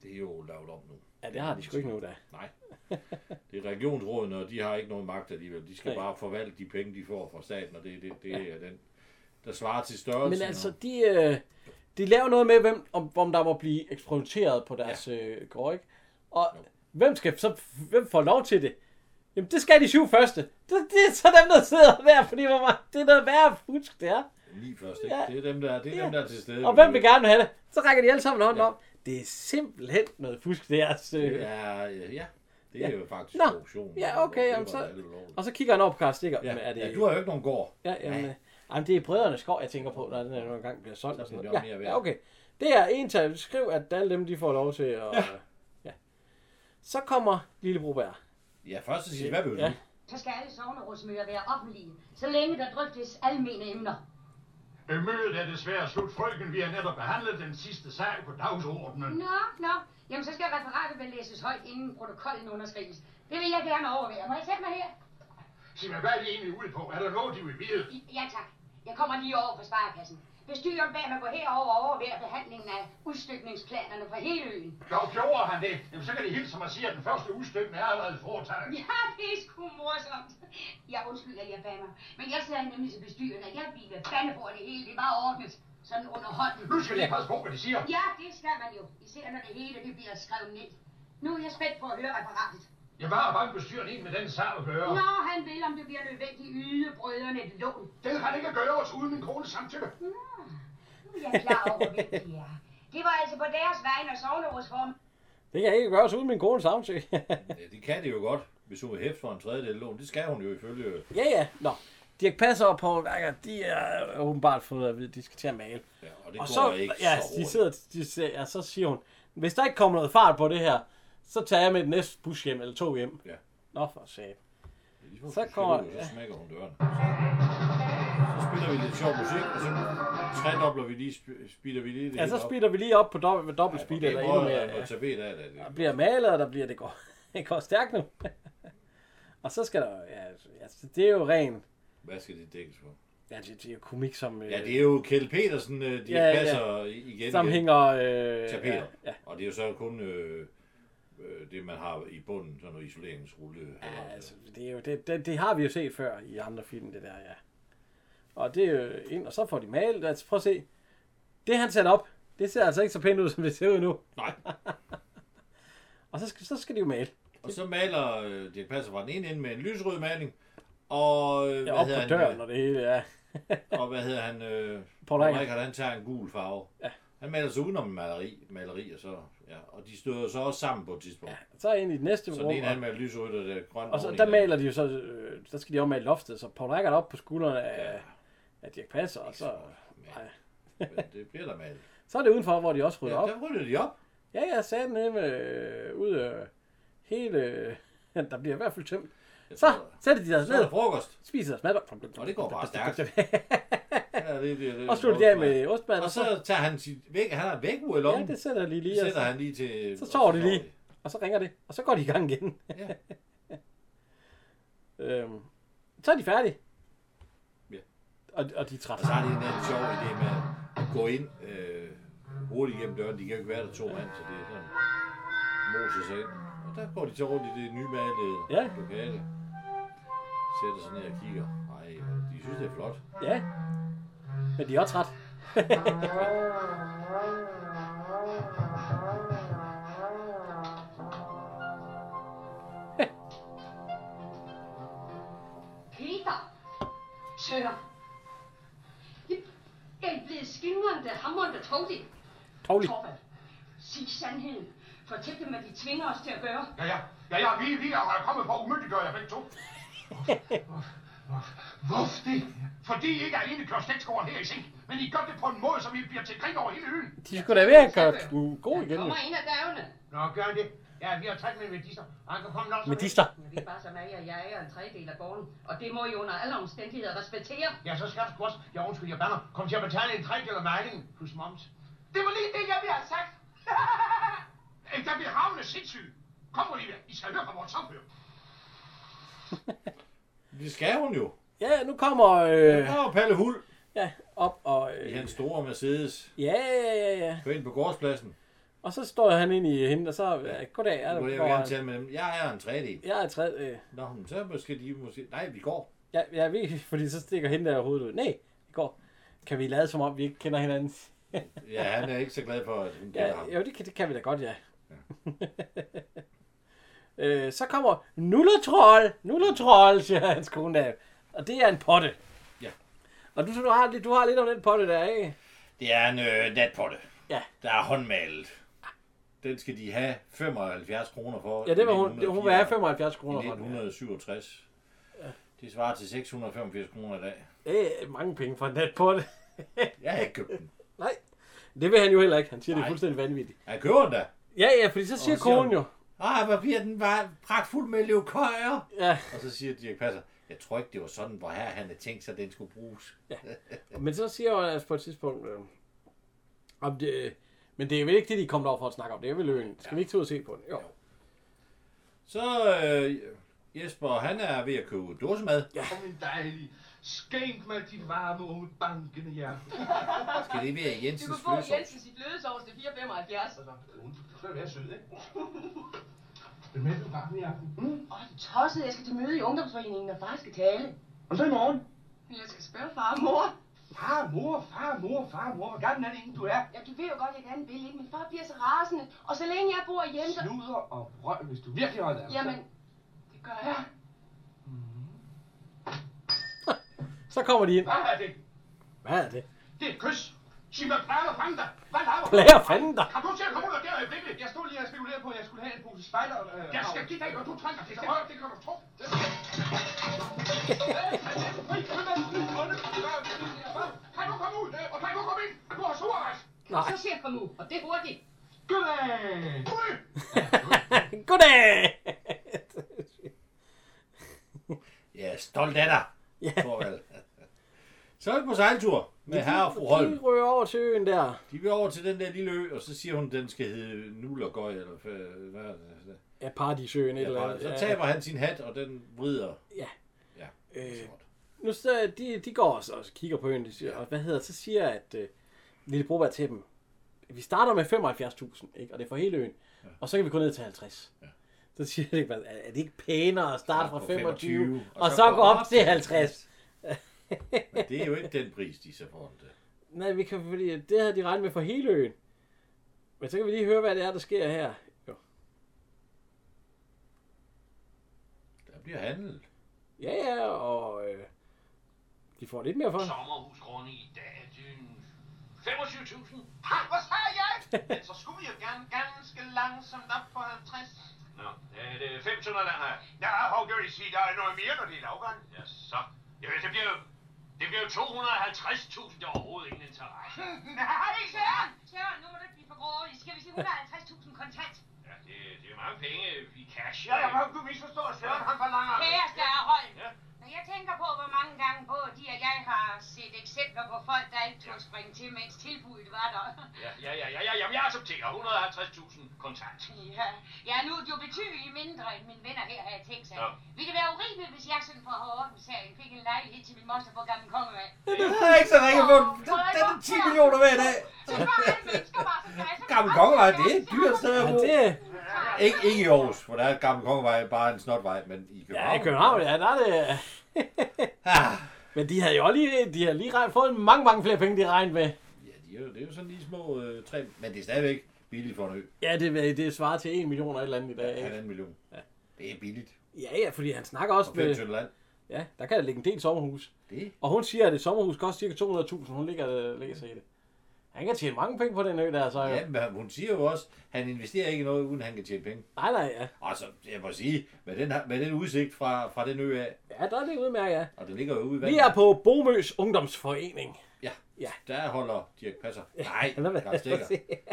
S3: Det er jo lavet om nu.
S2: Ja, det har de sgu ikke nu da.
S3: Nej. Det er regionsrådene, og de har ikke nogen magt alligevel. De skal
S2: Nej.
S3: bare forvalte de penge, de får fra staten, og det, det, det er den, der svarer til størrelsen.
S2: Men altså,
S3: og-
S2: de, øh, de laver noget med, hvem, om, om der må blive eksperimenteret på deres ja. øh, gård, ikke? Og hvem, skal, så, hvem får lov til det? Jamen, det skal de syv første. Det, det er så dem, der sidder der, fordi hvor meget- det er noget værre fusk, det er.
S3: Ni først, ikke? Det er dem, der, det er
S2: Ja.
S3: dem, der er til stede.
S2: Og hvem vil gerne have det? Så rækker de alle sammen hånden ja. om. Det er simpelthen noget fusk, øh. det er. Så...
S3: Det er, ja, det er jo faktisk
S2: Nå.
S3: korruption.
S2: Ja, okay. Jamen, så... Og så kigger han over på Karl Stikker. Ja. Er det...
S3: ja, du har jo ikke nogen gård.
S2: Ja, jamen, øh, jamen, det er brødrenes skov, jeg tænker på, når den her gang bliver solgt. og sådan
S3: bliver
S2: noget.
S3: det
S2: Ja,
S3: mere værd.
S2: ja, okay. Det er en tal. Skriv, at alle dem, de får lov til. Og, ja. ja. Så kommer Lille Broberg.
S3: Ja, først så siger de, hvad vil du?
S2: Ja.
S8: Så skal alle sovnerådsmøder være offentlige, så længe der drøftes almene emner.
S6: Mødet er desværre slut, frøken. Vi har netop behandlet den sidste sag på dagsordenen.
S8: Nå, nå. Jamen, så skal referatet vel læses højt, inden protokollen underskrives. Det vil jeg gerne overvære. Må jeg sætte mig her?
S6: Sig mig, hvad er de egentlig ude på? Er der noget, de vil vide?
S8: Ja, tak. Jeg kommer lige over på sparekassen. Bestyren bag mig går herover og overværer behandlingen af udstykningsplanerne for hele øen.
S6: Nå, gjorde han det? Jamen, så kan de hilse mig og sige, at den første udstykning er allerede foretaget.
S8: Ja, det er sgu morsomt. Jeg undskylder, at jeg bander. Men jeg sagde nemlig til bestyren, at jeg ville bande på at det hele. Det var ordnet. Sådan under hånden.
S6: Nu skal de passe på, hvad de siger.
S8: Ja, det skal man jo. Især når det hele det bliver skrevet ned. Nu er jeg spændt på at høre referatet.
S6: Jeg var bare bestyren ind med den sag at høre.
S8: Når han vil, om det bliver nødvendigt, yde brødrene et lån.
S6: Det kan han ikke gøre os uden min kones samtykke.
S8: Nu er jeg klar over, hvem det er. Det var altså på deres vegne og sovnerådsform.
S2: Det kan jeg ikke gøre, så uden min kone samtykke.
S3: Ja, det kan det jo godt, hvis hun vil hæfte for en tredjedel lån. Det skal hun jo ifølge.
S2: [laughs] ja, ja. Nå. Dirk Passer og Paul Værker, de er åbenbart fået at vide, at de skal til at male.
S3: Ja, og det
S2: og
S3: går
S2: så,
S3: ikke
S2: ja,
S3: så
S2: de
S3: hurtigt.
S2: sidder, de siger, ja, så siger hun, hvis der ikke kommer noget fart på det her, så tager jeg med den næste bus hjem, eller tog hjem.
S3: Ja.
S2: Nå, for sat.
S3: Så
S2: Så kommer,
S3: Så
S2: ja.
S3: smækker hun døren. Så spiller vi lidt sjov musik, og så tredobler vi lige, sp- speeder vi lige det
S2: Ja,
S3: hele
S2: så
S3: op.
S2: speeder vi lige op på dobbelt, med dobbelt speed, eller endnu mere.
S3: Og
S2: Ja.
S3: tage ved af det.
S2: Der bliver malet, og der bliver det går, [laughs] det går stærkt nu. [laughs] og så skal der, ja, altså, det er jo ren,
S3: Hvad skal det dækkes for?
S2: ja, det, det er jo komik, som, øh,
S3: Ja, det er jo Kjeld Petersen, øh, de
S2: Ja,
S3: ja,
S2: ja.
S3: passer ja. igen.
S2: som
S3: igen.
S2: hænger, øh,
S3: tapeter.
S2: ja, ja.
S3: Og det er jo så kun øh, øh, det, man har i bunden, sådan noget isoleringsrulle. Ja,
S2: altså, det, er jo, det, det, det, har vi jo set før i andre film, det der, ja. Og det er jo ind, og så får de malet, altså, prøv at se, det han sætter op, det ser altså ikke så pænt ud, som det ser ud nu.
S3: Nej.
S2: [laughs] og så skal, så skal de jo male.
S3: Og så maler øh, Dirk Passer fra den ene ende med en lysrød maling, og øh,
S2: Ja, op på
S3: hedder han,
S2: døren
S3: øh,
S2: og det hele, ja.
S3: og hvad hedder han? Øh,
S2: Paul
S3: Paul
S2: Reichhardt.
S3: Reichhardt, han tager en gul farve. Ja. Han maler sig udenom maleri, maleri og så, ja, og de støder så også sammen på et tidspunkt. Ja,
S2: Så er ind i det næste
S3: så
S2: rum,
S3: den ene
S2: og-
S3: han maler lysrødt, og det er grønt.
S2: Og så,
S3: oven i
S2: der
S3: hinanden.
S2: maler de jo så, øh, der skal de også male loftet, så Paul Rickard op på skuldrene af, af Dirk Passer, og så, nej.
S3: Men det bliver der malet.
S2: så er det udenfor, hvor de også rydder
S3: Ja,
S2: op.
S3: der rydder de op.
S2: Ja, jeg sagde den nede med, øh, ud øh, hele, [laughs] øh, der bliver i hvert fald tømt. Så sætter de deres
S3: Så er
S2: ned,
S3: der frokost.
S2: spiser deres mad,
S3: Og det går bare stærkt. Ja, det, det, det,
S2: og slutter de af med ostmad.
S3: Og så tager han sit væk, han har væk ud i
S2: ja,
S3: lommen.
S2: det sætter de lige.
S3: Det
S2: og
S3: sætter han lige til...
S2: Så sover de lige, og så ringer det, og så går de i gang igen.
S3: Ja.
S2: [laughs] øhm, så er de færdige.
S3: Ja. Altså-
S2: Og, og de er trætte.
S3: Og så har de en anden sjov idé med at gå ind øh, hurtigt igennem døren. De kan jo ikke være der to mand, så det er sådan... Moses ind. Og der går de så rundt i det nye malede
S2: Ja.
S3: lokale. Sætter sig ned og kigger. Ej, de synes flot.
S2: Ja. Men de er også ret.
S12: Peter! Søren! Jeg- Jeg er blevet skimrende, hamrende tovlig.
S2: Tovlig.
S12: Torvald, sig sandheden. Fortæl dem, hvad de tvinger os til at gøre.
S6: Ja, ja. Ja, ja, vi, vi er kommet for at umyndiggøre jer begge to. Hvorfor det? Fordi I ikke alene kører slægtskoren her i seng, men I gør det på en måde, som I bliver til grin over hele øen.
S2: De skulle da ved at gøre den god igen. jo.
S5: Kommer ind ad dørene. Nå, gør det. Ja, vi har talt med medister. Han kan komme nok.
S2: Medister.
S7: Vi er bare som er, jeg ejer en tredjedel af gården, og det må I under alle omstændigheder respektere.
S5: Ja, så skal du også. Ja, undskyld, jeg bander. Kom til at betale en tredjedel af mejlingen plus moms. Det var lige det, jeg ville have sagt. [laughs]
S6: Ikke der bliver ravne sindssyge. Kom, Olivia, I skal høre fra vores samfører.
S3: Det skal hun jo.
S2: Ja, nu kommer... Øh,
S3: Der er jo Palle Hul
S2: ja, op og...
S3: i
S2: Øh,
S3: hans store Mercedes.
S2: ja, ja, ja, ja.
S3: Kører ind på gårdspladsen.
S2: Og så står han ind i hende, og så... Ja, goddag, er
S3: Nu
S2: det,
S3: vil jeg
S2: hvor
S3: gerne
S2: han-
S3: tale med dem. Jeg er en tredjedel.
S2: Jeg er træt. Øh,
S3: Nå, men så skal de måske... Nej, vi går.
S2: ja, jeg ved, [laughs] fordi så stikker hende der hovedet ud. Nej, det går. Kan vi lade som om, vi ikke kender hinanden?
S3: Ja, han er ikke så glad for, at hun kender ham.
S2: ja, jo, det kan, det kan vi da godt, ja. [laughs] øh, så kommer Nullertroll. Nullertroll, siger hans kone der. Og det er en potte.
S3: Ja.
S2: Og du, du, har, lidt- du har lidt om den potte der, ikke?
S3: Det er en øh, natpotte.
S2: Ja.
S3: Der er håndmalet. Den skal de have 75 kroner for.
S2: Ja, det var
S3: i
S2: hun. Det, hun vil
S3: 1904.
S2: have 75 kroner
S3: I
S2: for den.
S3: 1967. Det svarer til 685 kroner i dag.
S2: Det er mange penge for en natpotte.
S3: Jeg har ikke købt den.
S2: [laughs] Nej, det vil han jo heller ikke. Han siger, Nej. det
S3: Nej.
S2: er fuldstændig vanvittigt.
S3: Jeg køber den da.
S2: Ja, ja, fordi så siger
S3: så siger
S2: konen jo.
S3: Ah, hvor bliver den bare pragtfuld med leukøjer.
S2: Ja,
S3: Og så siger Dirk Passer, jeg tror ikke, det var sådan, hvor her han havde tænkt sig, at den skulle bruges.
S2: men så siger hun altså på et tidspunkt, øh, om det, øh, men det er vel ikke det, de er kommet over for at snakke om. Det er vel løgn. Skal vi ikke tage ud og se på den? Jo.
S3: Så øh, Jesper, han er ved at købe dåsemad.
S2: Ja.
S11: Åh, min dejlige. Skænk mig dit varme og mit bankende hjerte.
S3: Skal det være
S7: Du
S3: Jensens
S7: kan få
S3: flødesovs?
S7: Jensens i flødesovs til 4,75.
S11: Så er det sød, ikke? Hvem er du gang i aften? Mm.
S7: Åh, det tosset, jeg skal til møde i ungdomsforeningen, og far skal tale.
S11: Og så i morgen.
S7: Men jeg skal spørge far og mor.
S11: Far, mor, far, mor, far, mor. Hvor gammel er det egentlig, du er?
S7: Ja, du ved jo godt, jeg gerne vil, ikke? Men far bliver så rasende. Og så længe jeg bor hjemme, så...
S11: Snuder og brøl, hvis du virkelig holder af mig.
S7: Jamen, det gør jeg.
S2: Så kommer de ind.
S6: Hvad er det?
S2: Hvad er det? [laughs]
S6: Det er et kys. Sig mig, plager fanden dig. Hvad laver du?
S2: Plager fanden dig. [laughs]
S6: Kan du til at komme ud af der i blikket?
S11: Jeg stod lige og spekulerede på, at jeg skulle have en pose spejder. Øh,
S6: Jeg skal give dig, og du trænger til det. Det kan du tro. Kan du komme ud, og kan du komme ind? Du har surrejs.
S2: Nej.
S7: Så siger jeg, kom ud, og det er hurtigt.
S11: Goddag!
S6: Ud!
S2: Goddag!
S3: Jeg er stolt af dig, Thorvald. Så er vi på sejltur med herre og fru Holm.
S2: De rører over til øen der.
S3: De vil over til den der lille ø, og så siger hun, at den skal hedde Nullergøj, eller hvad- hvad er det?
S2: Ja, Paradisøen et eller
S3: Ja,
S2: andet.
S3: så
S2: Ja.
S3: taber han sin hat, og den vrider.
S2: Ja.
S3: Ja,
S2: Øh,
S3: sort.
S2: nu så, de, de går også og kigger på øen, de siger, og hvad hedder, det? så siger at øh, Lille Broberg til dem, vi starter med 75.000, ikke? og det er for hele øen, ja. og så kan vi gå ned til 50. Ja. Så siger de, "Hvad, er er det ikke pænere at starte fra
S3: på
S2: 25, 25 og, og så, gå op til 50?
S3: Men det er jo ikke den pris, de så får den til.
S2: Nej, vi kan, fordi det havde de regnet med for hele øen. Men så kan vi lige høre, hvad det er, der sker her. Jo.
S3: Der bliver handlet.
S2: Ja, ja, og øh, de får lidt mere for det.
S4: Sommerhusgrunde i dag, din 25.000.
S5: Ha, hvor sagde
S6: [laughs]
S5: jeg? Men så skulle vi jo gerne ganske langsomt op på 50.
S4: Nå, det er 500, der har.
S6: Ja, hov, det vil sige, der er noget mere, når det er lavgang.
S4: Ja, så. Jamen, det bliver jo... Det bliver jo 250.000, det er overhovedet ingen
S6: [laughs]
S4: interesse.
S5: Nej, Søren!
S7: Søren, nu må du ikke blive for grådig. Skal vi sige [laughs] 150.000 kontant?
S4: Ja, det, det er mange penge i cash.
S6: Ja, jeg må du misforstå, Søren, han forlanger...
S7: Kære Større Holm,
S4: Ja.
S7: når jeg tænker på, hvor mange gange både de og jeg har set eksempler på folk, der ikke tog springe til, mens tilbuddet var der.
S4: Ja, ja, ja, ja, ja, jamen, jeg accepterer 150.000 kontant.
S7: Ja, jeg er nu jo betydeligt mindre end mine venner her, har jeg tænkt sig.
S4: Ja.
S7: Vil det være urimeligt, hvis jeg sådan for hården sagen fik en lejlighed til min moster på Gamle Kongevej?
S3: Det er ikke så ringe på. Det er 10 millioner hver dag.
S7: Så var alle mennesker bare så græsser.
S3: Gammel Kongevej, det er et dyrt sted at
S2: Ja,
S3: bo.
S2: det,
S3: Ikke, ikke i Aarhus, hvor der er Gammel Kongevej bare en snotvej, men i København.
S2: ja, i København, ja, der er det.
S3: [laughs] Ah,
S2: Men de havde jo også lige, de havde lige regnet, fået mange, mange flere penge, de regnede med.
S3: Ja, de er jo, det er jo sådan lige små øh, tre, men det er stadigvæk billigt for en ø.
S2: Ja, det, det svarer til 1 million og et eller andet i dag.
S3: Ja,
S2: ikke?
S3: halvanden million. Ja. Det er billigt.
S2: Ja, ja, fordi han snakker også
S3: Og fem tynde land.
S2: Ja, der kan der ligge en del sommerhus.
S3: Det?
S2: Og hun siger, at et sommerhus koster cirka 200.000. Hun ligger og læser i det. Han kan tjene mange penge på den ø der, så jo.
S3: Ja, men hun siger jo også, at han investerer ikke i noget, uden han kan tjene penge.
S2: Nej, nej, ja.
S3: Altså, jeg må sige, med den, her- med den udsigt fra, fra den ø af,
S2: Ja, der er det udmærket, ja.
S3: og det ligger jo ude i
S2: Vi
S3: vandet.
S2: er på Bomøs Ungdomsforening.
S3: Ja,
S2: Ja.
S3: der holder Dirk Passer. Nej,
S2: han er med.
S3: Karl Stikker.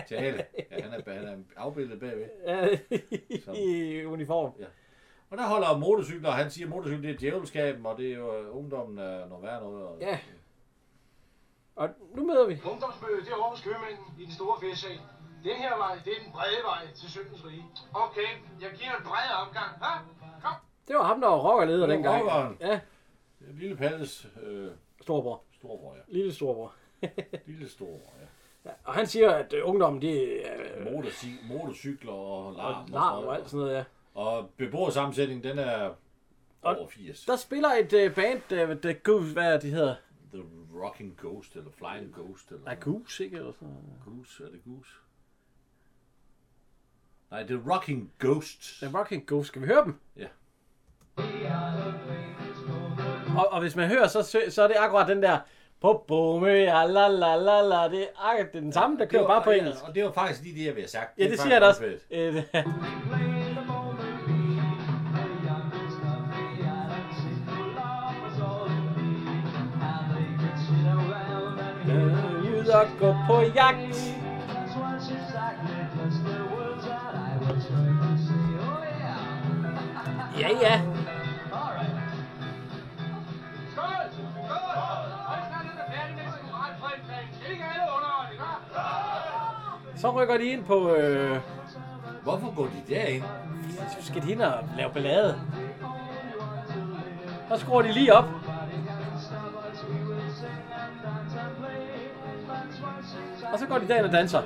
S3: Tale. Ja, han er, han er afbildet bagved.
S2: [laughs] Ja,
S3: Så.
S2: I uniform.
S3: Ja. Og der holder motorcykler, og han siger, at motorcykler det er djævelskaben, og det er jo øh, ungdommen er noget værre noget. Og,
S2: Ja. Og nu møder vi.
S6: Ungdomsmøde, det er Aarhus Købmænden i den store festsal. Den her vej, det er den brede vej til Søndens Rige. Okay, jeg giver en bred omgang. Ha? Kom.
S2: Det var ham, der var rockerleder
S3: Det var
S2: dengang.
S3: rockeren.
S2: Ja,
S3: Lille Palles øh,
S2: storbror.
S3: storbror, ja.
S2: Lille storbror.
S3: Lille storbror, ja.
S2: Og han siger, at øh, ungdommen, de er...
S3: Motorci- motorcykler og larm.
S2: og larm Øh. og alt sådan noget, ja.
S3: Og beboersammensætningen, den er over 80.
S2: Der spiller et øh, band, øh, The Goose, hvad er de hedder?
S3: The Rocking Ghost, eller Flying Ghost, eller...
S2: Nej, Goose, ikke? Eller sådan noget.
S3: Goose, er det Goose? Nej, The Rocking Ghost.
S2: The Rocking Ghost, skal vi høre dem?
S3: Ja.
S2: Og, og hvis man hører, så, sø- så er det akkurat den der... På bome, ja, la, la, la, la. Det er akkurat det er den samme, der kører
S3: var-
S2: bare på
S3: ja,
S2: engelsk.
S3: Og det var faktisk lige det, jeg ville have sagt.
S2: Ja,
S3: er
S2: det
S3: faktisk
S2: siger jeg da også.
S3: omkvædet.
S2: Øh, [laughs] Ud og Øh, gå på jagt. Ja, ja.
S6: Skål! Skål! Og snart er der færdig med sin moralprægning. Ikke alle underhold, ikke
S2: Så rykker de ind på... Øh...
S3: Hvorfor går de derind?
S2: Så skal de ind og lave ballade. Så skruer de lige op. Og så går de derind og danser.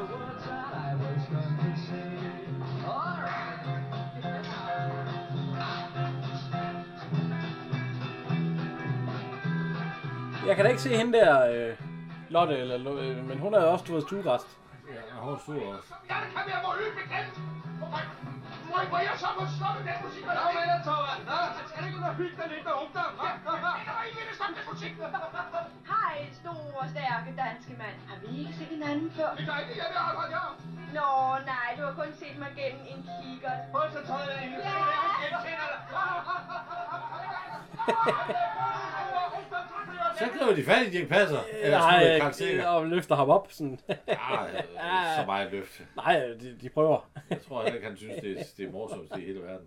S2: Jeg kan da ikke se hende der, øh, Lotte, eller, Lo- øh, men hun er jo også, du ved, stuegræst.
S3: Ja, hun stod også.
S6: Jeg kan være vores øl bekendt. Må jeg, må jeg så må stoppe den musik?
S13: Nå, men jeg tror, at- Nå, skal du ikke ud og hygge dig lidt med ungdom, hva?
S14: Hej, store, stærke danske mand. Har vi ikke set hinanden før?
S6: Det gør ikke, jeg vil arbejde her.
S14: Nå, nej, du har kun set mig gennem en kikkert.
S6: Prøv så tøjet af hende.
S14: Ja!
S3: Så griber de fat i Dirk Passer. Eller
S2: Øh, Nej, øh,
S3: Nej, Karl Sikker.
S2: og løfter ham op sådan. [laughs] øh,
S3: Ja, Ah, øh,
S2: ah.
S3: så meget løft.
S2: Nej, de, de prøver.
S3: Jeg tror heller ikke, han synes, det er, det er morsomst i hele verden.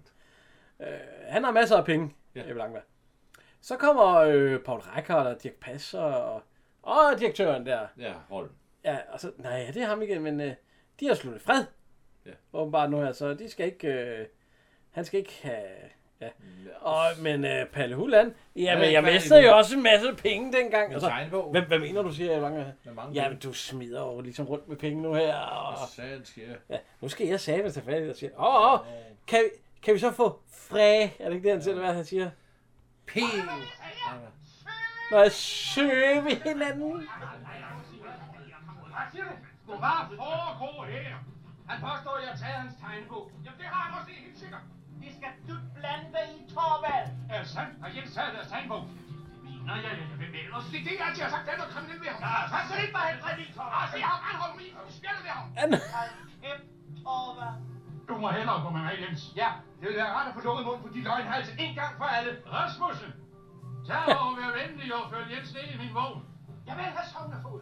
S2: Han har masser af penge, ja. Ebbe Langberg. Så kommer øh, Paul Reichhardt og Dirk Passer og, og direktøren der.
S3: Ja, Holm.
S2: Ja, og så, nej, det er ham igen, men øh, de har sluttet fred.
S3: Ja.
S2: Åbenbart nu her, så de skal ikke, øh, han skal ikke have, ja. Og, men øh, Palle Hulland,
S3: er
S2: jamen
S3: ikke
S2: jeg
S3: færdig
S2: mistede
S3: nu.
S2: jo også en masse penge dengang.
S3: Med
S2: Altså,
S3: tegnebogen.
S2: hvem, hvad mener du, siger jeg mange?
S3: mange
S2: Ja,
S3: penge?
S2: men du smider jo ligesom rundt med penge nu her. Og,
S3: Hvad satan sker der?
S2: ja, nu skal jeg sætte tage fat i det og sige, åh, åh, kan, vi- kan vi så få fræ? Er det ikke det, han selv, hvad han siger?
S3: P.
S2: Når jeg søger ved hinanden.
S6: Hvad siger du? Hvad foregår her? Han påstår, at jeg har taget hans tegnebog. Jamen, det har han også, det er helt sikkert. Det skal du blande dig i, Torvald. Er det sandt? Har Jens taget deres tegnebog? Det mener jeg, jeg vil melde os. Det er det, jeg altid har sagt, den er kriminel ved ham. Ja, så slip mig han fred i, Torvald. Altså, jeg har anholdt mig, for du spjælder ved ham. Hold kæft, Torvald. Du må hellere gå med mig, Jens. Ja, det vil være rart at få lukket munden på de løgnhalse en gang for alle. Rasmussen, tag over og vær venlig og følg Jens ned i min vogn. Jeg vil have sovende fod.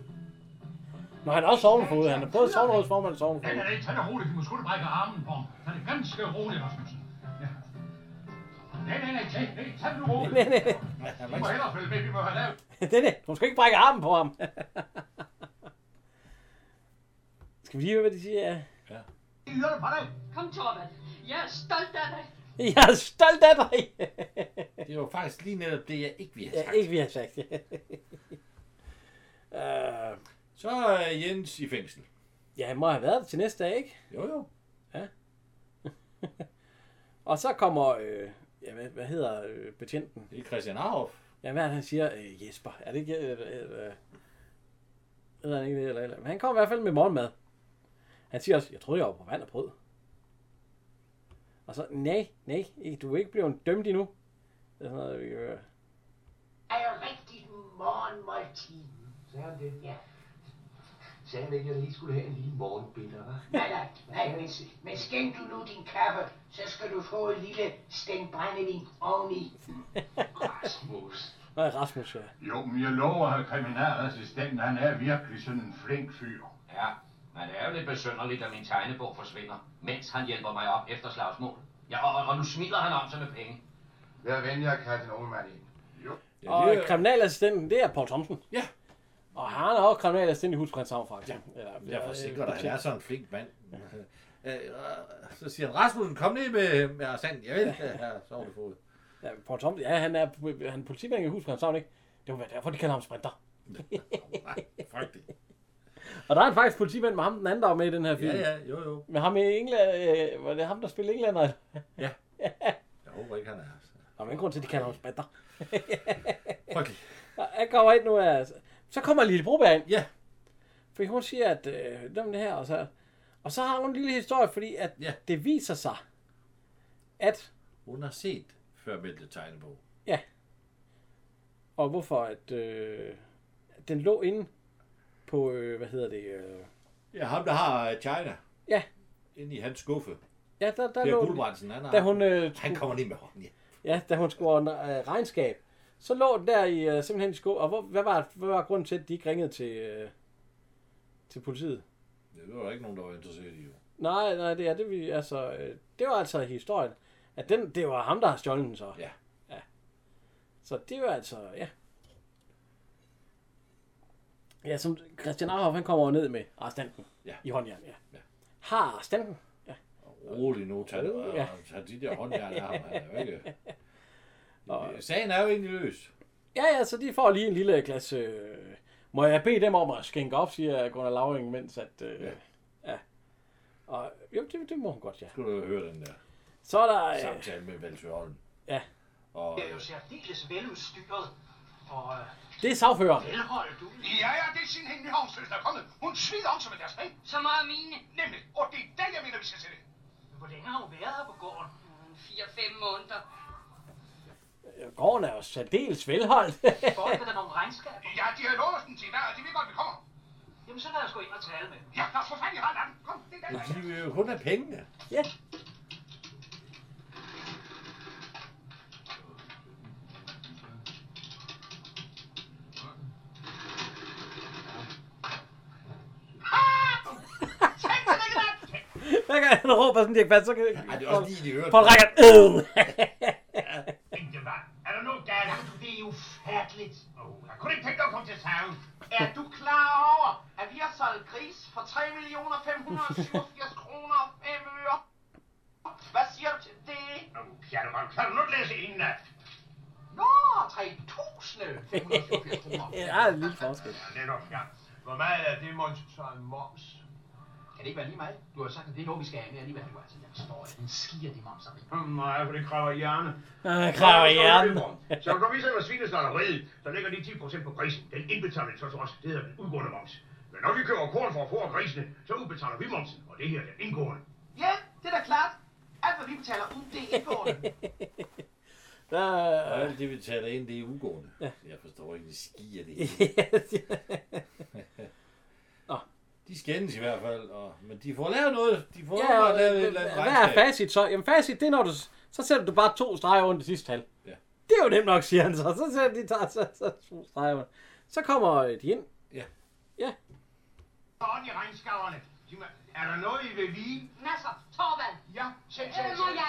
S2: Nå, han er også sovnefod. Han er både sovnerådsformand og sovnefod. [laughs]
S6: Nej, nej, nej, tag det roligt. Du må sgu da brække armen på ham. Tag det ganske roligt, Rasmussen. Ja. Nej, nej, nej, tag, nej, tag det nu roligt.
S2: Nej, nej, nej.
S6: Vi må hellere følge med, vi må have lavet.
S2: Den er, hun skal ikke brække armen på ham. [laughs] skal vi lige høre, hvad de siger? [laughs] Ja.
S6: Yder det på dig.
S15: Kom, Torvald. Jeg er stolt af dig.
S2: Jeg er stolt af dig. [laughs]
S3: Det var faktisk lige netop det, jeg ikke ville have
S2: ja,
S3: sagt.
S2: ikke vi har sagt. [laughs] Øh,
S3: Så er Jens i fængsel.
S2: ja, han må have været det til næste dag, ikke?
S3: Jo, jo.
S2: Ja. og så kommer, øh, ja, hvad, hvad hedder øh, betjenten?
S3: Det er Christian Arhoff.
S2: Ja, hvad er det, han siger? Øh, Jesper. Er det ikke... Øh, øh, øh, eller ikke det, eller, eller. Men han kom i hvert fald med morgenmad. Han siger også, jeg troede, jeg var på vand og brød. Og så, nej, nej, ikke- du er ikke blevet dømt endnu. Det er sådan noget, vi øh,
S5: Er jeg rigtig morgenmåltid? Sagde han det? Ja. Sagde han ikke, at jeg lige skulle have en lille morgenbitter, hva'? Nej, nej, nej, men, men skæng du nu din kaffe, så skal du få en lille stænk brændevin oveni.
S16: Rasmus.
S2: Hvad er Rasmus, ja?
S16: Jo, men jeg lover, at kriminalassistenten, han er virkelig sådan en flink fyr.
S17: Ja, men det er jo lidt besynderligt, at min tegnebog forsvinder, mens han hjælper mig op efter slagsmål. Ja, og, og, og nu smiler han om sig med penge.
S18: Vær venlig at kalde den unge mand ind.
S2: Ja, og kriminalassistenten, det er Paul Thomsen.
S3: Ja.
S2: Og han er også kriminalassistent i Husprins Havn, faktisk. øh, Ja,
S3: Jeg forsikrer dig, han er sådan en flink mand. Øh, øh, Så siger han, Rasmussen, kom ned med, med sand. Jeg vil, her, så har vi
S2: [laughs]
S3: fået.
S2: Ja, Paul Thomsen, ja, han er, han er politimand i Husprins Havn, ikke? Det må være derfor, de kalder ham Sprinter.
S3: Nej, fuck det.
S2: Og der er faktisk politimand med ham, den anden, der var med i den her film.
S3: Ja, ja, jo, jo.
S2: Men ham i England, øh, var det ham, der spillede englænder?
S3: Ja. Jeg håber ikke, han er.
S2: Der er ingen grund til, at de kalder ham Spatter.
S3: Okay.
S2: Jeg kommer ind nu, altså. Så kommer Lille Broberg ind.
S3: Ja.
S2: Fordi hun siger, at øh, dem det her, og så, og så har hun en lille historie, fordi at
S3: ja.
S2: det viser sig, at,
S3: Hun har set før meldte tegnebog.
S2: ja, og hvorfor, at øh, at den lå inde på, øh, hvad hedder det, øh,
S3: Ja, ham der har øh, China.
S2: Ja.
S3: Inde i hans skuffe.
S2: ja, der, der
S3: Per
S2: lå,
S3: Gulbrandsen, han har-
S2: da hun, øh,
S3: Han kommer lige med hånden, ja.
S2: Ja, da hun skulle under øh, regnskab, så lå den der i, øh, simpelthen i sko. Og hvor, hvad, var, hvad var grunden til, at de ikke ringede til, øh, til politiet?
S3: Det var der ikke nogen, der var interesseret i. jo.
S2: Nej, nej, det er det, vi, altså, øh, det var altså historien. At den, det var ham, der har stjålet den så.
S3: Ja.
S2: ja. Så det var altså, ja. Ja, som Christian Arhoff, han kommer jo ned med arrestanten
S3: ja.
S2: i håndjern, ja. ja. Har arrestanten? Ja.
S3: Rolig nu, tag,
S2: Ja.
S3: ja. tag de der håndjern af ham. Han er jo ikke... øh, Sagen er jo egentlig løs.
S2: Ja, ja, så de får lige en lille glas... Øh, må jeg bede dem om at skænke op, siger Gunnar Lauring, mens at... Øh, ja. ja. Og, jo, det, det må hun godt, ja.
S3: Skulle du høre den der.
S2: Så er der... Øh,
S3: Samtale med Valsø Holm.
S2: Ja.
S3: Og, øh,
S6: Det er jo særdeles veludstyret. Og øh,
S2: Det er sagføreren.
S6: velholdt ud. Ja, ja, det er sin hende havnsøs, der er kommet. Hun smider om sig med deres penge.
S7: Så meget mine.
S6: Nemlig, og det er den, jeg mener, vi skal sætte ind.
S7: Hvor længe har hun været her på gården? 4-5 måneder.
S2: Gården er jo særdeles velholdt. [laughs]
S6: Forholder der nogle regnskaber? Ja, de har lovet os den til hver, og de ved godt, vi kommer. Jamen, så lad os gå ind og tale med dem. Ja, lad os få fat i hånden. af dem. Kom, det er den.
S3: De vil jo kun have pengene.
S2: ja.
S6: Ah,
S2: Hver gang han råber sådan, de ikke fast, så kan... Ja,
S3: det er også lige i øret.
S2: Paul Reichert, øh!
S6: Er der noget galt? Jamen, det er jo fatligt. Oh, jeg kunne ikke tænke dig at komme til savn. Er du klar over, at vi har solgt gris for 3 millioner 587 kroner og 5 øre? Hvad siger du til det? Oh, pjatterøv, kan du nu læse inden af? Nå, 3.587 kroner.
S2: Ja, en lille forskel.
S6: Netop, ja. Hvor meget er det, Måns? Så en moms. Kan det ikke være lige meget? Du har sagt, at det er noget, vi skal have med alligevel. Du altså, jeg forstår ikke. Den skier det moms,
S19: Åh, oh, Nej, for det kræver hjerne.
S2: Ah, kræver hjerne.
S19: Så du viser mig svineslagteriet, så lægger de 10% på grisen. Den indbetaler vi så til os. Det hedder den udgående moms. Men når vi køber korn for at få af grisene, så udbetaler vi momsen, og det her er den indgående.
S5: Ja, det er da klart. Alt, hvad vi betaler ud, det er indgående.
S3: Og
S2: Der...
S3: alt det, vi taler ind, det er ugående. Jeg forstår ikke, de skier det hele. de skændes i hvert fald, og, men de får lavet noget. De får
S2: Ja,
S3: ja,
S2: og,
S3: lavet et eller andet
S2: hvad er
S3: regnskab.
S2: facit så? Jamen facit, det er når du... Så sætter du bare to streger under det sidste tal.
S3: Ja.
S2: Det er jo nemt nok, siger han så. Så sætter de tager, så, så, to streger under. Så kommer øh, de ind.
S3: Ja.
S2: Ja.
S19: Sådan i regnskaverne. De må- Er der noget, I vil vide?
S7: Nasser, Torvald.
S6: Ja,
S19: selv,
S7: Øh,
S19: selv,
S7: må
S19: selv,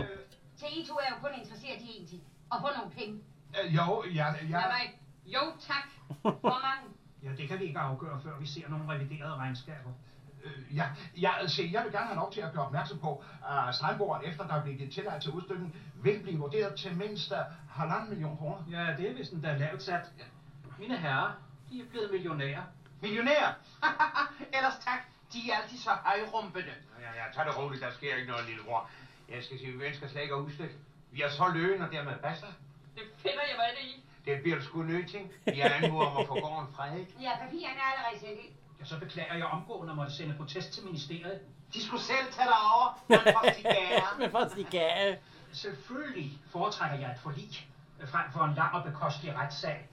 S7: jeg?
S19: Øh,
S7: Så I to er jo kun interesseret i én ting. Og få nogle penge.
S19: øh, jo, ja, ja.
S7: Ja. Mig. Jo, tak. Hvor mange?
S19: Ja, det kan vi ikke afgøre, før vi ser nogle reviderede regnskaber. Øh, ja, ja, se, jeg vil gerne have lov til at gøre opmærksom på, at strandbordet efter der er blevet givet tilladt til udstykning, vil blive vurderet til mindst øh, halvanden million kroner. Ja, det er vist den der lavt sat.
S5: Mine herrer, de er blevet millionærer. Millionærer? [laughs] Ellers tak. De er altid så højrumpende.
S6: Ja, ja, tag det roligt, der sker ikke noget, lillebror. Jeg skal sige, vi ønsker slet ikke at udstykke. Vi er så løgen, og dermed basta.
S7: Det finder jeg mig ikke i.
S6: Det bliver du sgu nødt til. Vi er anmoder om at få gården fredet.
S7: Ja, papirerne er allerede sendt ind.
S5: Ja, så beklager jeg omgående at måtte sende protest til ministeriet. De skulle selv tage dig over. Men for de [laughs] gære.
S2: Men for de gære.
S5: Selvfølgelig foretrækker jeg et forlig øh, frem for en lang og bekostelig retssag.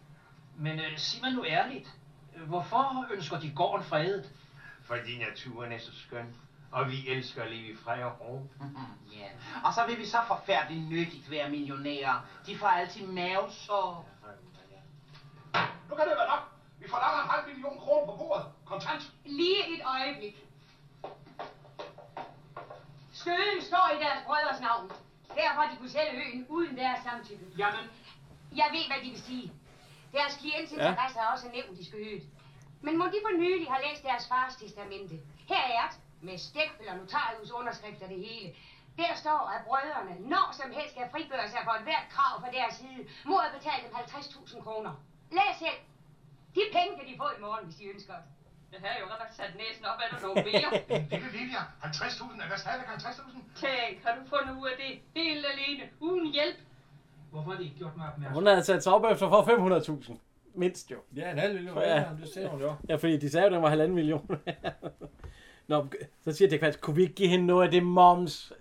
S5: Men øh, sig mig nu ærligt, øh, hvorfor ønsker de gården fredet?
S6: Fordi naturen er så skøn. Og vi elsker at leve i fred og ro.
S5: Ja.
S6: Og så vil vi så forfærdeligt nyttigt være millionærer.
S5: De får altid mavesår. Nu kan det være nok. Vi får lagt en halv million kroner på bordet. Kontant.
S7: Lige et øjeblik. Skøden står i deres brødres navn. Derfor de kunne sælge øen uden deres samtykke.
S5: Jamen.
S7: Jeg ved, hvad de vil sige. Deres klients interesser er også nævnt i skødet. Men må de for nylig har læst deres fars testamente. Her er et med stempel og notarius underskrift og det hele. Der står, at brødrene når som helst skal frigøre sig for et hvert krav fra deres side, mod at betale dem 50.000 kroner. Læs selv. De penge kan de få i morgen, hvis de ønsker det. Det havde jo godt nok sat næsen op af dig nogle [laughs] mere.
S19: Lille Livia, 50.000, er der stadigvæk 50.000?
S7: Tænk, har du fundet ud af det helt alene, uden hjælp?
S5: Hvorfor har de ikke gjort mig opmærksom?
S2: Hun havde sat sig op efter for 500.000. Mindst jo.
S3: Ja, en halv million.
S2: For-
S3: Ja, det ser hun jo.
S2: Ja, fordi de sagde jo, den var halvanden million. [laughs] Nå, så siger Dirk Passer, kunne vi ikke give hende noget af det moms?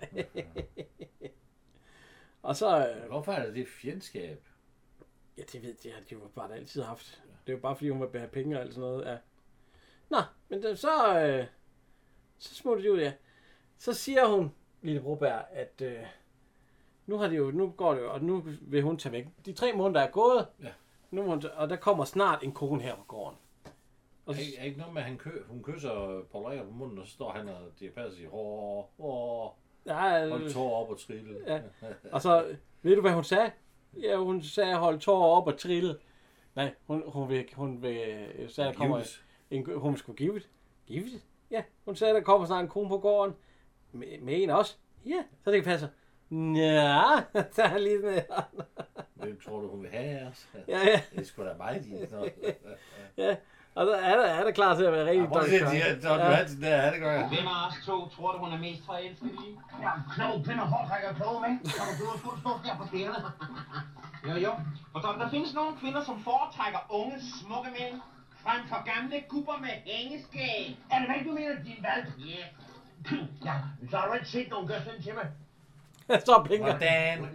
S2: [laughs] og så... øh,
S3: Hvorfor er det det fjendskab?
S2: Ja, det ved jeg, det har de jo bare altid haft. Det er jo bare, fordi hun vil have penge og alt sådan noget. Ja. Nå, men det, så... Øh, så smutter de ud, ja. Så siger hun, Lille Broberg, at... Øh, nu har det jo, nu går det jo, og nu vil hun tage væk. De tre måneder er gået,
S3: ja.
S2: nu må hun, tage- og der kommer snart en kone her på gården.
S3: Er, er ikke noget med, at han kø, hun kysser Paul Rikker på munden, og så står han og det passer sig hår, hår,
S2: Ja,
S3: og tår op og trille.
S2: Øh, Ja. Og så, ved du hvad hun sagde? Ja, hun sagde, hold tårer op og trille. Nej, hun, hun vil, hun vil, øh, sagde, der kommer
S3: Gives.
S2: en, hun skulle give det. Give det? Ja, hun sagde, der kommer snart en kone på gården. Med, med en også. Ja, så det passer. Ja, [laughs] der er lige sådan en-
S3: Hvem tror du, hun vil have af os?
S2: Ja, ja.
S3: Det er sgu da mig, din. Nå.
S2: [laughs] Ja, og så er der, er der klar til at være rigtig
S3: Ja, prøv at se, de her Don Johansen der, han er godt.
S6: Hvem af os to tror du, hun er mest forelsket i?
S19: Ja, klog pind og hårdtrækker kloge mænd.
S6: Så du bliver sgu stå her på bærene.
S19: Jo, jo. Og så der findes nogle kvinder, som foretrækker unge, smukke mænd. Frem for gamle gubber med hængeskæg. Er det hvad du mener, din valg? Ja. Ja, så har du ikke set nogen gøre sådan til mig.
S2: [laughs] Så blinker
S3: Hvordan?
S19: Mm.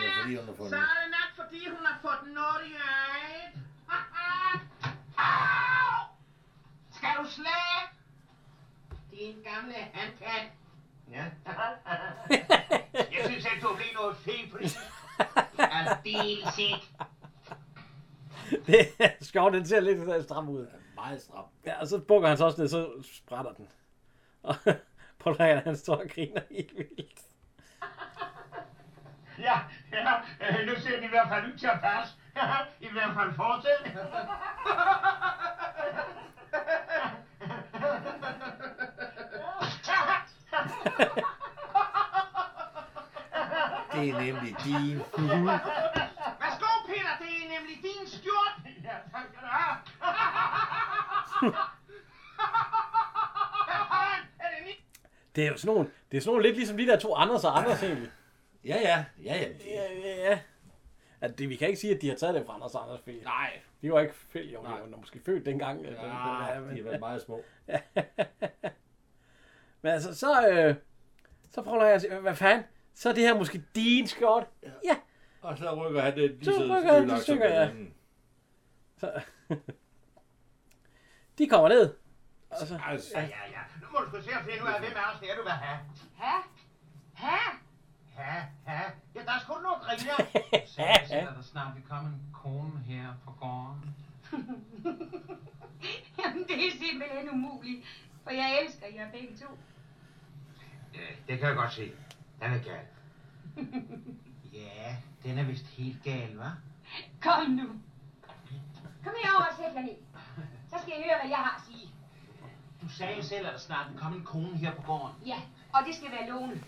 S3: Det er fordi, hun har
S19: Så
S3: fundet.
S19: er det nok, fordi hun har fået noget i øjet. [laughs] Au! Skal du slage? Din gamle handkat. [laughs]
S6: Ja. Jeg synes, at du har blevet noget febrigt. Aldeles ikke.
S2: Det er sjovt, den ser lidt sådan stram ud.
S3: Meget stram.
S2: Ja, og så bukker han sig også ned, så sprætter den. Og [laughs] på dagen, han står og griner helt vildt.
S19: Ja, ja, øh, nu ser det i hvert fald ud til at passe. [laughs] I hvert fald fortsæt. [laughs]
S3: Det er nemlig din.
S19: Værsgo, Peter, det er nemlig din
S5: [laughs]
S19: skjort. Ja, tak skal du have. Hvad fanden? [laughs] Er det min?
S2: Det er jo sådan nogle, det er sådan nogle lidt ligesom de der to Anders og Anders egentlig.
S3: Ja, ja. Ja, ja.
S2: Ja, ja, ja. At det, vi kan ikke sige, at de har taget det fra Anders og Anders. Fordi
S3: Nej.
S2: De var ikke født, jo, de var nok måske født dengang. at den-
S3: Ja,
S2: men-
S3: de har været meget små.
S2: Men altså, så, øh, så prøver jeg at sige, hvad fanden? Så er det her måske din skjort. Ja.
S3: Og så rykker han det lige
S2: Så
S3: så
S2: rykker han det
S3: stivlagt
S2: stykker,
S3: som
S2: ja.
S3: hinanden.
S2: Så, [laughs] de kommer ned. Og så,
S3: Altså,
S19: Ja, ja, ja. Nu må du sgu se at finde ud af, hvem af os det er, du vil have.
S7: Ha? Ha?
S19: Ha, ha. Ja, der er sgu noget griner.
S6: Så er der snart vil komme en kone her på gården.
S7: Jamen, det er simpelthen umuligt, for jeg elsker jer begge to.
S6: Ja, det kan jeg godt se. Den er gal. Ja, den er vist helt gal, hva'?
S7: Kom nu. Kom herover og sæt jer ned. Så skal I høre, hvad jeg har at sige.
S19: Du sagde selv, at der snart vil komme en kone her på gården.
S7: Ja, og det skal være låne.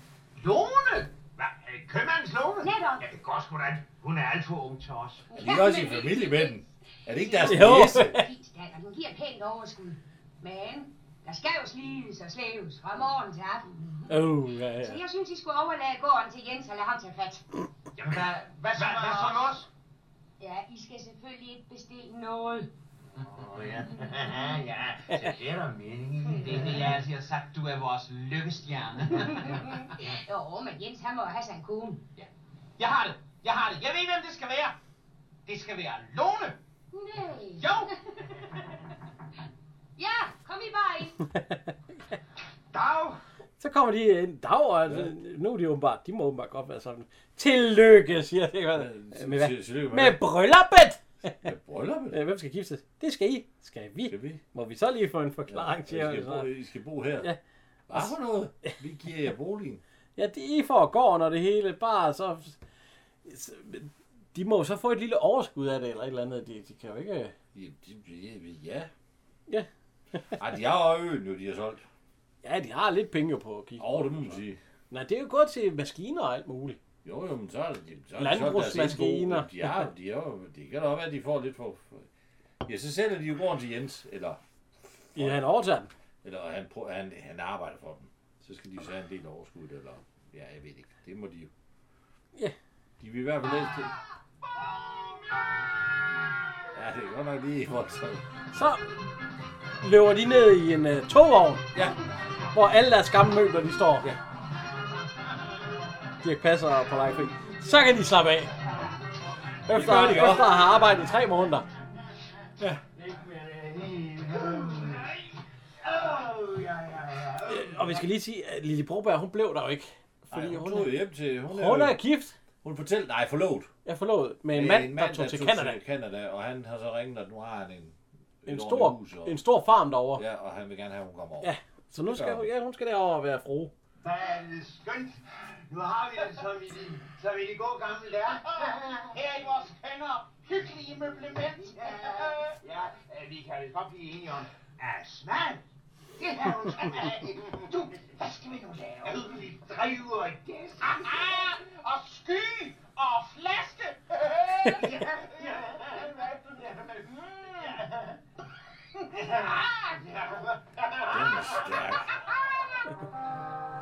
S19: Lone? Hvad? øh, Købmandens Lone?
S7: Netop.
S19: Ja, det går sgu da. ikke. Hun er alt for ung til os.
S3: de er også i familie med den. Er det ikke deres
S2: Jo.
S3: næse?
S7: Fint, datter, hun giver et pænt overskud. Men der skal jo slides og slæves fra morgen til aften.
S2: Åh, oh, ja, [laughs]
S7: Så
S2: ja.
S7: jeg synes, I skulle overlade gården til Jens og lade ham tage fat.
S5: Jamen, hvad, hvad, så, hvad, hvad så med os?
S7: Ja, I skal selvfølgelig ikke bestille
S3: [laughs]
S7: noget.
S5: Åh oh, ja, [laughs] ja, så det er der mening i. Det er det, jeg altid har sagt, du er vores lykkestjerne. [laughs]
S7: jo, men Jens, han må jo have sig en kone. Ja.
S5: jeg har det, jeg har det. Jeg ved, hvem det skal være. Det skal være Lone.
S7: Nej.
S5: Jo,
S7: [laughs] Ja, kom I bare ind.
S5: Dag.
S2: Så kommer de ind. Dag, og ja. nu er de åbenbart, de må åbenbart godt være sammen. Tillykke, siger det. Med, med,
S3: til- tillykke
S2: med,
S3: med
S2: med
S3: hvad?
S2: brylluppet. Med
S3: brylluppet?
S2: Øh, Hvem skal giftes? Det skal I. Skal vi? Skal vi? Må vi så lige få en forklaring
S3: I skal
S2: til?
S3: bo- I skal bo her. Hvad for noget? Vi giver jer boligen.
S2: Ja, de I får gården og det hele, bare så... så- De må jo så få et lille overskud af det, eller et eller andet. De, de kan jo ikke...
S3: Ja.
S2: Ja.
S3: Ej, de har jo øen, jo, de har solgt.
S2: Ja, de har lidt penge jo på at kigge.
S3: Åh, det må man sige.
S2: Nej, det er jo gået til maskiner og alt muligt.
S3: Jo, jo, men så er det... Så er det solgt deres
S2: Landbrugsmaskiner.
S3: indbo. De har, de har, jo- det kan da også være, at de får lidt for... Ja, så sælger de jo gården til Jens, eller...
S2: Ja, han overtager den.
S3: Eller han, prø- han, han arbejder for dem. Så skal de jo så have en del overskud, eller... Ja, jeg ved ikke. Det må de jo.
S2: Ja.
S3: De vil i hvert fald helst til. Ja, det er godt nok lige voldsomt.
S2: Så løber de ned i en uh, togvogn,
S3: ja.
S2: hvor alle deres gamle møbler de står. Ja. Dirk Passer og på Leifri. Så kan de slappe af. Efter,
S10: gør de også.
S2: efter at have arbejdet i tre måneder.
S6: øh,
S2: Øh, Og vi skal lige sige, at Lille Broberg, hun blev der jo ikke.
S3: Fordi Ej, hun, tog øh, hjem til... Hun,
S2: hun
S3: jo-
S2: er gift.
S3: Hun fortalte... Nej, forlovet.
S2: Jeg er forlovet med en
S3: Øh,
S2: mand, der tog til Canada.
S3: Canada. Og han har så ringet, at nu har han en... et
S2: En
S3: ordentligt
S2: stor,
S3: hus, og,
S2: en stor farm derovre.
S3: Ja, og han vil gerne have, at hun kommer over.
S2: Ja, så nu
S3: Det
S2: skal
S3: gør
S2: hun, ja, hun skal derover og være frue.
S19: Der er det skønt. Nu har vi det, som i de, som i de gode gamle dage.
S5: [laughs] Her i vores hænder. Hyggelige møblement.
S19: Ja, øh, vi kan vist godt blive enige om, at smag, det er jo
S5: [laughs]
S19: smag. Du, hvad skal vi nu lave? Hyggeligt driver i gæst.
S5: Ah, Og sky og flaske. [laughs] Ah,
S19: Ah,
S3: Den er stærk.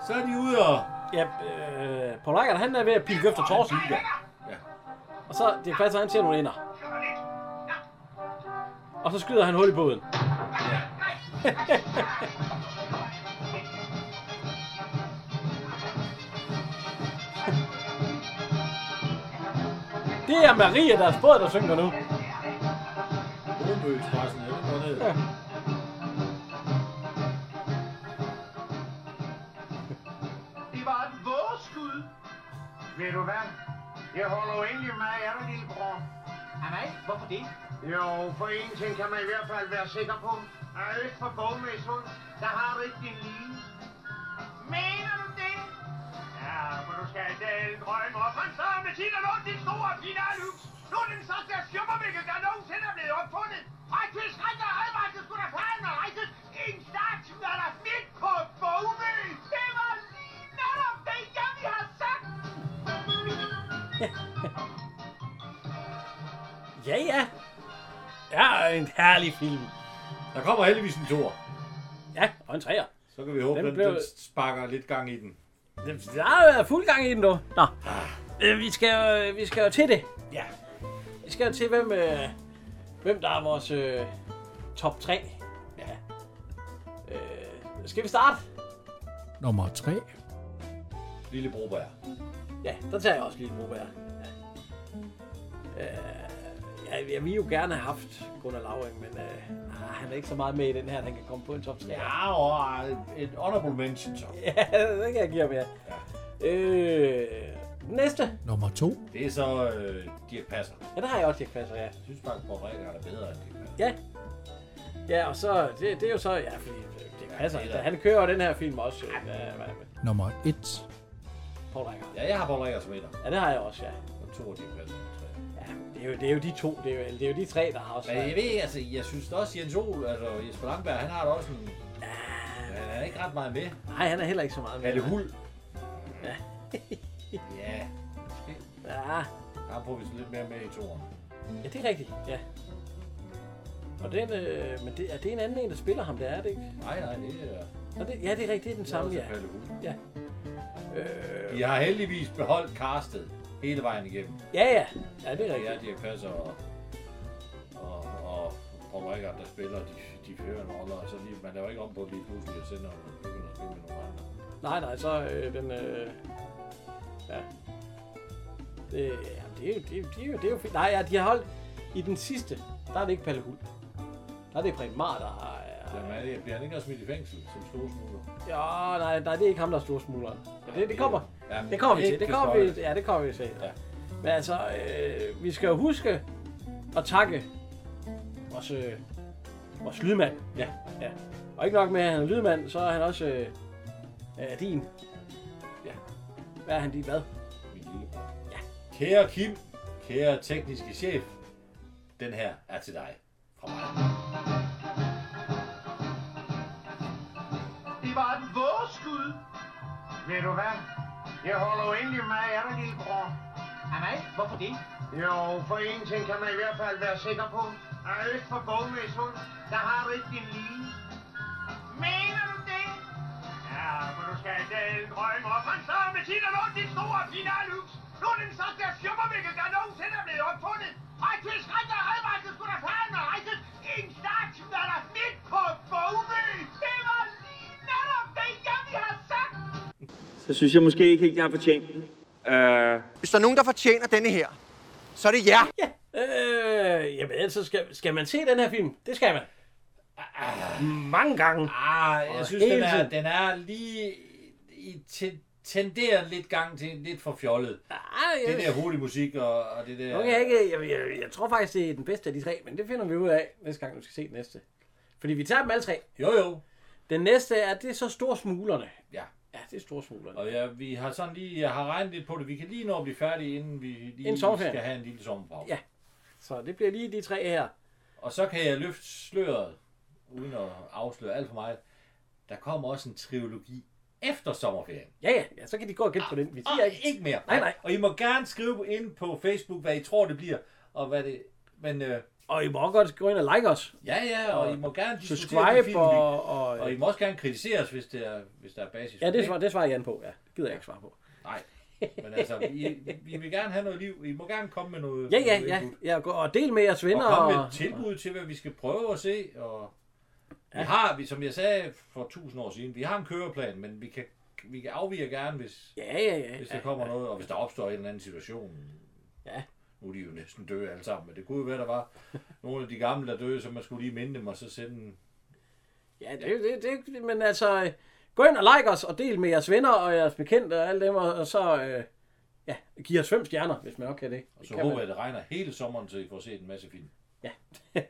S3: Så er de ude og...
S2: Ja, øh, Paul Reichert, han er ved at pille efter torsen. Ja. Og så, det er faktisk, han ser nogle ender. Og så skyder han hul i båden. [laughs] det er Maria, deres båd, der synker nu.
S3: Bromø-expressen, er den gået ned?
S2: Ja.
S19: Det var et vågeskud.
S6: Ved du hvad? Jeg holder jo egentlig meget af dig, lillebror.
S19: Af mig? Ah, Hvorfor det?
S6: Jo, for en ting kan man i hvert fald være sikker på. Er øst for bogmæssund, der har du ikke din lige.
S19: Mener du det?
S6: Ja, for du skal i dag drømme op. Han så med sin og lån din store Pina Lux. Nu er den største skummermikkel, der nogensinde er blevet opfundet. Fra et tilskrænt og advarsel skulle der falde og rejses. En statue er der midt på Bogmø. Det var lige netop det, jeg vi har sagt.
S2: Ja, ja. Ja, en herlig film.
S3: Der kommer heldigvis en tor.
S2: Ja, og en træer.
S3: Så kan vi håbe,
S2: Den
S3: den, den,
S2: blev-
S3: den sparker lidt gang i den.
S2: Der er fuld gang i den nu. Nå, øh, vi, skal, jo- vi skal jo til det.
S3: Ja.
S2: Vi skal jo til, hvem, øh, hvem der er vores øh, top 3. Ja. Øh, skal vi starte?
S1: Nummer 3.
S3: Lille Broberg.
S2: Ja, der tager jeg også lige en mobager. Ja. Øh, jeg, jeg ville jo gerne have haft Gunnar Lauring, men øh, ah, han er ikke så meget med i den her, at han kan komme på en top 3.
S3: Ja, og øh, et honorable mention så.
S2: [laughs] ja det kan jeg give ham, ja. Øh, næste.
S1: Nummer 2.
S3: Det er så øh, Dirk Passer.
S2: Ja, der har jeg også Dirk Passer, ja.
S3: Jeg synes faktisk, at Rikker er bedre end Dirk Passer.
S2: Ja. Ja, og så, det, det er jo så, ja, fordi øh, det passer.
S3: det er
S2: Ja,
S3: der.
S2: han kører jo den her film også, øh, hvad, hvad, hvad,
S1: Nummer 1.
S2: Paul Reichhardt.
S3: Ja, jeg har Paul Rikker som etter.
S2: Ja, det har jeg også, ja.
S3: Og to af Dirk Passer. tror jeg.
S2: Det er jo, det er jo de to, det er jo, det er jo de tre, der har også
S3: Men jeg
S2: været-
S3: ved, altså, jeg synes da også, Jens Ol, altså Jesper Langberg, han har da også en... Men han er ikke ret meget med.
S2: Nej, han er heller ikke så meget med.
S3: Palle Hul.
S2: Ja.
S3: [laughs] Ja, måske.
S2: Ja.
S3: Ham får vi så lidt mere med i toren.
S2: Ja, det er rigtigt, ja. Og den, øh, men det, er det en anden en, der spiller ham, det er det ikke?
S3: Nej, nej, det er...
S2: Nå, det, ja, det er rigtigt, det er den samme,
S3: også
S2: ja.
S3: Palle Hul.
S2: ja. Øh,
S3: De har heldigvis beholdt castet. hele vejen igennem.
S2: Ja, ja. Ja, det er rigtigt.
S3: Ja, de er passer og, og, og Paul Rickard, der spiller, de, de fører en rolle, og så lige, man laver ikke om på det lige pludselig, og sender man begynder at spille med nogle andre.
S2: Nej, nej, så øh, den... Øh, ja. Det, ja, det, er jo, det, er jo- det, er jo, det er jo fint. Nej, ja, de har holdt... I den sidste, der er det ikke Palle Hul. Der er det Preben Mar, der har... øh,
S3: Jamen, er det, bliver han ikke også smidt i fængsel som storsmugler?
S2: Ja, nej, nej, det er ikke ham, der er storsmugleren. Ja, det, det kommer,
S3: Ja, men
S2: det kommer vi til.
S3: ikke
S2: Det kommer vi,
S3: spoil.
S2: ja, det kommer vi til. Ja. Men altså, øh, vi skal jo huske at takke vores, øh, vores lydmand. Ja. ja. Og ikke nok med, at han er lydmand, så er han også øh, øh, din. Ja. Hvad er han din hvad?
S3: Min lillebror. Ja. Kære Kim, kære tekniske chef, den her er til dig. Fra mig.
S6: Det var et vågeskud. Ved du hvad? Jeg holder jo egentlig meget af dig, lillebror. Er mig? Hvorfor det? Jo, for en ting kan man i hvert fald være sikker på. At øst for Bogmæs hund, der har du ikke din lige. Mener du det? Ja, men du skal i dag drømme op. Han så med sin og lånt din store finalhus. Nu er den største fjummervikkel, der nogensinde er blevet opfundet. Og til skræk og advarsel skulle der fanden og rejse en statue, der er midt på Bogmø. Det var lige netop det, jeg vi har sagt.
S20: Så synes jeg måske ikke helt, jeg har fortjent den. Øh,
S21: Hvis der er nogen, der fortjener denne her, så er det jer.
S2: Ja. Øh, jamen, ellers så skal, skal man se den her film. Det skal man. Mange gange.
S3: Ah,
S2: Og
S3: jeg synes, den
S2: hele
S3: er,
S2: tiden.
S3: den er lige i te- tenderer lidt gang til lidt for fjollet.
S2: jeg-
S3: det der hurtig musik og, og det der...
S2: Nu kan jeg ikke, jeg, jeg, jeg tror faktisk, det er den bedste af de tre, men det finder vi ud af næste gang, du skal se den næste. Fordi vi tager dem alle tre.
S3: Jo, jo.
S2: Den næste er, det er så storsmuglerne.
S3: Ja.
S2: Ja, det er storsmuglerne.
S3: Og ja, vi har sådan lige, jeg har regnet lidt på det. Vi kan lige nå at blive færdige, inden vi lige
S2: Inden sommerferien.
S3: skal have en lille sommerpause.
S2: Ja. Så det bliver lige de tre her.
S3: Og så kan jeg løfte sløret, uden at afsløre alt for meget. Der kommer også en trilogi efter sommerferien.
S2: Ja, ja, ja så kan de gå og gætte på den. Vi
S3: siger ikke, ikke mere.
S2: Nej, nej.
S3: Og I må gerne skrive ind på Facebook, hvad I tror, det bliver, og hvad det... Men, øh,
S2: og I må også godt gå ind og like os.
S3: Ja, ja, og, I må gerne diskutere
S2: subscribe
S3: den film, vi-
S2: og- og-
S3: og, I må også gerne kritisere os, hvis, det er, hvis der er basis.
S2: Ja,
S3: for
S2: det svarer, det svarer Jan på. Ja, det gider jeg ikke svare på.
S3: Nej, men altså, I, vi vil gerne have noget liv. I må gerne komme med noget
S2: Ja, ja,
S3: noget
S2: ja.
S3: input.
S2: ja gå og del med jeres venner.
S3: Og komme med et tilbud til, hvad vi skal prøve at se. Og vi har, vi, som jeg sagde for tusind år siden, vi har en køreplan, men vi kan, vi kan afvige gerne, hvis,
S2: Ja, ja, ja.
S3: hvis der
S2: Ja,
S3: kommer
S2: ja.
S3: noget, og hvis der opstår en eller anden situation.
S2: Ja.
S3: Nu er de jo næsten døde alle sammen, men det kunne jo være, der var nogle af de gamle, der døde, så man skulle lige minde dem, og så sende en
S2: Ja, det, det, det, men altså, øh, gå ind og like os, og del med jeres venner og jeres bekendte og alle dem, og og så øh, ja, giv os fem stjerner, hvis man også kan det.
S3: Og så håber jeg, at det regner hele sommeren, så I får set en masse film.
S2: [laughs] Ja.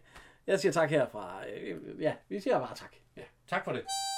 S2: jeg siger tak herfra. Øh, Ja, vi siger bare tak.
S3: Ja, tak for det.